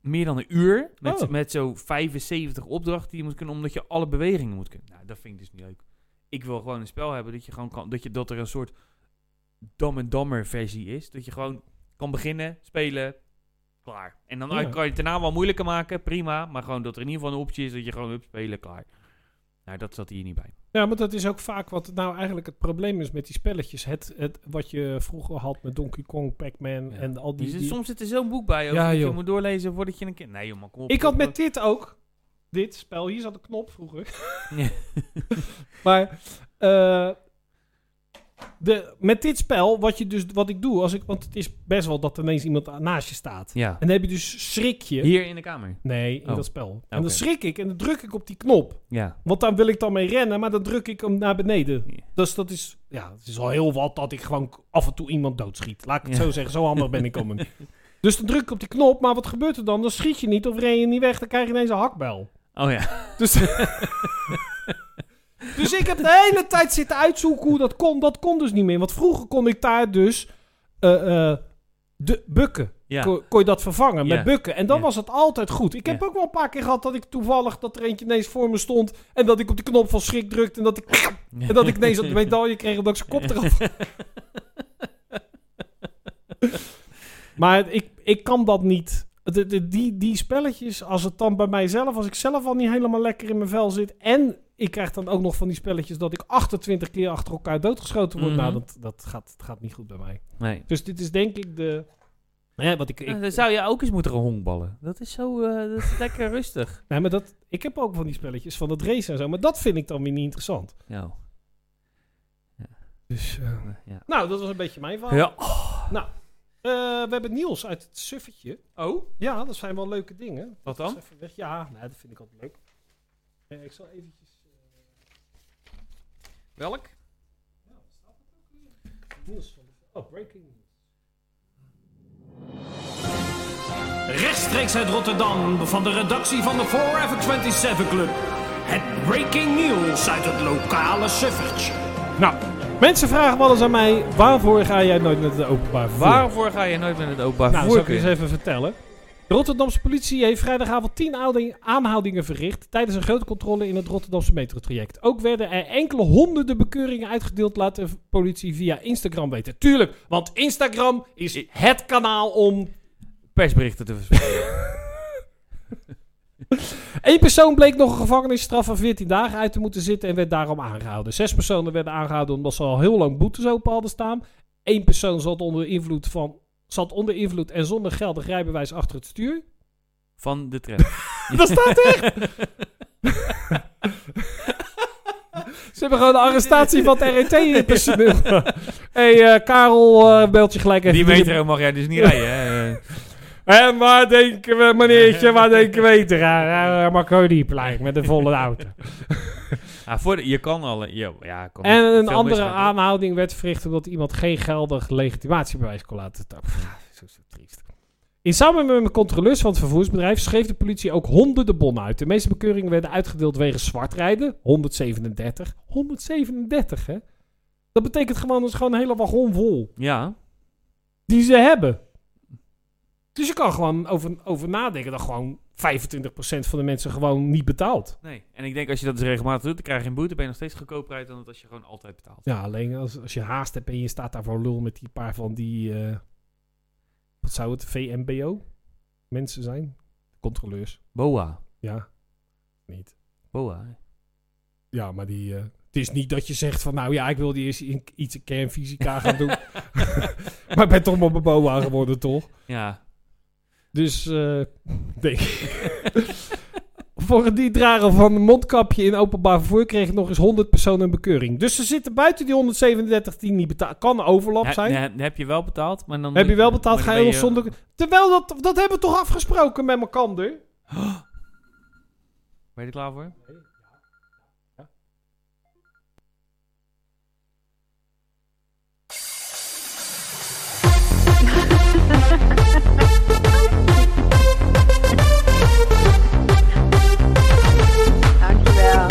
[SPEAKER 2] meer dan een uur. Met,
[SPEAKER 1] Oh.
[SPEAKER 2] met zo'n 75 opdrachten die je moet kunnen, omdat je alle bewegingen moet kunnen. Nou, dat vind ik dus niet leuk. Ik wil gewoon een spel hebben dat je gewoon kan, dat, je, dat er een soort dam en dammer versie is. Dat je gewoon kan beginnen, spelen, klaar. En dan
[SPEAKER 1] Ja.
[SPEAKER 2] kan je het daarna wel moeilijker maken, prima. Maar gewoon dat er in ieder geval een optie is dat je gewoon hup, spelen, klaar. Nou, dat zat hier niet bij.
[SPEAKER 1] Ja, maar dat is ook vaak wat nou eigenlijk het probleem is met die spelletjes. Het, het, wat je vroeger had met Donkey Kong, Pac-Man
[SPEAKER 2] Ja.
[SPEAKER 1] en al die...
[SPEAKER 2] Dus er-
[SPEAKER 1] die-
[SPEAKER 2] soms zit er zo'n boek bij over
[SPEAKER 1] Ja,
[SPEAKER 2] dat je
[SPEAKER 1] joh.
[SPEAKER 2] moet doorlezen voordat je een kind... Nee joh, man, kom op.
[SPEAKER 1] Ik had
[SPEAKER 2] Dat-
[SPEAKER 1] met dit ook. Dit spel, hier zat een knop vroeger.
[SPEAKER 2] Ja.
[SPEAKER 1] maar eh, de, met dit spel, wat, je dus, wat ik doe, als ik, want het is best wel dat ineens iemand a- naast je staat.
[SPEAKER 2] Ja,
[SPEAKER 1] En dan heb je dus schrik je.
[SPEAKER 2] hier in de kamer.
[SPEAKER 1] Nee, in
[SPEAKER 2] Oh.
[SPEAKER 1] dat spel. En
[SPEAKER 2] Oké.
[SPEAKER 1] dan schrik ik en dan druk ik op die knop.
[SPEAKER 2] Ja.
[SPEAKER 1] Want daar wil ik dan mee rennen, maar dan druk ik hem naar beneden.
[SPEAKER 2] Ja.
[SPEAKER 1] Dus dat is, ja, het is al heel wat dat ik gewoon k- af en toe iemand doodschiet. Laat ik het
[SPEAKER 2] Ja.
[SPEAKER 1] zo zeggen, zo handig ben ik om hem. Dus dan druk ik op die knop, maar wat gebeurt er dan? Dan schiet je niet of ren je niet weg, dan krijg je ineens een hakbel.
[SPEAKER 2] Oh ja.
[SPEAKER 1] Dus, dus ik heb de hele tijd zitten uitzoeken hoe dat kon. Dat kon dus niet meer. Want vroeger kon ik daar dus eh, eh, de bukken.
[SPEAKER 2] Ja.
[SPEAKER 1] Kon, kon je dat vervangen
[SPEAKER 2] Ja.
[SPEAKER 1] met bukken. En dan
[SPEAKER 2] Ja.
[SPEAKER 1] was het altijd goed. Ik heb
[SPEAKER 2] Ja.
[SPEAKER 1] ook wel een paar keer gehad dat ik toevallig dat er eentje ineens voor me stond. En dat ik op die knop van schrik drukte. En dat ik, en dat ik ineens dat medaille kreeg omdat ik zijn kop eraf. maar ik, ik kan dat niet. De, de- die, die spelletjes, als het dan bij mijzelf, als ik zelf al niet helemaal lekker in mijn vel zit. En ik krijg dan ook nog van die spelletjes dat ik 28 keer achter elkaar doodgeschoten word.
[SPEAKER 2] Mhm.
[SPEAKER 1] Nou, dat, dat, gaat, dat gaat niet goed bij mij.
[SPEAKER 2] Nee.
[SPEAKER 1] Dus dit is denk ik de. Ja, wat ik, ik,
[SPEAKER 2] Nou, dan zou je ook eens moeten gaan honkballen. Dat is zo, eh, dat is lekker rustig.
[SPEAKER 1] nee, maar dat, ik heb ook van die spelletjes van dat race en zo. Maar dat vind ik dan weer niet interessant.
[SPEAKER 2] Nou,
[SPEAKER 1] Dus, eh,
[SPEAKER 2] ja.
[SPEAKER 1] Nou, dat was een beetje mijn verhaal.
[SPEAKER 2] Ja.
[SPEAKER 1] Eh, we hebben Niels uit het suffetje.
[SPEAKER 2] Oh,
[SPEAKER 1] Ja, dat zijn wel leuke dingen.
[SPEAKER 2] wat dan?
[SPEAKER 1] Even weg. Ja, nou, dat vind ik altijd leuk. Eh, ik zal eventjes...
[SPEAKER 2] Welk?
[SPEAKER 1] Niels van de... Oh, breaking news.
[SPEAKER 4] Rechtstreeks uit Rotterdam van de redactie van de Forever 27 Club. Het breaking news uit het lokale suffertje.
[SPEAKER 1] Nou, mensen vragen wel eens aan mij... Waarvoor ga jij nooit met het openbaar vervoer?
[SPEAKER 2] Waarvoor ga je nooit met het openbaar
[SPEAKER 1] Nou,
[SPEAKER 2] vervoer
[SPEAKER 1] zal ik eens
[SPEAKER 2] kunnen?
[SPEAKER 1] even vertellen. De Rotterdamse politie heeft vrijdagavond 10 aanhouding- aanhoudingen verricht tijdens een grote controle in het Rotterdamse metrotraject. Ook werden er enkele honderden bekeuringen uitgedeeld, laat de politie via Instagram weten. Tuurlijk, want Instagram is het kanaal om
[SPEAKER 2] persberichten te verspreiden?
[SPEAKER 1] Eén persoon bleek nog een gevangenisstraf van 14 dagen uit te moeten zitten en werd daarom aangehouden. Zes personen werden aangehouden omdat ze al heel lang boetes open hadden staan. Eén persoon zat onder invloed, van, zat onder invloed en zonder geldig rijbewijs achter het stuur.
[SPEAKER 2] Van de trend.
[SPEAKER 1] Dat staat echt! Ze hebben gewoon de arrestatie van het RET in het personeel. hey, eh, Karel eh, belt je gelijk even.
[SPEAKER 2] Die
[SPEAKER 1] terug.
[SPEAKER 2] metro mag jij dus niet rijden. Hè? Eh,
[SPEAKER 1] En waar denken we, meneertje, waar denken we eh, te gaan? Marconiplein met de volle auto.
[SPEAKER 2] ah, voor de- je kan al. eh, Ja, ja, kom,
[SPEAKER 1] En een
[SPEAKER 2] veel
[SPEAKER 1] andere
[SPEAKER 2] mensen gaan-
[SPEAKER 1] aanhouding werd verricht omdat iemand geen geldig legitimatiebewijs kon laten tappen. Zo zo triest. In samenwerking met controleurs van het vervoersbedrijf schreef de politie ook honderden bonnen uit. De meeste bekeuringen werden uitgedeeld wegens zwartrijden. 137. 137, hè? Dat betekent gewoon, dat is gewoon een hele wagon vol.
[SPEAKER 2] Ja.
[SPEAKER 1] Die ze hebben. Dus je kan gewoon over, over nadenken dat gewoon 25% van de mensen gewoon niet betaalt.
[SPEAKER 2] Nee. En ik denk als je dat dus regelmatig doet, dan krijg je een boete. Ben je nog steeds goedkoper uit dan dat als je gewoon altijd betaalt.
[SPEAKER 1] Ja, alleen als, als je haast hebt en je staat daar voor lul met die paar van die. eh, wat zou het? VMBO? Mensen zijn? Controleurs.
[SPEAKER 2] Boa.
[SPEAKER 1] Ja. Niet.
[SPEAKER 2] Boa.
[SPEAKER 1] Ja, maar die. eh, het is niet dat je zegt van nou ja, ik wil die eerst in- iets in kernfysica gaan doen. maar ik ben toch maar mijn BOA geworden, toch?
[SPEAKER 2] Ja.
[SPEAKER 1] Dus eh denk ik. Voor het niet dragen van een mondkapje in openbaar vervoer kreeg nog eens 100 personen een bekeuring. Dus ze zitten buiten die 137 die niet betaald. Kan overlap
[SPEAKER 2] He-
[SPEAKER 1] zijn.
[SPEAKER 2] he- heb je wel betaald, maar dan...
[SPEAKER 1] Heb je wel betaald,
[SPEAKER 2] maar
[SPEAKER 1] ga
[SPEAKER 2] dan
[SPEAKER 1] je eh,
[SPEAKER 2] ben
[SPEAKER 1] ons zonder... Terwijl, dat, dat hebben we toch afgesproken met Makander?
[SPEAKER 2] Ben je er klaar voor?
[SPEAKER 6] Dankjewel.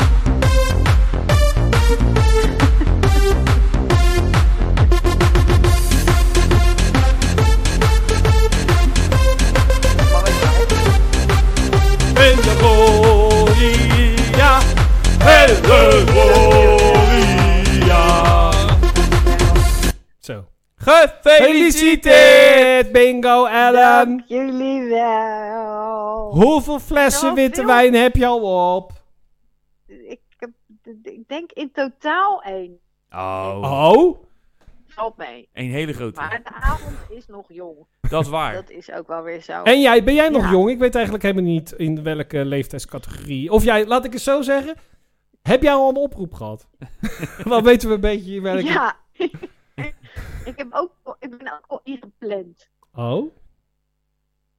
[SPEAKER 1] Zo.
[SPEAKER 2] Gefeliciteerd!
[SPEAKER 1] Gefeliciteerd, bingo Ellen!
[SPEAKER 6] Dank jullie wel.
[SPEAKER 1] Hoeveel flessen
[SPEAKER 6] Nou,
[SPEAKER 1] witte
[SPEAKER 6] veel.
[SPEAKER 1] wijn heb je al op?
[SPEAKER 6] Ik, heb- ik denk in totaal één.
[SPEAKER 2] Oh,
[SPEAKER 1] Oh?
[SPEAKER 6] Valt mee.
[SPEAKER 2] een hele grote.
[SPEAKER 6] Maar de avond is nog jong.
[SPEAKER 2] Dat is waar.
[SPEAKER 6] Dat is ook wel weer zo.
[SPEAKER 1] En jij, ben jij nog
[SPEAKER 6] Ja.
[SPEAKER 1] jong? Ik weet eigenlijk helemaal niet in welke leeftijdscategorie. Of jij, laat ik het zo zeggen. Heb jij al een oproep gehad? Dan weten we een beetje in welke...
[SPEAKER 6] Ja. ik, heb ook, ik ben ook al ingepland.
[SPEAKER 1] Oh?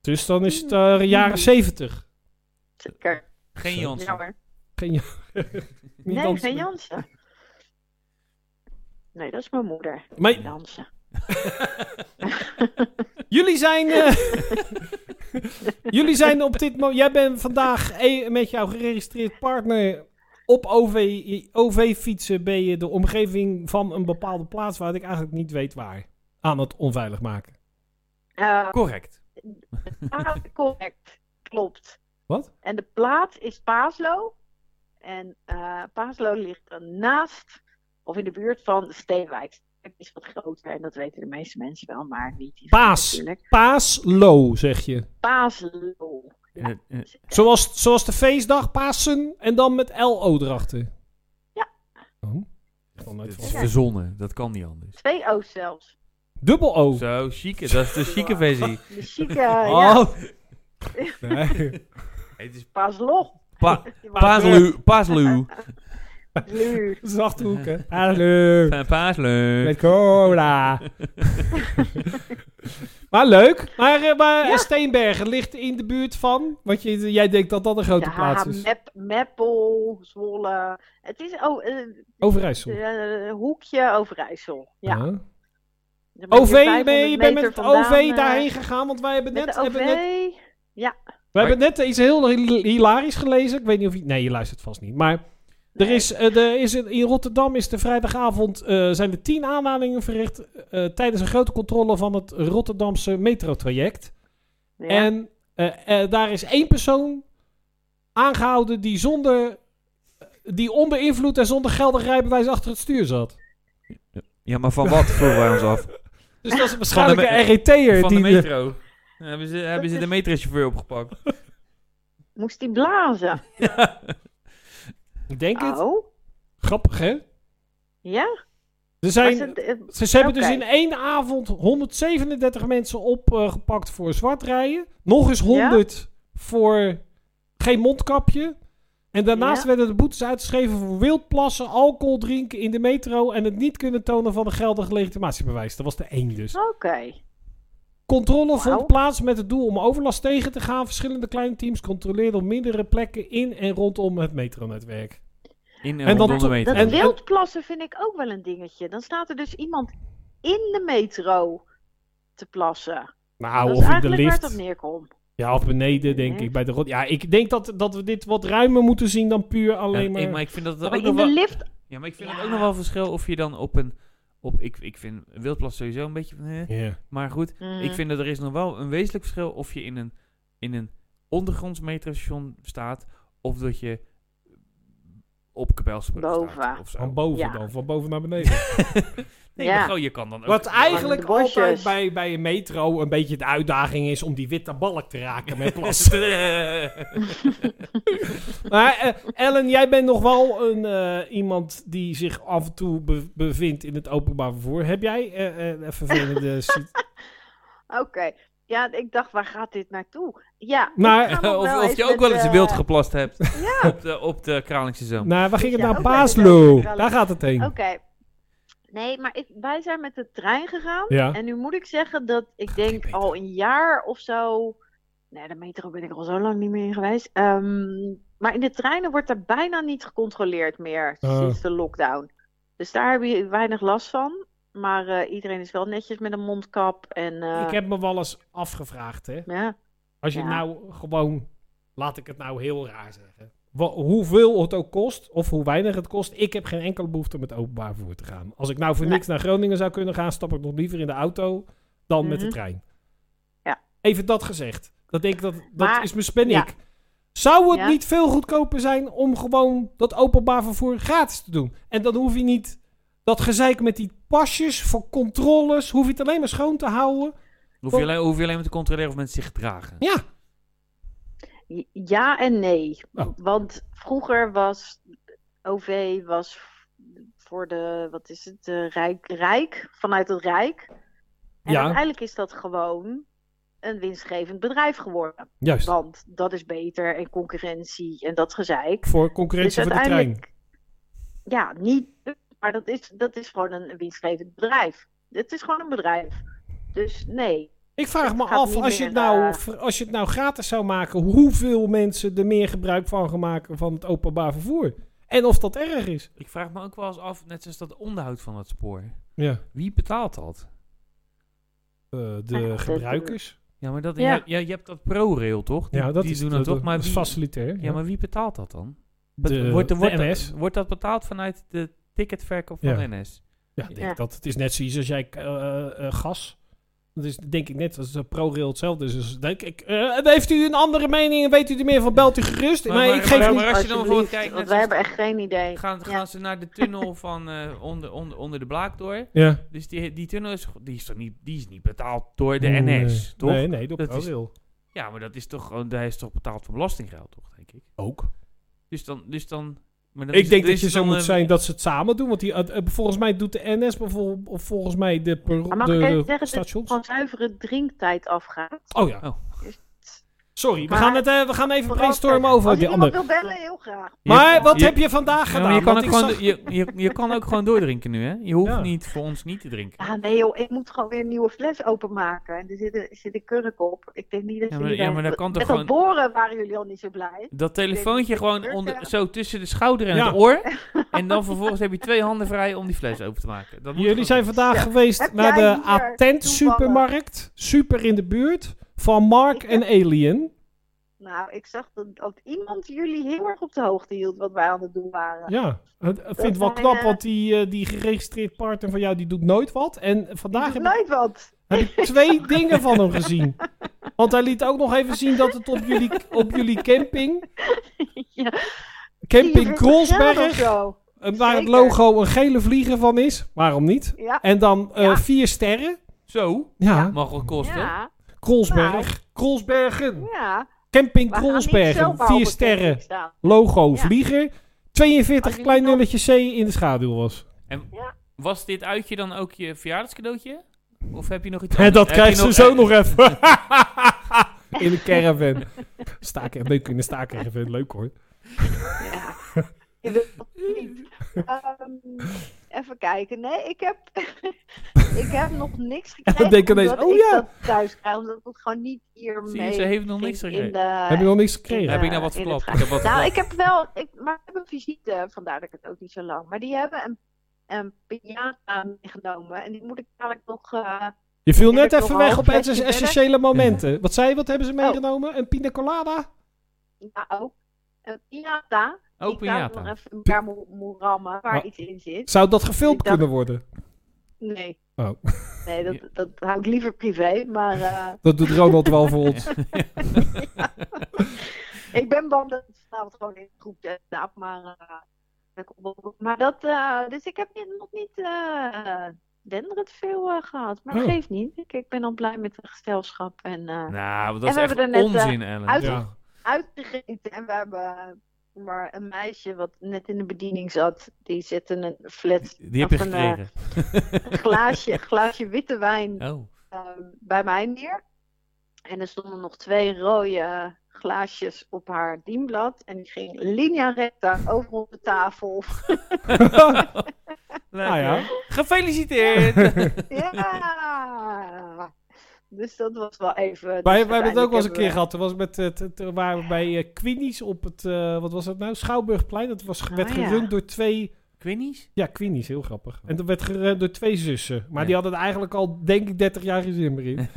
[SPEAKER 1] Dus dan is het
[SPEAKER 6] Hmm.
[SPEAKER 1] eh, jaren zeventig.
[SPEAKER 6] Zeker.
[SPEAKER 2] Geen Jans.
[SPEAKER 6] Jammer.
[SPEAKER 1] Geen... niet
[SPEAKER 6] Nee,
[SPEAKER 1] anders.
[SPEAKER 6] geen Jansen. Nee, dat is mijn moeder.
[SPEAKER 1] Maar
[SPEAKER 6] Jansen.
[SPEAKER 1] Jullie zijn. eh, jullie zijn op dit moment. Jij bent vandaag e- met jouw geregistreerd partner. Op OV- OV-fietsen ben je de omgeving van een bepaalde plaats waar ik eigenlijk niet weet waar. Aan het onveilig maken.
[SPEAKER 6] Eh,
[SPEAKER 2] Correct.
[SPEAKER 6] Ah, correct. Klopt.
[SPEAKER 1] Wat?
[SPEAKER 6] En de plaats is Paaslo. En eh Paaslo ligt dan naast, of in de buurt van Steenwijk. Het is wat groter en dat weten de meeste mensen wel, maar niet iedereen
[SPEAKER 1] Paas.
[SPEAKER 6] natuurlijk.
[SPEAKER 1] Paaslo, zeg je.
[SPEAKER 6] Paaslo.
[SPEAKER 2] In het- in-
[SPEAKER 1] Zoals, zoals de feestdag, Pasen en dan met LO erachter.
[SPEAKER 6] Ja.
[SPEAKER 1] Oh. Ik heb nog nooit
[SPEAKER 2] Het
[SPEAKER 1] van
[SPEAKER 2] is
[SPEAKER 1] gehoord.
[SPEAKER 2] verzonnen. Dat kan niet anders.
[SPEAKER 6] Twee O's zelfs.
[SPEAKER 1] Dubbel O.
[SPEAKER 2] Zo, chique. Dat is de chique versie.
[SPEAKER 6] De chique, eh, ja,
[SPEAKER 1] Oh. Nee.
[SPEAKER 2] Het is
[SPEAKER 6] Paaslo.
[SPEAKER 2] pa paaslu. Paaslu.
[SPEAKER 6] Nu.
[SPEAKER 1] Zachte hoeken. Hallo.
[SPEAKER 2] Eh, Paaslu.
[SPEAKER 1] Met cola. maar leuk. Maar, eh, maar
[SPEAKER 6] Ja.
[SPEAKER 1] Steenbergen ligt in de buurt van. Want je, jij denkt dat dat een grote
[SPEAKER 6] Ja,
[SPEAKER 1] plaats dus. is.
[SPEAKER 6] Mep, Meppel, Zwolle. Het is oh, eh,
[SPEAKER 1] Overijssel.
[SPEAKER 6] eh, hoekje Overijssel. Ja.
[SPEAKER 1] Ah.
[SPEAKER 6] Dan ben je
[SPEAKER 1] OV,
[SPEAKER 6] 500
[SPEAKER 1] ben je, je bent met
[SPEAKER 6] meter
[SPEAKER 1] het
[SPEAKER 6] vandaan,
[SPEAKER 1] OV
[SPEAKER 6] eh,
[SPEAKER 1] daarheen gegaan. Want wij hebben
[SPEAKER 6] Met
[SPEAKER 1] net,
[SPEAKER 6] de OV.
[SPEAKER 1] hebben net, wij hebben net iets heel hil- hilarisch gelezen. Ik weet niet of je. Nee, je luistert vast niet. Maar. Er
[SPEAKER 6] Nee.
[SPEAKER 1] is, eh, er is, een- in Rotterdam is de vrijdagavond eh, zijn er tien aanhalingen verricht eh, tijdens een grote controle van het Rotterdamse metrotraject.
[SPEAKER 6] Ja.
[SPEAKER 1] En eh, eh, daar is één persoon aangehouden die zonder. die onder invloed en zonder geldig rijbewijs achter het stuur zat.
[SPEAKER 2] Ja, maar van wat vroegen wij ons af?
[SPEAKER 1] Dus dat is waarschijnlijk
[SPEAKER 2] Van de me-
[SPEAKER 1] een RET'er.
[SPEAKER 2] Van de
[SPEAKER 1] die
[SPEAKER 2] metro. Hebben ze, hebben ze de metrochauffeur opgepakt?
[SPEAKER 6] Moest hij blazen?
[SPEAKER 1] Ik denk het.
[SPEAKER 6] Oh,
[SPEAKER 1] Grappig, hè?
[SPEAKER 6] ja?
[SPEAKER 1] Er
[SPEAKER 6] Was
[SPEAKER 1] zijn,
[SPEAKER 6] het, eh,
[SPEAKER 1] ze, ze hebben
[SPEAKER 6] Oké.
[SPEAKER 1] dus in één avond 137 mensen opgepakt voor zwartrijden. Nog eens 100 voor geen mondkapje. En daarnaast
[SPEAKER 6] Ja.
[SPEAKER 1] werden de boetes uitgeschreven voor wildplassen, alcohol drinken in de metro en het niet kunnen tonen van een geldig legitimatiebewijs. Dat was de één dus.
[SPEAKER 6] Oké.
[SPEAKER 1] Controle
[SPEAKER 6] Oh, Wauw.
[SPEAKER 1] vond plaats met het doel om overlast tegen te gaan. Verschillende kleine teams controleerden op meerdere plekken in en rondom het metronetwerk.
[SPEAKER 2] In
[SPEAKER 1] En
[SPEAKER 2] en
[SPEAKER 1] dan-
[SPEAKER 2] rondom de
[SPEAKER 6] Dat
[SPEAKER 2] meter.
[SPEAKER 1] En-
[SPEAKER 6] wildplassen vind ik ook wel een dingetje. Dan staat er dus iemand in de metro te plassen.
[SPEAKER 1] Nou,
[SPEAKER 6] dat is
[SPEAKER 1] of in de
[SPEAKER 6] eigenlijk waar
[SPEAKER 1] lift.
[SPEAKER 6] het op neerkomt.
[SPEAKER 1] Ja, of beneden, denk ik. Bij de rot. Ja, ik denk dat, dat we dit wat ruimer moeten zien dan puur alleen
[SPEAKER 2] Ja,
[SPEAKER 1] maar.
[SPEAKER 2] ik, maar ik vind dat er
[SPEAKER 6] Maar
[SPEAKER 2] ook nog
[SPEAKER 6] in de
[SPEAKER 2] wel...
[SPEAKER 6] lift,
[SPEAKER 2] Ja, maar ik vind
[SPEAKER 6] Ja.
[SPEAKER 2] het ook nog wel verschil of je dan op een... Op, ik, ik vind wildplas sowieso een beetje... van, eh,
[SPEAKER 1] Ja.
[SPEAKER 2] Maar goed,
[SPEAKER 6] Mm.
[SPEAKER 2] ik vind dat er is nog wel een wezenlijk verschil of je in een, in een ondergronds metrostation staat of dat je op Kapelspullen staat.
[SPEAKER 6] Boven.
[SPEAKER 2] Of zo.
[SPEAKER 1] Van boven
[SPEAKER 6] Ja.
[SPEAKER 1] dan, van boven naar beneden.
[SPEAKER 2] Nee,
[SPEAKER 6] Ja.
[SPEAKER 2] maar gewoon, je kan dan ook...
[SPEAKER 1] Wat eigenlijk
[SPEAKER 6] de bosjes.
[SPEAKER 1] altijd bij, bij een metro een beetje de uitdaging is om die witte balk te raken met plas. maar eh, Ellen, jij bent nog wel een, eh, iemand die zich af en toe be- bevindt in het openbaar vervoer. Heb jij eh, eh, een vervelende... sit-
[SPEAKER 6] oké. Ja, ik dacht, waar gaat dit naartoe? Ja, ik
[SPEAKER 1] Maar-
[SPEAKER 6] ga nog
[SPEAKER 2] of, of je ook
[SPEAKER 6] met,
[SPEAKER 2] wel eens
[SPEAKER 6] eh,
[SPEAKER 2] wild geplast hebt
[SPEAKER 6] Ja,
[SPEAKER 2] op de, op de Kralingse Zoom.
[SPEAKER 1] nou, waar ging het
[SPEAKER 6] Ja,
[SPEAKER 1] naar?
[SPEAKER 6] ook
[SPEAKER 1] Paaslo.
[SPEAKER 6] bij de-
[SPEAKER 1] Daar gaat het heen.
[SPEAKER 6] oké. Nee, maar ik, wij zijn met de trein gegaan.
[SPEAKER 1] Ja.
[SPEAKER 6] En nu moet ik zeggen dat ik denk al een jaar of zo. Nee, de metro ben ik al zo lang niet meer in geweest. Ehm, maar in de treinen wordt er bijna niet gecontroleerd meer
[SPEAKER 1] Oh.
[SPEAKER 6] sinds de lockdown. Dus daar heb je weinig last van. Maar eh, iedereen is wel netjes met een mondkap. En, eh,
[SPEAKER 1] Ik heb me wel eens afgevraagd, hè.
[SPEAKER 6] ja.
[SPEAKER 1] Als je
[SPEAKER 6] Ja.
[SPEAKER 1] nou gewoon, laat ik het nou heel raar zeggen. Wa- hoeveel het ook kost, of hoe weinig het kost, ik heb geen enkele behoefte om met openbaar vervoer te gaan. Als ik nou voor
[SPEAKER 6] Nee.
[SPEAKER 1] niks naar Groningen zou kunnen gaan, stap ik nog liever in de auto dan met de
[SPEAKER 6] Mhm.
[SPEAKER 1] trein.
[SPEAKER 6] Ja.
[SPEAKER 1] Even dat gezegd. Dat denk ik, dat, dat
[SPEAKER 6] Maar-
[SPEAKER 1] is mijn spanning.
[SPEAKER 6] ja.
[SPEAKER 1] Zou het
[SPEAKER 6] Ja.
[SPEAKER 1] niet veel goedkoper zijn om gewoon dat openbaar vervoer gratis te doen? En dan hoef je niet dat gezeik met die pasjes voor controles, hoef je het alleen maar schoon te houden.
[SPEAKER 2] Hoef je alleen, hoef je alleen maar te controleren of mensen zich gedragen.
[SPEAKER 1] Ja,
[SPEAKER 6] ja en nee.
[SPEAKER 1] Oh.
[SPEAKER 6] Want vroeger was OV was voor de, wat is het, eh, Rijk, Rijk, vanuit het Rijk. En
[SPEAKER 1] Ja.
[SPEAKER 6] uiteindelijk is dat gewoon een winstgevend bedrijf geworden.
[SPEAKER 1] juist.
[SPEAKER 6] Want dat is beter en concurrentie en dat gezeik. Dus
[SPEAKER 1] Voor concurrentie voor de trein.
[SPEAKER 6] ja, niet. Maar dat is, dat is gewoon een winstgevend bedrijf. Het is gewoon een bedrijf. Dus nee.
[SPEAKER 1] Ik vraag
[SPEAKER 6] Het
[SPEAKER 1] me
[SPEAKER 6] gaat
[SPEAKER 1] af,
[SPEAKER 6] niet
[SPEAKER 1] als je, het
[SPEAKER 6] meer,
[SPEAKER 1] nou,
[SPEAKER 6] eh,
[SPEAKER 1] v- als je het nou gratis zou maken, hoeveel mensen er meer gebruik van gaan maken van het openbaar vervoer? En of dat erg is.
[SPEAKER 2] Ik vraag me ook wel eens af, net zoals dat onderhoud van het spoor.
[SPEAKER 1] Ja.
[SPEAKER 2] Wie betaalt dat?
[SPEAKER 1] de
[SPEAKER 6] dat-
[SPEAKER 1] gebruikers.
[SPEAKER 2] Ja, maar dat,
[SPEAKER 6] Ja.
[SPEAKER 2] ja. Ja, je hebt dat ProRail, toch? Die,
[SPEAKER 1] ja, dat
[SPEAKER 2] die
[SPEAKER 1] is,
[SPEAKER 2] doen
[SPEAKER 1] de-
[SPEAKER 2] dat toch?
[SPEAKER 1] de-
[SPEAKER 2] Maar
[SPEAKER 1] dat is
[SPEAKER 2] wie,
[SPEAKER 1] facilitair.
[SPEAKER 2] ja, maar wie betaalt dat dan?
[SPEAKER 1] De-
[SPEAKER 2] wordt,
[SPEAKER 1] de
[SPEAKER 2] wordt,
[SPEAKER 1] NS.
[SPEAKER 2] Dat, wordt dat betaald vanuit de ticketverkoop van
[SPEAKER 1] Ja.
[SPEAKER 2] NS?
[SPEAKER 1] Ja, ik denk
[SPEAKER 6] Ja.
[SPEAKER 1] dat het is net zoiets als jij eh, eh, eh, gas. Dat is denk ik net als de ProRail hetzelfde is. Dus denk ik, eh, heeft u een andere mening en weet u er meer van, belt u gerust. Maar, ik geef
[SPEAKER 2] maar,
[SPEAKER 1] niet...
[SPEAKER 2] maar als je dan bijvoorbeeld
[SPEAKER 6] Alsjeblieft,
[SPEAKER 2] kijkt, net
[SPEAKER 6] want wij
[SPEAKER 2] zoals-
[SPEAKER 6] hebben echt geen idee.
[SPEAKER 2] gaan, gaan
[SPEAKER 6] Ja.
[SPEAKER 2] ze naar de tunnel van eh, onder, onder, onder de blaak door.
[SPEAKER 1] Ja.
[SPEAKER 2] Dus die, die tunnel is, die is, toch niet, die is niet betaald door de
[SPEAKER 1] Nee.
[SPEAKER 2] NS, toch?
[SPEAKER 1] Nee, nee, door
[SPEAKER 2] Dat is-
[SPEAKER 1] ProRail.
[SPEAKER 2] Ja, maar dat is toch, gewoon- hij is toch betaald van belastinggeld, toch, denk ik?
[SPEAKER 1] Ook.
[SPEAKER 2] Dus dan... Dus dan maar dan
[SPEAKER 1] Ik
[SPEAKER 2] is-
[SPEAKER 1] denk
[SPEAKER 2] dan
[SPEAKER 1] dat
[SPEAKER 2] is
[SPEAKER 1] je
[SPEAKER 2] het
[SPEAKER 1] zo
[SPEAKER 2] dan,
[SPEAKER 1] moet
[SPEAKER 2] eh,
[SPEAKER 1] zijn dat ze het samen doen. Want die, eh, eh, volgens mij doet de NS bijvoorbeeld, of volgens mij de, per-
[SPEAKER 6] Maar mag
[SPEAKER 1] de-
[SPEAKER 6] ik even
[SPEAKER 1] de
[SPEAKER 6] zeggen dat het
[SPEAKER 1] stations.
[SPEAKER 6] van zuivere drinktijd afgaat?
[SPEAKER 1] Oh ja.
[SPEAKER 2] Oh.
[SPEAKER 1] Sorry, we
[SPEAKER 6] Maar- Oh,
[SPEAKER 1] gaan, het, eh, we gaan even brainstormen over
[SPEAKER 6] Als
[SPEAKER 1] die
[SPEAKER 6] iemand
[SPEAKER 1] andere.
[SPEAKER 6] wil bellen, heel graag.
[SPEAKER 1] Maar wat
[SPEAKER 2] je-
[SPEAKER 1] heb je vandaag
[SPEAKER 2] Ja,
[SPEAKER 1] gedaan?
[SPEAKER 2] maar je, kan
[SPEAKER 1] Want
[SPEAKER 2] ook
[SPEAKER 1] ik
[SPEAKER 2] gewoon,
[SPEAKER 1] zag-
[SPEAKER 2] je, je, je kan ook gewoon doordrinken nu, hè? Je hoeft
[SPEAKER 1] Ja.
[SPEAKER 2] niet voor ons niet te drinken.
[SPEAKER 6] Ah nee joh, ik moet gewoon weer een nieuwe fles openmaken. En er zit een, zit een kurk op. Ik denk niet dat
[SPEAKER 2] Ja,
[SPEAKER 6] jullie
[SPEAKER 2] maar- ja,
[SPEAKER 6] daar-
[SPEAKER 2] maar dat kan
[SPEAKER 6] Met
[SPEAKER 2] toch
[SPEAKER 6] dat
[SPEAKER 2] gewoon-
[SPEAKER 6] boren waren jullie al niet zo blij.
[SPEAKER 2] Dat telefoontje gewoon onder, zo tussen de schouder en
[SPEAKER 1] Ja.
[SPEAKER 2] het oor. En dan vervolgens heb je twee handen vrij om die fles open te maken. Dat moet
[SPEAKER 1] Jullie zijn
[SPEAKER 2] gewoon-
[SPEAKER 1] vandaag
[SPEAKER 6] Ja.
[SPEAKER 1] geweest
[SPEAKER 6] Heb
[SPEAKER 1] naar
[SPEAKER 6] jij
[SPEAKER 1] de
[SPEAKER 6] hier
[SPEAKER 1] Attent
[SPEAKER 6] toevallig-
[SPEAKER 1] supermarkt. Super in de buurt. Van Mark
[SPEAKER 6] Ik
[SPEAKER 1] en Alien.
[SPEAKER 6] Nou, ik zag dat, dat iemand jullie heel erg op de hoogte hield wat wij aan het doen waren.
[SPEAKER 1] Ja, ik vind het wel
[SPEAKER 6] zijn,
[SPEAKER 1] knap,
[SPEAKER 6] eh,
[SPEAKER 1] want die, eh, die geregistreerd partner van jou, die doet nooit wat. En vandaag
[SPEAKER 6] Ik
[SPEAKER 1] heb
[SPEAKER 6] doe
[SPEAKER 1] ik
[SPEAKER 6] nooit wat.
[SPEAKER 1] heb ik twee dingen van hem gezien. Want hij liet ook nog even zien dat het op jullie, op jullie camping,
[SPEAKER 6] Ja,
[SPEAKER 1] camping
[SPEAKER 6] 43 graden of
[SPEAKER 1] Krolsberg,
[SPEAKER 6] zo.
[SPEAKER 1] eh, waar het
[SPEAKER 6] Zeker.
[SPEAKER 1] logo een gele vlieger van is, waarom niet?
[SPEAKER 6] Ja.
[SPEAKER 1] En dan eh,
[SPEAKER 6] Ja.
[SPEAKER 1] vier sterren.
[SPEAKER 2] Zo,
[SPEAKER 1] Ja,
[SPEAKER 2] mag wel kosten.
[SPEAKER 6] Ja,
[SPEAKER 1] Krolsberg. Krolsbergen.
[SPEAKER 6] ja.
[SPEAKER 1] Camping
[SPEAKER 6] Nou. We gaan niet zomaar
[SPEAKER 1] Kronsbergen,
[SPEAKER 6] op een
[SPEAKER 1] 4
[SPEAKER 6] camping
[SPEAKER 1] sterren,
[SPEAKER 6] staan.
[SPEAKER 1] logo,
[SPEAKER 6] Ja.
[SPEAKER 1] vlieger.
[SPEAKER 6] Als
[SPEAKER 1] 42
[SPEAKER 6] je
[SPEAKER 1] klein
[SPEAKER 6] die nog-
[SPEAKER 1] nulletje C in de schaduw was.
[SPEAKER 2] Was dit uitje dan ook je verjaardagscadeautje? Of heb je nog iets
[SPEAKER 1] En
[SPEAKER 2] anders?
[SPEAKER 1] dat
[SPEAKER 2] Heb
[SPEAKER 1] krijgt
[SPEAKER 2] je
[SPEAKER 1] ze zo
[SPEAKER 2] eh,
[SPEAKER 1] nog even. in de caravan. Staker, leuk in de stakerven, leuk hoor.
[SPEAKER 6] Ja. Je wilt dat niet. Ehm, even kijken. Nee, ik heb, ik heb nog niks gekregen.
[SPEAKER 1] Denk ineens,
[SPEAKER 6] omdat
[SPEAKER 1] oh
[SPEAKER 6] ik
[SPEAKER 1] ja.
[SPEAKER 6] dat thuis krijg, omdat ik het gewoon niet hiermee...
[SPEAKER 2] Zie je, ze heeft nog niks
[SPEAKER 6] ging
[SPEAKER 2] gekregen.
[SPEAKER 6] in de-
[SPEAKER 1] Heb je nog niks
[SPEAKER 6] in,
[SPEAKER 1] gekregen?
[SPEAKER 2] Heb ik
[SPEAKER 6] eh,
[SPEAKER 2] nou wat
[SPEAKER 6] in het
[SPEAKER 2] verklapt? Ik
[SPEAKER 6] raam.
[SPEAKER 2] heb wat verklapt.
[SPEAKER 6] Nou, ik heb wel, ik, maar ik heb een visite, vandaar dat ik het ook niet zo lang. Maar die hebben een, een piñata meegenomen en die moet ik dadelijk nog. eh,
[SPEAKER 1] Je viel
[SPEAKER 6] Ik
[SPEAKER 1] net
[SPEAKER 6] heb nog
[SPEAKER 1] even
[SPEAKER 6] een Oh.
[SPEAKER 1] weg op
[SPEAKER 6] half flesje
[SPEAKER 1] ess-
[SPEAKER 6] verder.
[SPEAKER 1] essentiële momenten. Wat zei je, wat hebben ze meegenomen? Een pina colada?
[SPEAKER 6] ja, ook een piñata.
[SPEAKER 2] Ook
[SPEAKER 6] die ik dadelijk
[SPEAKER 2] Oh, piñata.
[SPEAKER 6] nog even in elkaar moet, moet rammen waar
[SPEAKER 1] Ah.
[SPEAKER 6] iets in zit.
[SPEAKER 1] Zou dat gefilmd
[SPEAKER 6] Ik dacht-
[SPEAKER 1] kunnen worden?
[SPEAKER 6] Nee.
[SPEAKER 1] Oh.
[SPEAKER 6] Nee, dat, dat hou ik liever privé. Maar eh,
[SPEAKER 1] Dat doet Ronald wel voor ons.
[SPEAKER 6] ik ben bang dat het vanavond gewoon in de groep eh, staat. Maar, eh, dat komt wel goed. maar dat, eh, dus ik heb hier nog niet eh denderend veel eh, gehad. Maar dat
[SPEAKER 1] Oh.
[SPEAKER 6] geeft niet. Ik, ik ben al blij met het gestelschap. En, eh,
[SPEAKER 2] Nou, dat
[SPEAKER 6] En
[SPEAKER 2] is
[SPEAKER 6] we
[SPEAKER 2] echt
[SPEAKER 6] hebben er net, eh,
[SPEAKER 2] onzin, Ellen.
[SPEAKER 6] uit-
[SPEAKER 1] Ja.
[SPEAKER 6] uitgegeten. En we hebben eh, maar een meisje wat net in de bediening zat. Die zette een flat,
[SPEAKER 2] Die heb je
[SPEAKER 6] of een, eh,
[SPEAKER 2] gekregen.
[SPEAKER 6] een glaasje, een glaasje witte wijn
[SPEAKER 2] Oh.
[SPEAKER 6] eh, bij mij neer. En er stonden nog twee rode glaasjes op haar dienblad. En die ging linea recta over op de tafel.
[SPEAKER 1] Ah
[SPEAKER 2] Lekker.
[SPEAKER 1] ja.
[SPEAKER 2] Gefeliciteerd!
[SPEAKER 6] ja! Dus dat was wel even...
[SPEAKER 1] Wij,
[SPEAKER 6] dus
[SPEAKER 1] wij hebben het ook wel eens een
[SPEAKER 6] uiteindelijk
[SPEAKER 1] keer gehad. Toen was het met, het- het- toen waren we bij eh, Queenies op het, eh, wat was dat nou? Schouwburgplein. Dat was, werd
[SPEAKER 6] Oh, ja.
[SPEAKER 1] gerund door twee,
[SPEAKER 2] Quinnies?
[SPEAKER 1] ja Queenies, heel grappig. En dat werd gerund door twee zussen. Maar
[SPEAKER 2] Ja.
[SPEAKER 1] die hadden er eigenlijk al, denk ik, 30 jaar geen zin meer in.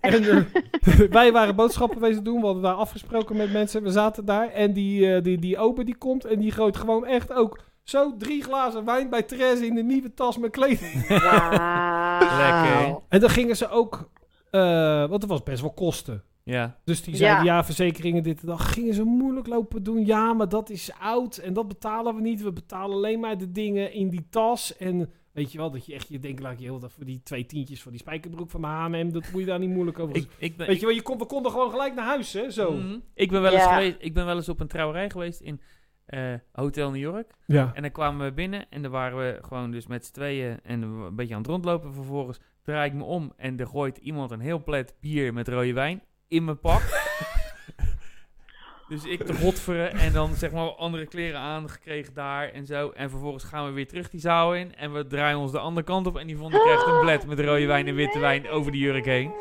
[SPEAKER 1] en eh, wij waren boodschappen bezig doen. We hadden daar afgesproken met mensen. We zaten daar en die, eh, die, die ober die komt en die gooit gewoon echt ook zo drie glazen wijn bij Therese in de nieuwe tas met kleding.
[SPEAKER 6] Wauw.
[SPEAKER 2] Lekker.
[SPEAKER 1] En dan gingen ze ook, eh, want dat was best wel kosten.
[SPEAKER 2] Ja.
[SPEAKER 1] Dus die
[SPEAKER 6] Ja.
[SPEAKER 1] zeiden, ja, verzekeringen dit en dat. Gingen ze moeilijk lopen doen. Ja, maar dat is oud en dat betalen we niet. We betalen alleen maar de dingen in die tas. En weet je wel, dat je echt je denkt, laat ik je heel dat voor die twee tientjes voor die spijkerbroek van mijn H&M, dat moet je daar niet moeilijk over
[SPEAKER 2] Ik, ik ben,
[SPEAKER 1] Weet je wel, je kon, we konden gewoon gelijk naar huis, hè, zo.
[SPEAKER 2] Mhm. Ik ben wel eens
[SPEAKER 6] Ja.
[SPEAKER 2] geweest, ik ben wel eens op een trouwerij geweest in eh, Hotel New York.
[SPEAKER 1] Ja.
[SPEAKER 2] En dan kwamen we binnen en dan waren we gewoon dus met z'n tweeën en we een beetje aan het rondlopen. Vervolgens draai ik me om en er gooit iemand een heel plet bier met rode wijn in mijn pak. dus ik te godveren en dan zeg maar andere kleren aangekregen daar en zo. En vervolgens gaan we weer terug die zaal in en we draaien ons de andere kant op. En die vond ik echt een plet met rode wijn en witte wijn over de jurk heen.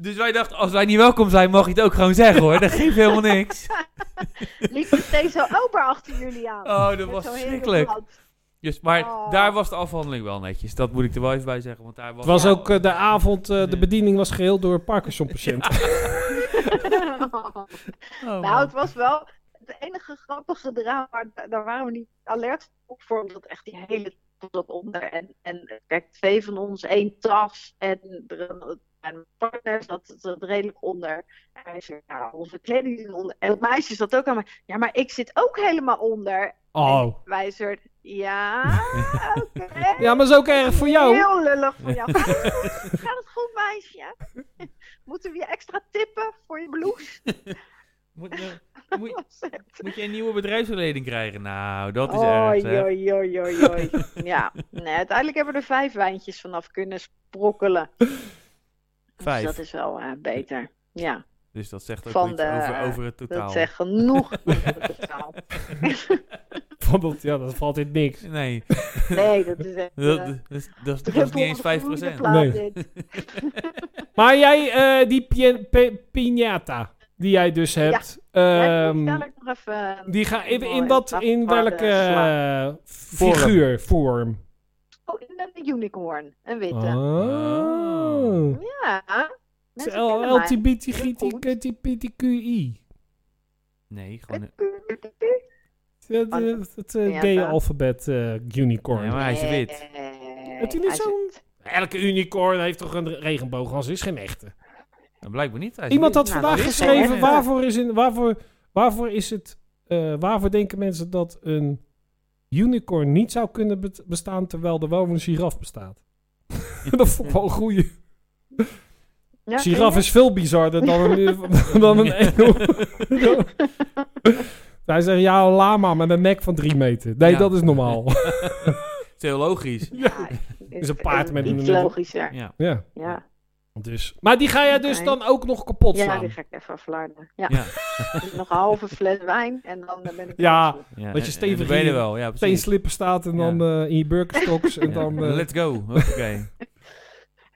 [SPEAKER 2] Dus wij dachten, als wij niet welkom zijn, mag je het ook gewoon zeggen hoor. Dat geeft helemaal niks.
[SPEAKER 6] Liep meteen zo open achter jullie aan.
[SPEAKER 2] Oh, dat
[SPEAKER 6] Met
[SPEAKER 2] was
[SPEAKER 6] zo'n hele
[SPEAKER 2] verschrikkelijk.
[SPEAKER 6] blad.
[SPEAKER 2] Dus, maar
[SPEAKER 6] Oh.
[SPEAKER 2] daar was de afhandeling wel netjes. Dat moet ik er wel even bij zeggen. Want daar was,
[SPEAKER 1] Het was ook eh, de avond, eh, de
[SPEAKER 2] Ja.
[SPEAKER 1] bediening was geheel door Parkinson-patiënten.
[SPEAKER 2] Oh,
[SPEAKER 6] nou,
[SPEAKER 2] man.
[SPEAKER 6] het was wel het enige grappige eraan, maar da- daar waren we niet alert op voor, omdat echt die hele tas zat onder. En, en kijk, twee van ons, één tas en er- mijn partner zat er zat redelijk onder. En hij zei, nou, onze kleding zit onder. En het meisje zat ook aan mij, ja, maar ik zit ook helemaal onder.
[SPEAKER 1] Oh.
[SPEAKER 6] En wij zeiden, ja, oké.
[SPEAKER 1] Ja, maar dat is ook erg voor jou.
[SPEAKER 6] Heel lullig van jou. Gaat het goed? Gaat het goed, meisje? Moeten we je extra tippen voor je blouse?
[SPEAKER 2] Moet, je- moet, moet je een nieuwe bedrijfsverlening krijgen? Nou, dat is
[SPEAKER 6] oh,
[SPEAKER 2] erg. hè.
[SPEAKER 6] joi, joi, joi, joi. ja, nee, uiteindelijk hebben we er vijf wijntjes vanaf kunnen sprokkelen.
[SPEAKER 2] Vijf.
[SPEAKER 6] Dus dat is wel eh, beter. Ja,
[SPEAKER 2] Dus dat zegt ook
[SPEAKER 6] Van
[SPEAKER 2] iets
[SPEAKER 6] de-
[SPEAKER 2] over, over het
[SPEAKER 6] dat
[SPEAKER 2] totaal.
[SPEAKER 6] zegt genoeg. over het totaal.
[SPEAKER 1] Van dat- ja, dat valt in niks.
[SPEAKER 2] Nee,
[SPEAKER 6] nee, dat is echt...
[SPEAKER 2] dat,
[SPEAKER 6] eh,
[SPEAKER 2] dat, is- dat is- dat is
[SPEAKER 6] druppel
[SPEAKER 2] niet eens
[SPEAKER 6] op de
[SPEAKER 2] 5
[SPEAKER 6] gloeiende
[SPEAKER 2] procent.
[SPEAKER 6] plaat
[SPEAKER 1] Nee.
[SPEAKER 6] dit.
[SPEAKER 1] Maar jij, eh, die pien- pi- piñata die jij dus hebt,
[SPEAKER 6] Ja, ik
[SPEAKER 1] ehm,
[SPEAKER 6] moet dadelijk nog even... eh,
[SPEAKER 1] die ga in, in
[SPEAKER 6] mooi,
[SPEAKER 1] dat,
[SPEAKER 6] dat
[SPEAKER 1] in
[SPEAKER 6] waren
[SPEAKER 1] welke
[SPEAKER 6] sla-
[SPEAKER 1] eh, figuur, vorm?
[SPEAKER 6] Oh, en een unicorn. Een witte.
[SPEAKER 1] Oh.
[SPEAKER 6] Ja.
[SPEAKER 1] Het
[SPEAKER 6] mensen
[SPEAKER 1] is oh, L-
[SPEAKER 6] kennen mij.
[SPEAKER 1] LGBTQI.
[SPEAKER 2] Nee, gewoon... een-
[SPEAKER 1] Het, eh, Het eh, gay
[SPEAKER 6] Piñata.
[SPEAKER 1] alfabet eh,
[SPEAKER 2] Nee,
[SPEAKER 1] unicorn.
[SPEAKER 2] maar Oh, hij is wit.
[SPEAKER 6] Nee,
[SPEAKER 1] Heeft hij niet
[SPEAKER 6] hij is-
[SPEAKER 1] zo'n- Elke unicorn heeft toch een regenboogans, is geen echte.
[SPEAKER 2] Nou, blijkbaar niet. Hij is
[SPEAKER 1] Iemand
[SPEAKER 2] wit.
[SPEAKER 1] had
[SPEAKER 6] Nou,
[SPEAKER 1] vandaag
[SPEAKER 6] dat is wel
[SPEAKER 1] geschreven,
[SPEAKER 6] erg.
[SPEAKER 1] waarvoor is, in, waarvoor, waarvoor is het, eh, waarvoor denken mensen dat een unicorn niet zou kunnen bet- bestaan, terwijl er wel een giraf bestaat? dat vond ik wel een goeie.
[SPEAKER 6] Ja,
[SPEAKER 1] Giraf is veel bizarder dan een, dan een engel. Hij zegt, ja, een lama met een nek van drie meter. Nee,
[SPEAKER 2] Ja.
[SPEAKER 1] dat is normaal.
[SPEAKER 2] is heel logisch.
[SPEAKER 1] is een paard met
[SPEAKER 6] Iets
[SPEAKER 1] een-
[SPEAKER 6] logischer,
[SPEAKER 2] Ja.
[SPEAKER 1] ja,
[SPEAKER 6] ja.
[SPEAKER 1] dus. Maar die ga jij dus
[SPEAKER 6] Oké.
[SPEAKER 1] dan ook nog kapot
[SPEAKER 6] Ja,
[SPEAKER 1] slaan.
[SPEAKER 6] die ga ik even aflarden. Ja. Dus
[SPEAKER 2] Ja.
[SPEAKER 6] Nog een halve fles wijn en dan eh, ben ik...
[SPEAKER 1] Ja,
[SPEAKER 2] Ja,
[SPEAKER 1] je
[SPEAKER 2] en-
[SPEAKER 1] stevig
[SPEAKER 2] en dan ben je
[SPEAKER 1] hier
[SPEAKER 2] er wel, ja, precies.
[SPEAKER 1] Twee slippen staat en dan eh, in je burgerstoks. En
[SPEAKER 2] Ja.
[SPEAKER 1] dan, eh,
[SPEAKER 2] Let's go. Oké.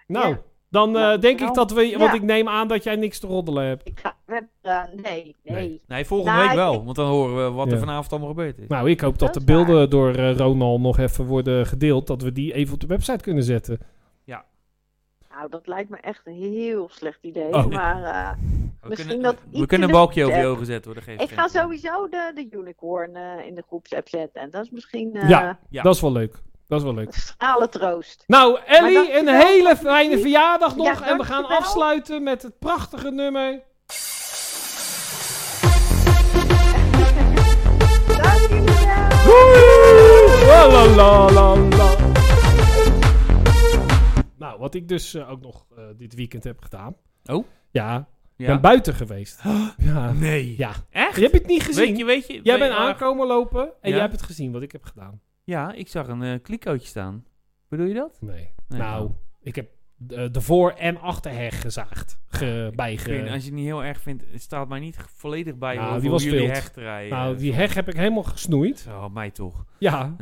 [SPEAKER 1] nou,
[SPEAKER 6] Ja.
[SPEAKER 1] dan eh,
[SPEAKER 6] Nou,
[SPEAKER 1] denk
[SPEAKER 6] nou.
[SPEAKER 1] ik dat we... Want
[SPEAKER 6] Ja.
[SPEAKER 1] ik neem aan dat jij niks te roddelen hebt.
[SPEAKER 6] Ik ga met... eh, nee, nee.
[SPEAKER 2] Nee, volgende
[SPEAKER 6] Nou,
[SPEAKER 2] week
[SPEAKER 6] ik-
[SPEAKER 2] wel, want dan horen we wat
[SPEAKER 1] Ja.
[SPEAKER 2] er vanavond allemaal gebeurd is.
[SPEAKER 1] Nou, ik hoop dat
[SPEAKER 6] Dat
[SPEAKER 1] de
[SPEAKER 6] is waar.
[SPEAKER 1] beelden door eh, Ronald nog even worden gedeeld. Dat we die even op de website kunnen zetten.
[SPEAKER 6] Nou, dat lijkt me echt een heel slecht idee.
[SPEAKER 1] Oh.
[SPEAKER 6] Maar eh,
[SPEAKER 2] we
[SPEAKER 6] misschien
[SPEAKER 2] kunnen,
[SPEAKER 6] dat
[SPEAKER 2] we
[SPEAKER 6] iets
[SPEAKER 2] kunnen een
[SPEAKER 6] in de-
[SPEAKER 2] balkje over je ogen zetten, hoor. dat geeft
[SPEAKER 6] ik
[SPEAKER 2] geen
[SPEAKER 6] ga
[SPEAKER 2] probleem.
[SPEAKER 6] sowieso de, de unicorn eh, in de groepsapp zetten. En dat is misschien eh
[SPEAKER 1] Ja.
[SPEAKER 2] Ja.
[SPEAKER 1] Dat is wel leuk. Dat is wel leuk.
[SPEAKER 6] stralen troost.
[SPEAKER 1] Nou, Ellie, een
[SPEAKER 6] dankjewel.
[SPEAKER 1] hele fijne verjaardag nog. en we gaan
[SPEAKER 6] dankjewel.
[SPEAKER 1] afsluiten met het prachtige nummer.
[SPEAKER 6] Dank jullie eh. wel.
[SPEAKER 1] La, la, la, la, la. Nou, wat ik dus eh, ook nog eh, dit weekend heb gedaan.
[SPEAKER 2] Oh?
[SPEAKER 1] Ja, ik
[SPEAKER 2] Ja.
[SPEAKER 1] ben buiten geweest. Ja.
[SPEAKER 2] Nee.
[SPEAKER 1] ja.
[SPEAKER 2] Echt?
[SPEAKER 1] Je hebt het niet gezien.
[SPEAKER 2] Weet je, weet je...
[SPEAKER 1] Jij
[SPEAKER 2] weet-
[SPEAKER 1] bent
[SPEAKER 2] ah,
[SPEAKER 1] aankomen lopen en
[SPEAKER 2] Ja.
[SPEAKER 1] jij hebt het gezien wat ik heb gedaan.
[SPEAKER 2] Ja, ik zag een eh klikootje staan. Bedoel je dat?
[SPEAKER 1] Nee.
[SPEAKER 2] Nee.
[SPEAKER 1] nou, ik heb eh, de voor- en achterheg gezaagd. Ge,
[SPEAKER 2] Ik vind,
[SPEAKER 1] bijge...
[SPEAKER 2] als je het niet heel erg vindt, het staat mij niet volledig bij
[SPEAKER 1] eh, Nou,
[SPEAKER 2] over
[SPEAKER 1] die
[SPEAKER 2] hoe
[SPEAKER 1] was
[SPEAKER 2] jullie
[SPEAKER 1] wild.
[SPEAKER 2] hecht rijden.
[SPEAKER 1] Nou, die heg heb ik helemaal gesnoeid.
[SPEAKER 2] Zo, mij toch.
[SPEAKER 1] Ja.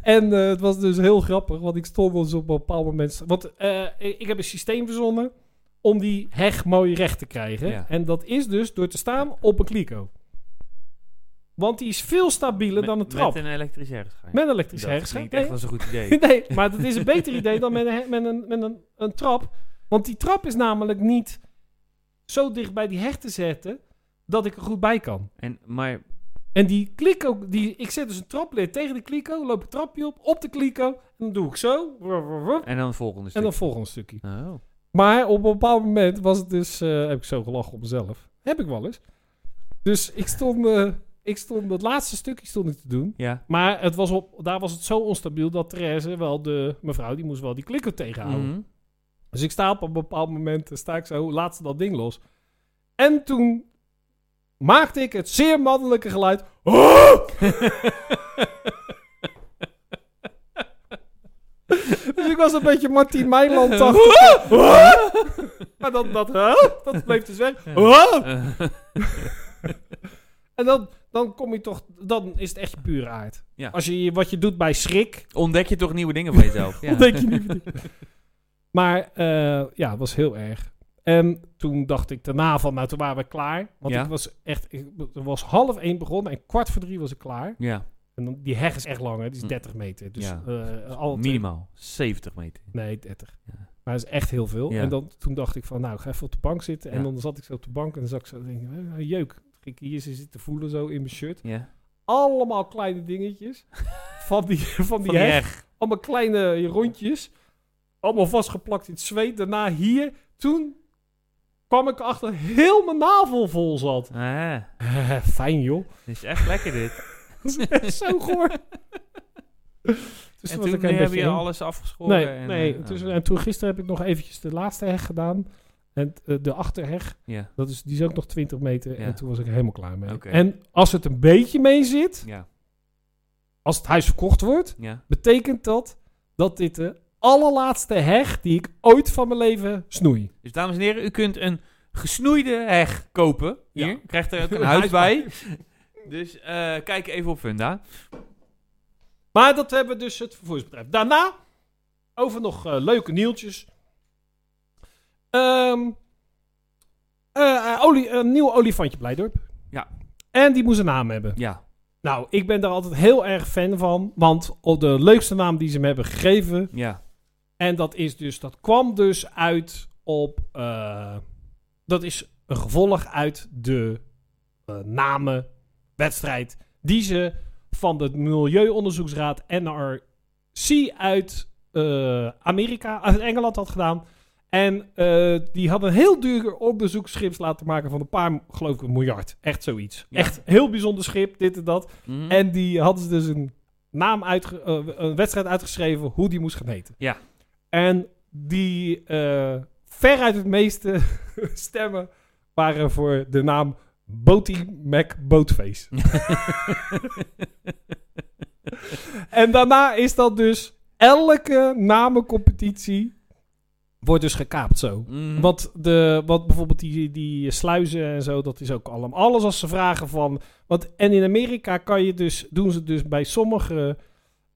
[SPEAKER 1] en eh, het was dus heel grappig, want ik stond dus op een bepaald moment... Want eh, ik ik heb een systeem verzonnen om die heg mooi recht te krijgen.
[SPEAKER 2] Ja.
[SPEAKER 1] En dat is dus door te staan op een kliko. Want die is veel stabieler
[SPEAKER 2] Met-
[SPEAKER 1] dan een trap.
[SPEAKER 2] Met
[SPEAKER 1] Met
[SPEAKER 2] een elektrisch hersenschuim.
[SPEAKER 1] een, elektrisch
[SPEAKER 2] Dat
[SPEAKER 1] hersenschuim.
[SPEAKER 2] klinkt echt als een goed idee.
[SPEAKER 1] Nee. nee, maar dat is een beter idee dan met, een, he- met, een, met een, een trap. Want die trap is namelijk niet zo dicht bij die heg te zetten dat ik er goed bij kan.
[SPEAKER 2] En, maar
[SPEAKER 1] En die kliko, die, ik zet dus een traplid tegen de kliko, loop een trapje op, op de kliko. En dan doe ik zo. wup, wup, wup,
[SPEAKER 2] En dan het volgende
[SPEAKER 1] En
[SPEAKER 2] stuk.
[SPEAKER 1] dan volgend stukje.
[SPEAKER 2] Oh.
[SPEAKER 1] Maar op een bepaald moment was het dus, eh, heb ik zo gelachen op mezelf. Heb ik wel eens. Dus ik stond, eh, ik stond dat laatste stukje stond ik te doen.
[SPEAKER 2] Ja.
[SPEAKER 1] Maar het was op, daar was het zo onstabiel dat Therese wel de mevrouw, die moest wel die kliko tegenhouden.
[SPEAKER 2] Mhm.
[SPEAKER 1] Dus ik sta op een bepaald moment, eh, sta ik zo, laat ze dat ding los. En toen maakte ik het zeer mannelijke geluid. dus ik was een beetje Martien Meiland Maar dat, dat, huh? dat bleef dus weg.
[SPEAKER 2] Eh,
[SPEAKER 1] en dan, dan kom je toch, dan is het echt je pure aard.
[SPEAKER 2] Ja.
[SPEAKER 1] Als je je- wat je doet bij schrik,
[SPEAKER 2] Ontdek je toch nieuwe dingen van jezelf. Ja.
[SPEAKER 1] Ontdek je niet. maar eh, ja, het was heel erg. En toen dacht ik daarna van, nou toen waren we klaar. Want
[SPEAKER 2] Ja.
[SPEAKER 1] ik was echt, ik was half één begonnen en kwart voor drie was ik klaar.
[SPEAKER 2] Ja,
[SPEAKER 1] En dan, die heg is echt lang, hè? die is
[SPEAKER 2] Hm.
[SPEAKER 1] 30 meter. Dus
[SPEAKER 2] Ja.
[SPEAKER 1] eh, alle twee-
[SPEAKER 2] minimaal 70 meter.
[SPEAKER 1] Nee, 30.
[SPEAKER 2] Ja.
[SPEAKER 1] Maar dat is echt heel veel.
[SPEAKER 2] Ja.
[SPEAKER 1] En dan, toen dacht ik van, nou, ik ga even op de bank zitten. En
[SPEAKER 2] Ja.
[SPEAKER 1] dan zat ik zo op de bank en dan zat ik zo, denk ik, eh, jeuk. Toen ging Ik hier zitten voelen zo in mijn shirt.
[SPEAKER 2] Ja.
[SPEAKER 1] Allemaal kleine dingetjes van die, van die
[SPEAKER 2] Van die
[SPEAKER 1] heg.
[SPEAKER 2] heg.
[SPEAKER 1] Allemaal kleine rondjes. Allemaal vastgeplakt in het zweet. Daarna hier. Toen kwam ik achter heel mijn navel vol zat.
[SPEAKER 2] Ah,
[SPEAKER 1] fijn joh.
[SPEAKER 2] dit is echt lekker dit.
[SPEAKER 1] Dat is echt zo goor. Dus
[SPEAKER 2] en
[SPEAKER 1] was
[SPEAKER 2] toen
[SPEAKER 1] ik een
[SPEAKER 2] heb
[SPEAKER 1] beetje
[SPEAKER 2] je
[SPEAKER 1] eng.
[SPEAKER 2] alles afgeschoren.
[SPEAKER 1] Nee,
[SPEAKER 2] en,
[SPEAKER 1] nee.
[SPEAKER 2] eh,
[SPEAKER 1] dus-
[SPEAKER 2] oh.
[SPEAKER 1] en toen gisteren heb ik nog eventjes de laatste heg gedaan. En eh, de achterheg,
[SPEAKER 2] Ja,
[SPEAKER 1] dat is, die is ook nog 20 meter.
[SPEAKER 2] Ja.
[SPEAKER 1] En toen was ik er helemaal klaar mee.
[SPEAKER 2] Oké.
[SPEAKER 1] En als het een beetje mee zit,
[SPEAKER 2] ja,
[SPEAKER 1] als het huis verkocht wordt,
[SPEAKER 2] ja.
[SPEAKER 1] betekent dat dat dit de allerlaatste heg die ik ooit van mijn leven snoei.
[SPEAKER 2] Dus dames en heren, u kunt een gesnoeide heg kopen. Hier,
[SPEAKER 1] Ja.
[SPEAKER 2] krijgt er ook een huis bij. Dus eh, kijk even op Funda.
[SPEAKER 1] Maar dat hebben we dus het vervoersbedrijf. Daarna, over nog eh, leuke nieuwtjes. Ehm eh, eh, olie, een nieuw olifantje Blijdorp.
[SPEAKER 2] Ja.
[SPEAKER 1] En die moest een naam hebben.
[SPEAKER 2] Ja,
[SPEAKER 1] Nou, ik ben daar altijd heel erg fan van. Want op de leukste naam die ze hem hebben gegeven.
[SPEAKER 2] ja.
[SPEAKER 1] En dat, is dus, dat kwam dus uit op... eh, dat is een gevolg uit de eh, namenwedstrijd... die ze van de Milieuonderzoeksraad NRC uit eh, Amerika, uit Engeland had gedaan. En eh, die hadden een heel duur onderzoeksschip laten maken van een paar, geloof ik, een miljard. Echt zoiets.
[SPEAKER 2] Ja.
[SPEAKER 1] Echt heel bijzonder schip, dit en dat.
[SPEAKER 2] Mhm.
[SPEAKER 1] En die hadden ze dus een naam uitge- eh, een wedstrijd uitgeschreven hoe die moest gaan heten.
[SPEAKER 2] Ja.
[SPEAKER 1] En die eh, veruit het meeste stemmen waren voor de naam Boaty Mac Boatface. en daarna is dat dus elke namencompetitie wordt dus gekaapt zo.
[SPEAKER 2] Mhm.
[SPEAKER 1] Want, de, want bijvoorbeeld die, die sluizen en zo, dat is ook allemaal alles als ze vragen van. Want, en in Amerika kan je dus, doen ze dus bij sommige.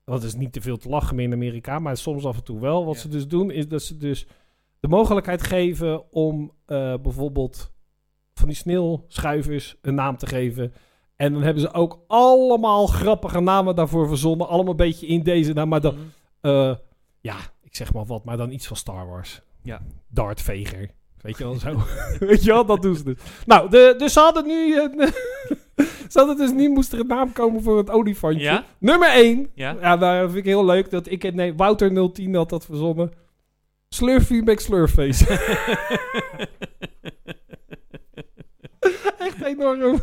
[SPEAKER 1] Dat is niet te veel te lachen meer in Amerika, maar soms af en toe wel. Wat
[SPEAKER 2] Ja.
[SPEAKER 1] ze dus doen, is dat ze dus de mogelijkheid geven om eh, bijvoorbeeld van die sneeuwschuivers een naam te geven. En dan hebben ze ook allemaal grappige namen daarvoor verzonnen. Allemaal een beetje in deze naam, maar dan
[SPEAKER 2] Mhm.
[SPEAKER 1] eh, ja, ik zeg maar wat, maar dan iets van Star Wars.
[SPEAKER 2] Ja.
[SPEAKER 1] Darth Vader. Weet je wel, zo. Weet je wel, dat doen ze dus. Nou, de, dus ze hadden nu... een- ze hadden dus nu moest er een naam komen voor het olifantje.
[SPEAKER 2] Ja?
[SPEAKER 1] Nummer 1.
[SPEAKER 2] Ja.
[SPEAKER 1] ja nou, dat vind ik heel leuk. Dat ik, nee, Wouter 010 had dat verzonnen. Slurfy McSlurface. Echt enorm.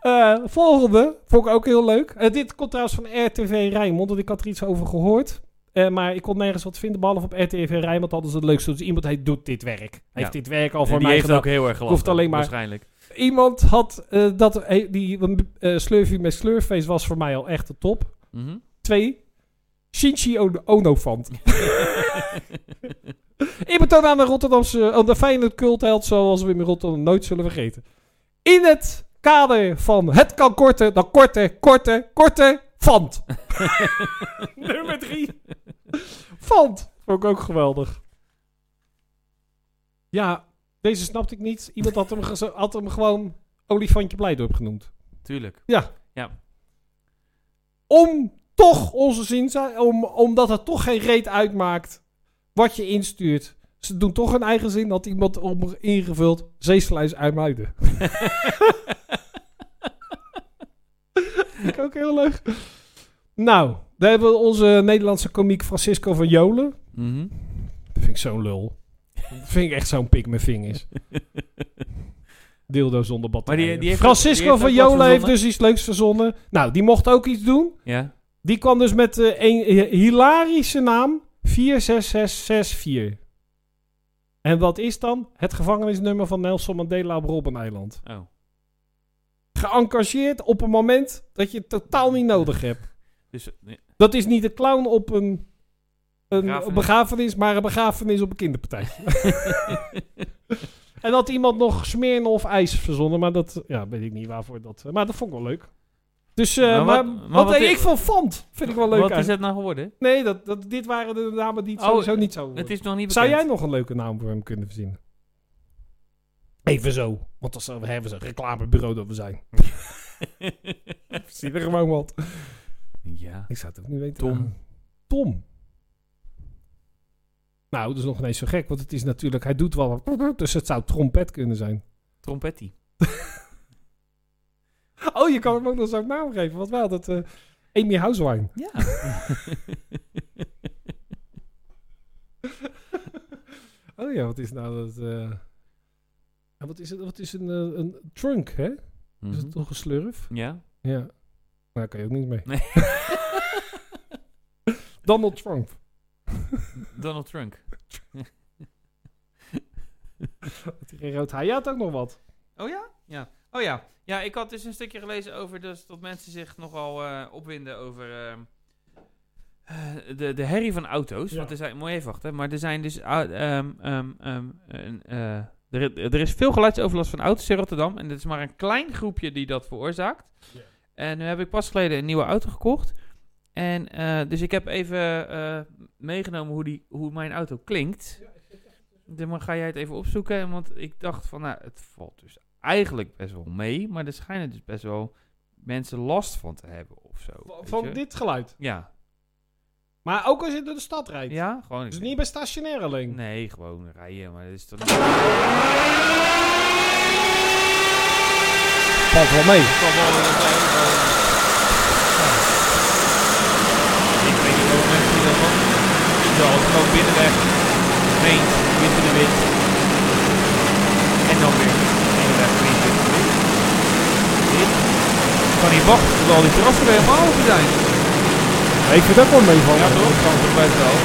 [SPEAKER 1] Eh, volgende vond ik ook heel leuk. Eh, dit komt trouwens van RTV Rijnmond, want ik had er iets over gehoord. Eh, maar ik kon nergens wat vinden, behalve op RTV Rijnmond hadden ze het leukste. Dus iemand heet doet dit werk. Heeft dit werk al voor
[SPEAKER 2] die
[SPEAKER 1] mij
[SPEAKER 2] heeft
[SPEAKER 1] gedaan.
[SPEAKER 2] ook heel erg gelachen.
[SPEAKER 1] Hoeft alleen maar-
[SPEAKER 2] Waarschijnlijk.
[SPEAKER 1] Iemand had eh, dat, eh, die eh Slurfy met Slurface was voor mij al echt de top.
[SPEAKER 2] Mhm.
[SPEAKER 1] Twee. Shinji On- Onofant. Eerbetoon aan de Rotterdamse, aan de Feyenoord cultheld, zoals we hem in Rotterdam nooit zullen vergeten. In het kader van het kan korten, dan korten, korten, korten, Fant. Nummer drie. Fant. Vond ik ook geweldig. Ja, deze snapte ik niet. Iemand had hem, geze- had hem gewoon Olifantje Blijdorp genoemd
[SPEAKER 2] Tuurlijk.
[SPEAKER 1] om toch onze zin zijn, om, omdat het toch geen reet uitmaakt wat je instuurt. Ze doen toch hun eigen zin, had iemand om ingevuld zeesluis IJmuiden. Vind ik ook heel leuk. Nou, daar hebben we onze Nederlandse komiek Francisco van Jolen.
[SPEAKER 2] Mhm.
[SPEAKER 1] Dat vind ik zo'n lul. Dat vind ik echt zo'n pik met vingers. Dildo zonder batterij.
[SPEAKER 2] Maar die- die heeft
[SPEAKER 1] Francisco
[SPEAKER 2] ook- die
[SPEAKER 1] van
[SPEAKER 2] heeft ook wat
[SPEAKER 1] Jolen heeft
[SPEAKER 2] verzonnen.
[SPEAKER 1] dus iets leuks verzonnen. Nou, die mocht ook iets doen.
[SPEAKER 2] Ja.
[SPEAKER 1] Die kwam dus met eh, een eh, hilarische naam 46664. En wat is dan? Het gevangenisnummer van Nelson Mandela op Robben-eiland.
[SPEAKER 2] Oh.
[SPEAKER 1] Geëngageerd op een moment dat je het totaal niet nodig hebt.
[SPEAKER 2] Dus, nee.
[SPEAKER 1] Dat is niet een clown op een, een
[SPEAKER 2] Begrafenis.
[SPEAKER 1] begrafenis, maar een begrafenis op een kinderpartij. en had iemand nog smeren of ijs verzonnen, maar dat ja, weet ik niet waarvoor dat. eh, Maar dat vond ik wel leuk. Dus, eh,
[SPEAKER 2] Maar
[SPEAKER 1] maar,
[SPEAKER 2] wat-
[SPEAKER 1] wat,
[SPEAKER 2] maar wat
[SPEAKER 1] eh,
[SPEAKER 2] i-
[SPEAKER 1] ik vond Fant, vind ik wel leuk.
[SPEAKER 2] Wat is
[SPEAKER 1] eigenlijk.
[SPEAKER 2] dat nou geworden?
[SPEAKER 1] Nee, dat, dat, dit waren de namen die het
[SPEAKER 2] Oh,
[SPEAKER 1] sowieso niet zouden
[SPEAKER 2] Het
[SPEAKER 1] worden.
[SPEAKER 2] is nog niet
[SPEAKER 1] Zou
[SPEAKER 2] bekend.
[SPEAKER 1] jij nog een leuke naam voor hem kunnen verzinnen? Even zo. Want dan zouden we hebben ze een reclamebureau dat we zijn. Zie er gewoon wat.
[SPEAKER 2] ja.
[SPEAKER 1] Ik zou het ook niet weten.
[SPEAKER 2] Tom.
[SPEAKER 1] Tom. Nou, dat is nog niet eens zo gek. Want het is natuurlijk... Hij doet wel... wat- Dus het zou trompet kunnen zijn.
[SPEAKER 2] Trompetti.
[SPEAKER 1] Oh, je kan hem ook nog zo'n naam geven. Wat wel, dat... eh, Amy Housewine.
[SPEAKER 2] Ja. Mhm.
[SPEAKER 1] Oh ja, wat is nou dat... eh, en Wat is, het, wat is een, eh, een trunk, hè? Is
[SPEAKER 2] Mhm.
[SPEAKER 1] het toch een slurf?
[SPEAKER 2] Ja.
[SPEAKER 1] Ja. Maar daar kan je ook niet mee.
[SPEAKER 2] Nee.
[SPEAKER 1] Donald Trump.
[SPEAKER 2] Donald Trump.
[SPEAKER 1] Had hij geen rood haar? Ja, had ook nog wat.
[SPEAKER 2] Oh ja? Ja. Oh ja. Ja, ik had dus een stukje gelezen over dus dat mensen zich nogal eh, opwinden over ehm, eh, de, de herrie van auto's.
[SPEAKER 1] Ja.
[SPEAKER 2] Want er zijn, moet je even wachten, maar er zijn dus... au- ehm, ehm, ehm, een, eh, er, er is veel geluidsoverlast van auto's in Rotterdam. En het is maar een klein groepje die dat veroorzaakt. En nu heb ik pas geleden een nieuwe auto gekocht. En eh, dus ik heb even eh, meegenomen hoe, die, hoe mijn auto klinkt.
[SPEAKER 1] eh,
[SPEAKER 2] Dus Dan mag- ga jij het even opzoeken. En Want ik dacht van, nou, het valt dus eigenlijk best wel mee. Maar er schijnen dus best wel mensen last van te hebben of zo. weet je?
[SPEAKER 1] Van dit geluid.
[SPEAKER 2] Ja.
[SPEAKER 1] Maar ook als je door de stad rijdt.
[SPEAKER 2] Ja, gewoon.
[SPEAKER 1] Dus niet bij stationair alleen.
[SPEAKER 2] Nee, gewoon rijden. Maar dat is toch
[SPEAKER 1] Valt wel mee.
[SPEAKER 2] Ik weet niet wat mensen die daarvan die zal het gewoon binnenweg. Meent, witte de wit. En dan weer binnenweg, meent, witte de wit. Dit. Ik kan niet wachten tot al die terrassen weer helemaal open zijn.
[SPEAKER 1] Ik vind dat wel mee van.
[SPEAKER 2] toch? Kan toch best wel. Ik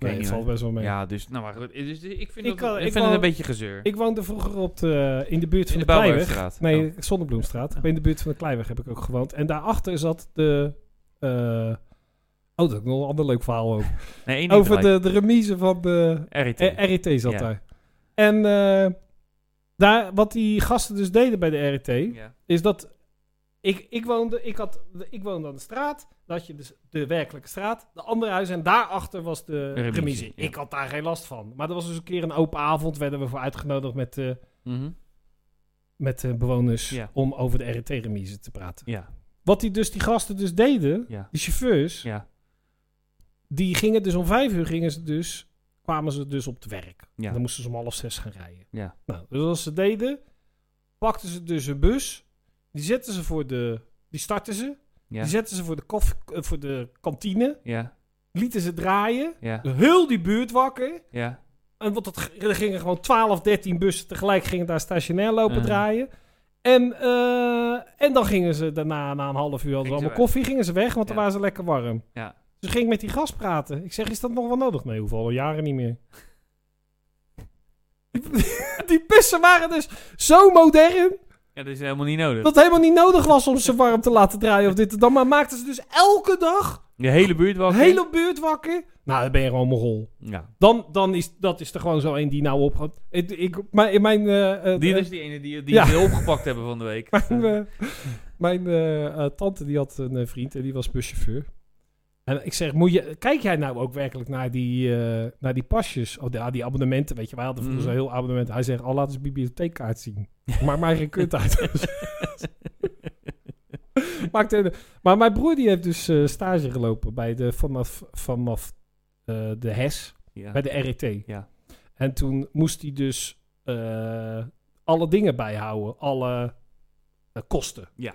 [SPEAKER 1] Nee,
[SPEAKER 2] weet
[SPEAKER 1] het
[SPEAKER 2] niet.
[SPEAKER 1] valt
[SPEAKER 2] hoor.
[SPEAKER 1] best wel mee.
[SPEAKER 2] Ja, dus, nou maar goed. Dus ik vind,
[SPEAKER 1] Ik
[SPEAKER 2] dat,
[SPEAKER 1] kan-
[SPEAKER 2] ik
[SPEAKER 1] ik
[SPEAKER 2] vind het
[SPEAKER 1] wou-
[SPEAKER 2] een beetje gezeur.
[SPEAKER 1] Ik woonde vroeger op de, in de buurt van
[SPEAKER 2] in de
[SPEAKER 1] de, Kleiweg.
[SPEAKER 2] Bouwbergstraat.
[SPEAKER 1] Nee,
[SPEAKER 2] Oh.
[SPEAKER 1] Zonnebloemstraat. In de buurt van de Kleiweg heb ik ook gewoond. En daarachter zat de... eh, oh, dat is nog een ander leuk verhaal ook.
[SPEAKER 2] nee één
[SPEAKER 1] Over de, de remise van de
[SPEAKER 2] RIT.
[SPEAKER 1] eh, RET zat
[SPEAKER 2] Ja.
[SPEAKER 1] daar. En eh, daar, wat die gasten dus deden bij de RET...
[SPEAKER 2] Ja.
[SPEAKER 1] is dat ik, ik woonde, ik had, ik woonde aan de straat, dan had je dus de werkelijke straat, de andere huis en daarachter was de
[SPEAKER 2] Remise,
[SPEAKER 1] remise.
[SPEAKER 2] ja.
[SPEAKER 1] Ik had daar geen last van. Maar er was dus een keer een open avond, werden we voor uitgenodigd met, eh,
[SPEAKER 2] Mhm.
[SPEAKER 1] met de bewoners
[SPEAKER 2] Ja.
[SPEAKER 1] om over de RET-remise te praten.
[SPEAKER 2] ja,
[SPEAKER 1] Wat die dus die gasten dus deden,
[SPEAKER 2] ja,
[SPEAKER 1] die chauffeurs,
[SPEAKER 2] ja,
[SPEAKER 1] die gingen dus om vijf uur gingen ze dus, kwamen ze dus op het werk.
[SPEAKER 2] Ja.
[SPEAKER 1] Dan moesten ze om half zes gaan rijden.
[SPEAKER 2] ja.
[SPEAKER 1] Nou, dus als ze deden, pakten ze dus een bus. Die zetten ze voor de. Die startten ze.
[SPEAKER 2] Ja.
[SPEAKER 1] Die zetten ze voor de, koffie, eh, voor de kantine.
[SPEAKER 2] Ja,
[SPEAKER 1] Lieten ze draaien.
[SPEAKER 2] ja,
[SPEAKER 1] Heel die buurt wakker.
[SPEAKER 2] ja.
[SPEAKER 1] En want dat, g- er gingen gewoon 12, 13 bussen tegelijk gingen daar stationair lopen
[SPEAKER 2] Eh.
[SPEAKER 1] draaien. En, eh, en dan gingen ze daarna, na een half uur, hadden
[SPEAKER 2] Gingen
[SPEAKER 1] ze
[SPEAKER 2] ze
[SPEAKER 1] allemaal
[SPEAKER 2] weg.
[SPEAKER 1] koffie, gingen ze weg, want dan
[SPEAKER 2] Ja.
[SPEAKER 1] waren ze lekker warm.
[SPEAKER 2] Ja.
[SPEAKER 1] Dus ging ik met die gast praten. Ik zeg, is dat nog wel nodig? Nee, hoeveel al jaren niet meer. die bussen waren dus zo modern.
[SPEAKER 2] Ja, dat is helemaal niet nodig.
[SPEAKER 1] Dat het helemaal niet nodig was om ze warm te laten draaien of dit en dat. Maar maakten ze dus elke dag
[SPEAKER 2] Je hele buurt wel.
[SPEAKER 1] de hele buurt wakker. Nou, dan ben je gewoon mogol.
[SPEAKER 2] Ja.
[SPEAKER 1] Dan, dan is dat is er gewoon zo één die nou opgaat. Ik, ik, mijn, mijn, eh, eh,
[SPEAKER 2] Die dus-
[SPEAKER 1] eh,
[SPEAKER 2] is die ene die, die
[SPEAKER 1] Ja.
[SPEAKER 2] we opgepakt hebben van de week.
[SPEAKER 1] mijn, eh, mijn, eh, eh, tante die had een eh, vriend en die was buschauffeur. En ik zeg, moet je, kijk jij nou ook werkelijk naar die, eh, naar die pasjes? Of ja, die abonnementen, weet je. Wij hadden vroeger
[SPEAKER 2] Mhm.
[SPEAKER 1] zo'n heel abonnement. Hij zegt, al laat eens een bibliotheekkaart zien. Maak maar geen kut uit. Maakt even- maar mijn broer die heeft dus eh, stage gelopen bij de, vanaf, vanaf eh, de HES.
[SPEAKER 2] ja.
[SPEAKER 1] Bij de RET.
[SPEAKER 2] Ja.
[SPEAKER 1] En toen moest hij dus eh, alle dingen bijhouden. Alle eh, kosten.
[SPEAKER 2] Ja.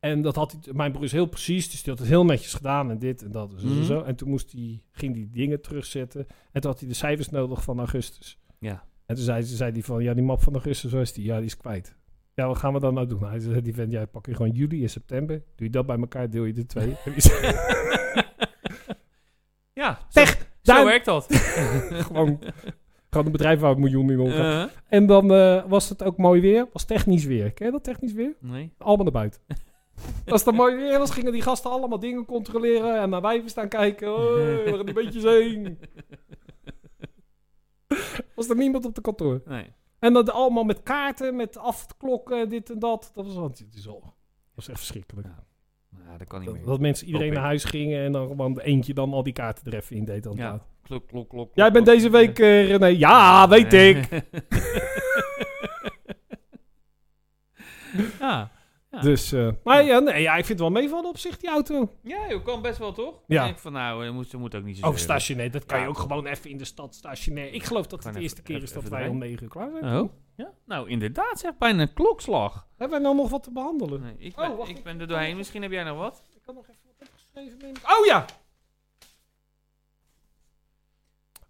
[SPEAKER 1] En dat had hij, mijn broer is heel precies, dus die had het heel netjes gedaan en dit en dat en zo. en
[SPEAKER 2] Mhm.
[SPEAKER 1] zo. En toen moest hij, ging hij dingen terugzetten. En toen had hij de cijfers nodig van augustus.
[SPEAKER 2] Ja.
[SPEAKER 1] En toen zei, zei hij van, ja die map van augustus, zo is die? Ja, die is kwijt. Ja, wat gaan we dan nou doen? Nou, hij zei, die vent, jij pak je gewoon juli en september. Doe je dat bij elkaar, deel je de twee. En die zei,
[SPEAKER 2] ja, zo,
[SPEAKER 1] Pech,
[SPEAKER 2] zo
[SPEAKER 1] daar-
[SPEAKER 2] werkt dat.
[SPEAKER 1] gewoon, gewoon een bedrijf waar een miljoen in omgaat.
[SPEAKER 2] Eh,
[SPEAKER 1] En dan eh, was het ook mooi weer. Was technisch weer. Ken je dat technisch weer?
[SPEAKER 2] nee.
[SPEAKER 1] Allemaal naar buiten. Als het mooi weer was, gingen die gasten allemaal dingen controleren. En naar wijven staan kijken. Hoi, we gaan een beetje heen. Was er niemand op de kantoor.
[SPEAKER 2] Nee.
[SPEAKER 1] En dat allemaal met kaarten, met afklokken, dit en dat. Dat was, want het is al, dat was echt verschrikkelijk.
[SPEAKER 2] Nou, dat kan niet
[SPEAKER 1] Dat,
[SPEAKER 2] meer.
[SPEAKER 1] dat mensen iedereen
[SPEAKER 2] Hoop ik.
[SPEAKER 1] naar huis gingen en dan gewoon eentje dan al die kaarten er even in deed. aan het
[SPEAKER 2] Ja.
[SPEAKER 1] laat.
[SPEAKER 2] Klok, klok, klok.
[SPEAKER 1] Jij bent
[SPEAKER 2] klok.
[SPEAKER 1] deze week eh, René. Ja, weet ik.
[SPEAKER 2] ja. Ja.
[SPEAKER 1] Dus, eh, maar ja, nee, ja, ik vind het wel meevallen op zich, die auto.
[SPEAKER 2] ja, joh, kan best wel toch?
[SPEAKER 1] Ja.
[SPEAKER 2] Ik denk van nou, dat moet, dat moet ook niet zo.
[SPEAKER 1] Over
[SPEAKER 2] zeuren.
[SPEAKER 1] Oh, stationair, dat kan
[SPEAKER 2] Ja.
[SPEAKER 1] je ook gewoon even in de stad stationair. Ik geloof dat het
[SPEAKER 2] Gewoon
[SPEAKER 1] de
[SPEAKER 2] even-
[SPEAKER 1] eerste keer is
[SPEAKER 2] even-
[SPEAKER 1] dat
[SPEAKER 2] even
[SPEAKER 1] wij om
[SPEAKER 2] erbij.
[SPEAKER 1] 9 uur klaar zijn.
[SPEAKER 2] Oh. Ja? Nou, inderdaad, zeg bijna een klokslag.
[SPEAKER 1] Hebben wij nou nog wat te behandelen?
[SPEAKER 2] Nee, ik,
[SPEAKER 1] Oh,
[SPEAKER 2] ben,
[SPEAKER 1] wacht,
[SPEAKER 2] ik
[SPEAKER 1] ik-
[SPEAKER 2] ben er doorheen. Misschien heb jij nog wat?
[SPEAKER 1] Ik had nog even wat opgeschreven. denk ik. Oh ja!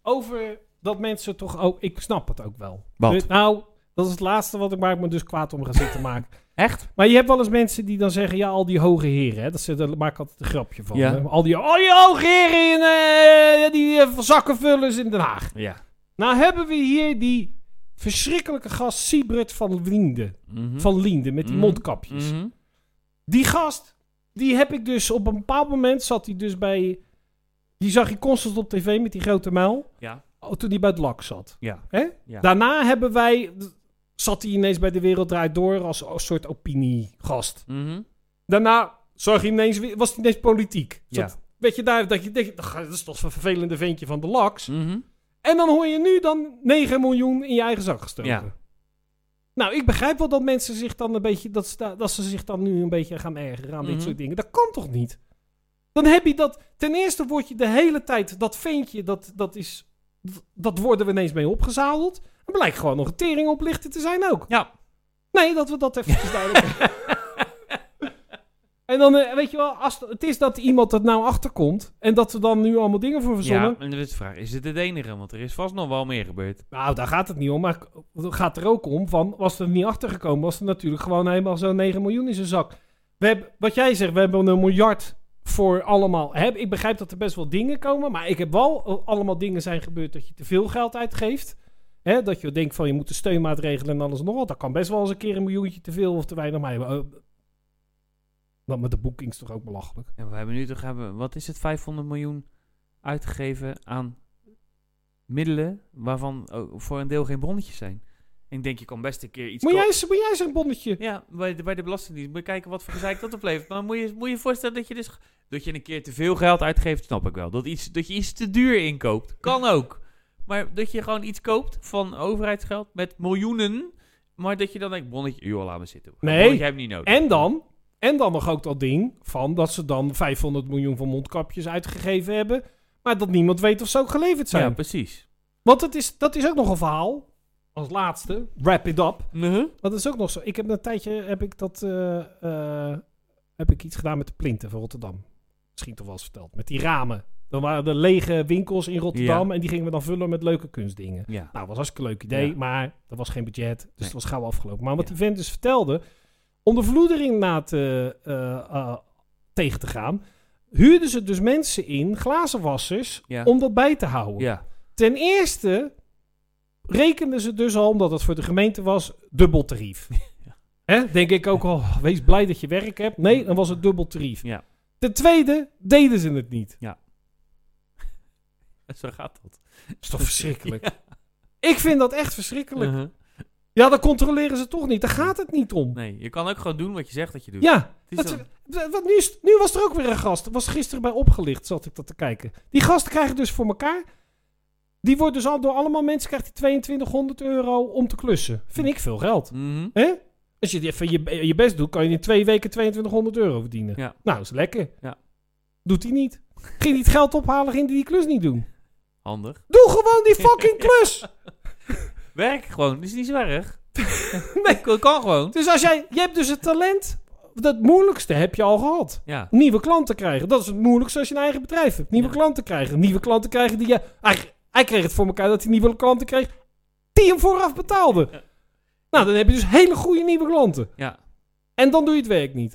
[SPEAKER 1] Over dat mensen toch ook... Ik snap het ook wel.
[SPEAKER 2] Wat?
[SPEAKER 1] Dus, nou, dat is het laatste wat ik waar ik me dus kwaad om ga zitten maken.
[SPEAKER 2] Echt?
[SPEAKER 1] Maar je hebt wel eens mensen die dan zeggen, ja, al die hoge heren. Hè, dat ze, daar maak ik altijd een grapje van.
[SPEAKER 2] Ja.
[SPEAKER 1] hè. Al, die, al die hoge heren, in, eh, die eh, zakkenvullers in Den Haag.
[SPEAKER 2] Ja.
[SPEAKER 1] Nou hebben we hier die verschrikkelijke gast Siebert van Liende.
[SPEAKER 2] Mhm.
[SPEAKER 1] Van Liende met die
[SPEAKER 2] Mhm.
[SPEAKER 1] mondkapjes.
[SPEAKER 2] Mhm.
[SPEAKER 1] Die gast, die heb ik dus op een bepaald moment zat hij dus bij. Die zag ik constant op tv met die grote muil.
[SPEAKER 2] Ja.
[SPEAKER 1] Oh, Toen hij bij het lak zat.
[SPEAKER 2] Ja.
[SPEAKER 1] Hè?
[SPEAKER 2] Ja.
[SPEAKER 1] Daarna hebben wij. Zat hij ineens bij de Wereld Draait Door als, als soort opiniegast.
[SPEAKER 2] Mhm.
[SPEAKER 1] Daarna zag hij ineens, weer- was hij ineens politiek.
[SPEAKER 2] Ja.
[SPEAKER 1] Zat- weet je, daar, dat je denkt, "Ach, dat is toch een vervelende ventje van de laks.
[SPEAKER 2] Mhm.
[SPEAKER 1] En dan hoor je nu dan 9 miljoen in je eigen zak gestoken.
[SPEAKER 2] Ja.
[SPEAKER 1] Nou, ik begrijp wel dat mensen zich dan een beetje. dat ze, da- dat ze zich dan nu een beetje gaan ergeren aan
[SPEAKER 2] Mhm.
[SPEAKER 1] dit soort dingen. Dat kan toch niet? Dan heb je dat. Ten eerste word je de hele tijd. dat ventje, dat, dat is. dat- dat worden we ineens mee opgezadeld. En blijkt gewoon nog een tering oplichter te zijn ook.
[SPEAKER 2] Ja.
[SPEAKER 1] Nee, dat we dat even duidelijk. En dan, eh, weet je wel, als het is dat iemand dat nou achterkomt. en dat we dan nu allemaal dingen voor verzonnen.
[SPEAKER 2] Ja, en dan is de vraag, is het het enige? Want er is vast nog wel meer gebeurd.
[SPEAKER 1] Nou, daar gaat het niet om. Maar het gaat er ook om van... was er niet achtergekomen... was er natuurlijk gewoon helemaal zo'n 9 miljoen in zijn zak. We hebben, wat jij zegt, we hebben een miljard voor allemaal heb. Ik begrijp dat er best wel dingen komen, maar ik heb wel eh, allemaal dingen zijn gebeurd dat je te veel geld uitgeeft. Hè, dat je denkt van je moet de steunmaatregelen en alles en nog wat. Dat kan best wel eens een keer een miljoentje te veel of te weinig. Maar eh, dat met de boekings toch ook belachelijk.
[SPEAKER 2] Ja, we hebben nu toch hebben, wat is het, 500 miljoen uitgegeven aan middelen waarvan oh, voor een deel geen bonnetjes zijn. Ik denk, je kan best een keer iets...
[SPEAKER 1] Moet
[SPEAKER 2] ko-
[SPEAKER 1] jij, eens- moet jij eens een bonnetje?
[SPEAKER 2] Ja, bij de, bij de Belastingdienst. Moet je kijken wat voor gezeik dat oplevert. Maar moet je moet je voorstellen dat je dus... Dat je een keer te veel geld uitgeeft, snap ik wel. Dat, iets, dat je iets te duur inkoopt. Kan ook. Maar dat je gewoon iets koopt van overheidsgeld met miljoenen. Maar dat je dan denkt, bonnetje, joh, laat me zitten.
[SPEAKER 1] Nee.
[SPEAKER 2] Bonnetje heb ik niet nodig.
[SPEAKER 1] En dan, en dan nog ook dat ding van dat ze dan 500 miljoen van mondkapjes uitgegeven hebben. Maar dat niemand weet of ze ook geleverd zijn.
[SPEAKER 2] Ja, precies.
[SPEAKER 1] Want dat is, dat is ook nog een verhaal. Als laatste, wrap it up. Dat is ook nog zo. Ik heb een tijdje heb ik dat, eh, eh, heb ik iets gedaan met de plinten van Rotterdam. Misschien toch wel eens verteld. Met die ramen. Dan waren er lege winkels in Rotterdam. En die gingen we dan vullen met leuke kunstdingen.
[SPEAKER 2] Ja.
[SPEAKER 1] Nou, was hartstikke leuk idee,
[SPEAKER 2] Ja.
[SPEAKER 1] maar er was geen budget. Dus
[SPEAKER 2] Nee.
[SPEAKER 1] het was gauw afgelopen. Maar wat
[SPEAKER 2] Ja.
[SPEAKER 1] die vent dus vertelde, om de vloedering na te, eh, eh, tegen te gaan, huurden ze dus mensen in, glazenwassers,
[SPEAKER 2] Ja.
[SPEAKER 1] om dat bij te houden.
[SPEAKER 2] Ja.
[SPEAKER 1] Ten eerste rekenden ze dus al, omdat het voor de gemeente was, dubbel tarief. Hè? Denk ik ook al, "Oh, wees blij dat je werk hebt. Nee, dan was het dubbel tarief.
[SPEAKER 2] Ja.
[SPEAKER 1] Ten tweede deden ze het niet.
[SPEAKER 2] Zo gaat dat.
[SPEAKER 1] Dat is toch verschrikkelijk? Ik vind dat echt verschrikkelijk.
[SPEAKER 2] Mhm.
[SPEAKER 1] Ja, dan controleren ze toch niet. Daar gaat het niet om.
[SPEAKER 2] Nee, je kan ook gewoon doen wat je zegt dat je doet.
[SPEAKER 1] Ja,
[SPEAKER 2] Het is
[SPEAKER 1] wat,
[SPEAKER 2] dan-
[SPEAKER 1] wat- wat, nu, is- nu was er ook weer een gast. Was gisteren bij opgelicht, zat ik dat te kijken. Die gasten krijgen dus voor elkaar. Die wordt dus al door allemaal mensen krijgt die 2200 euro om te klussen. Vind ik veel geld.
[SPEAKER 2] Mhm.
[SPEAKER 1] Hè? Als je even je, je best doet, kan je in twee weken 2200 euro verdienen.
[SPEAKER 2] Ja.
[SPEAKER 1] Nou, is lekker.
[SPEAKER 2] Ja.
[SPEAKER 1] Doet hij niet. Ging hij het geld ophalen, ging hij die klus niet doen.
[SPEAKER 2] Handig.
[SPEAKER 1] Doe gewoon die fucking klus!
[SPEAKER 2] Werk gewoon, dat is niet zo erg. nee, kan, kan gewoon.
[SPEAKER 1] Dus als jij, je hebt dus het talent. Dat moeilijkste heb je al gehad.
[SPEAKER 2] Ja.
[SPEAKER 1] nieuwe klanten krijgen. Dat is het moeilijkste als je een eigen bedrijf hebt. Nieuwe
[SPEAKER 2] Ja.
[SPEAKER 1] klanten krijgen. Nieuwe klanten krijgen die je... Hij, hij kreeg het voor elkaar dat hij nieuwe klanten kreeg die hem vooraf betaalde. Nou, dan heb je dus hele goede nieuwe klanten.
[SPEAKER 2] Ja,
[SPEAKER 1] En dan doe je het werk niet.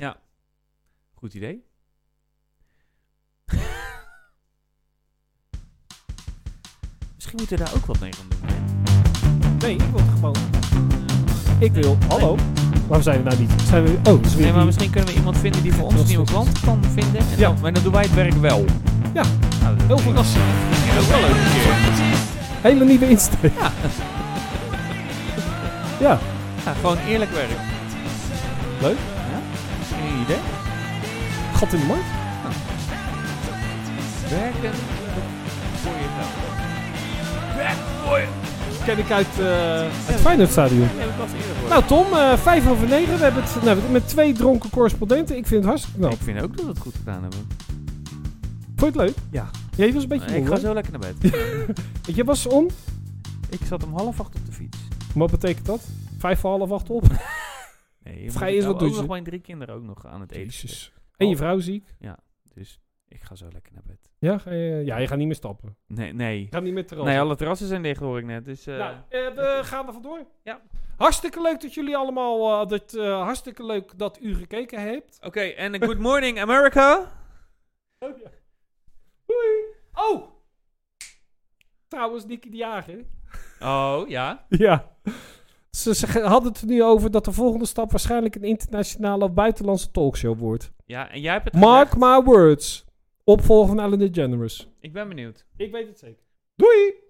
[SPEAKER 2] goed idee. Misschien moeten we daar ook wat mee gaan doen.
[SPEAKER 1] Nee, ik wil het gewoon... Ik wil... Hallo? Waarom zijn we nou niet? Zijn we... Oh, is weer
[SPEAKER 2] Nee, maar
[SPEAKER 1] die-
[SPEAKER 2] misschien kunnen we iemand vinden die voor ons
[SPEAKER 1] Dat is
[SPEAKER 2] nieuwe
[SPEAKER 1] goed.
[SPEAKER 2] klant kan vinden. En
[SPEAKER 1] Ja.
[SPEAKER 2] dan, maar dan doen wij het werk wel.
[SPEAKER 1] Ja.
[SPEAKER 2] Nou, dat
[SPEAKER 1] Heel verrassend.
[SPEAKER 2] is ook wel leuk. een keer.
[SPEAKER 1] Hele nieuwe insteek. Ja. ja.
[SPEAKER 2] Ja, gewoon eerlijk werk.
[SPEAKER 1] Leuk.
[SPEAKER 2] Geen idee.
[SPEAKER 1] Gat in de markt.
[SPEAKER 2] Werken voor je geld.
[SPEAKER 1] Ken ik uit het Feyenoordstadion.
[SPEAKER 2] Nee, ik was eerder voor.
[SPEAKER 1] Nou Tom, eh, vijf over negen. We hebben het nou, met twee dronken correspondenten. Ik vind het hartstikke knap.
[SPEAKER 2] Ik vind ook dat we het goed gedaan hebben.
[SPEAKER 1] Vond je het leuk?
[SPEAKER 2] Ja.
[SPEAKER 1] Jij was een beetje moe,
[SPEAKER 2] ik ga
[SPEAKER 1] hoor.
[SPEAKER 2] zo lekker naar bed.
[SPEAKER 1] Je was om.
[SPEAKER 2] ik zat om half acht op de fiets.
[SPEAKER 1] Wat betekent dat? Vijf voor half acht op.
[SPEAKER 2] Nee, je
[SPEAKER 1] Of ga
[SPEAKER 2] moet-
[SPEAKER 1] je eerst
[SPEAKER 2] nou,
[SPEAKER 1] wat
[SPEAKER 2] ook
[SPEAKER 1] douchen?
[SPEAKER 2] nog mijn drie kinderen ook nog aan het eten. zitten.
[SPEAKER 1] En je
[SPEAKER 2] Oh.
[SPEAKER 1] vrouw ziek.
[SPEAKER 2] Dus ik ga zo lekker naar bed.
[SPEAKER 1] Ja, ga je, ja, je gaat niet meer stappen.
[SPEAKER 2] Nee, nee.
[SPEAKER 1] Je gaat niet meer terras.
[SPEAKER 2] Nee, alle terrassen zijn dicht hoor ik net. Dus, eh,
[SPEAKER 1] Nou, eh, we gaan er vandoor.
[SPEAKER 2] Ja.
[SPEAKER 1] Hartstikke leuk dat jullie allemaal... eh, dat, eh, hartstikke leuk dat u gekeken hebt.
[SPEAKER 2] Oké, en een good morning America. Oh,
[SPEAKER 1] Doei. Oh! Trouwens, Nicky de Jager.
[SPEAKER 2] Oh, ja.
[SPEAKER 1] Ja. Ze, ze ge- hadden het er nu over dat de volgende stap waarschijnlijk een internationale of buitenlandse talkshow wordt.
[SPEAKER 2] Ja, en jij hebt het
[SPEAKER 1] Mark
[SPEAKER 2] gezegd.
[SPEAKER 1] my words. Opvolger van Ellen DeGeneres.
[SPEAKER 2] Ik ben benieuwd.
[SPEAKER 1] Ik weet het zeker. Doei!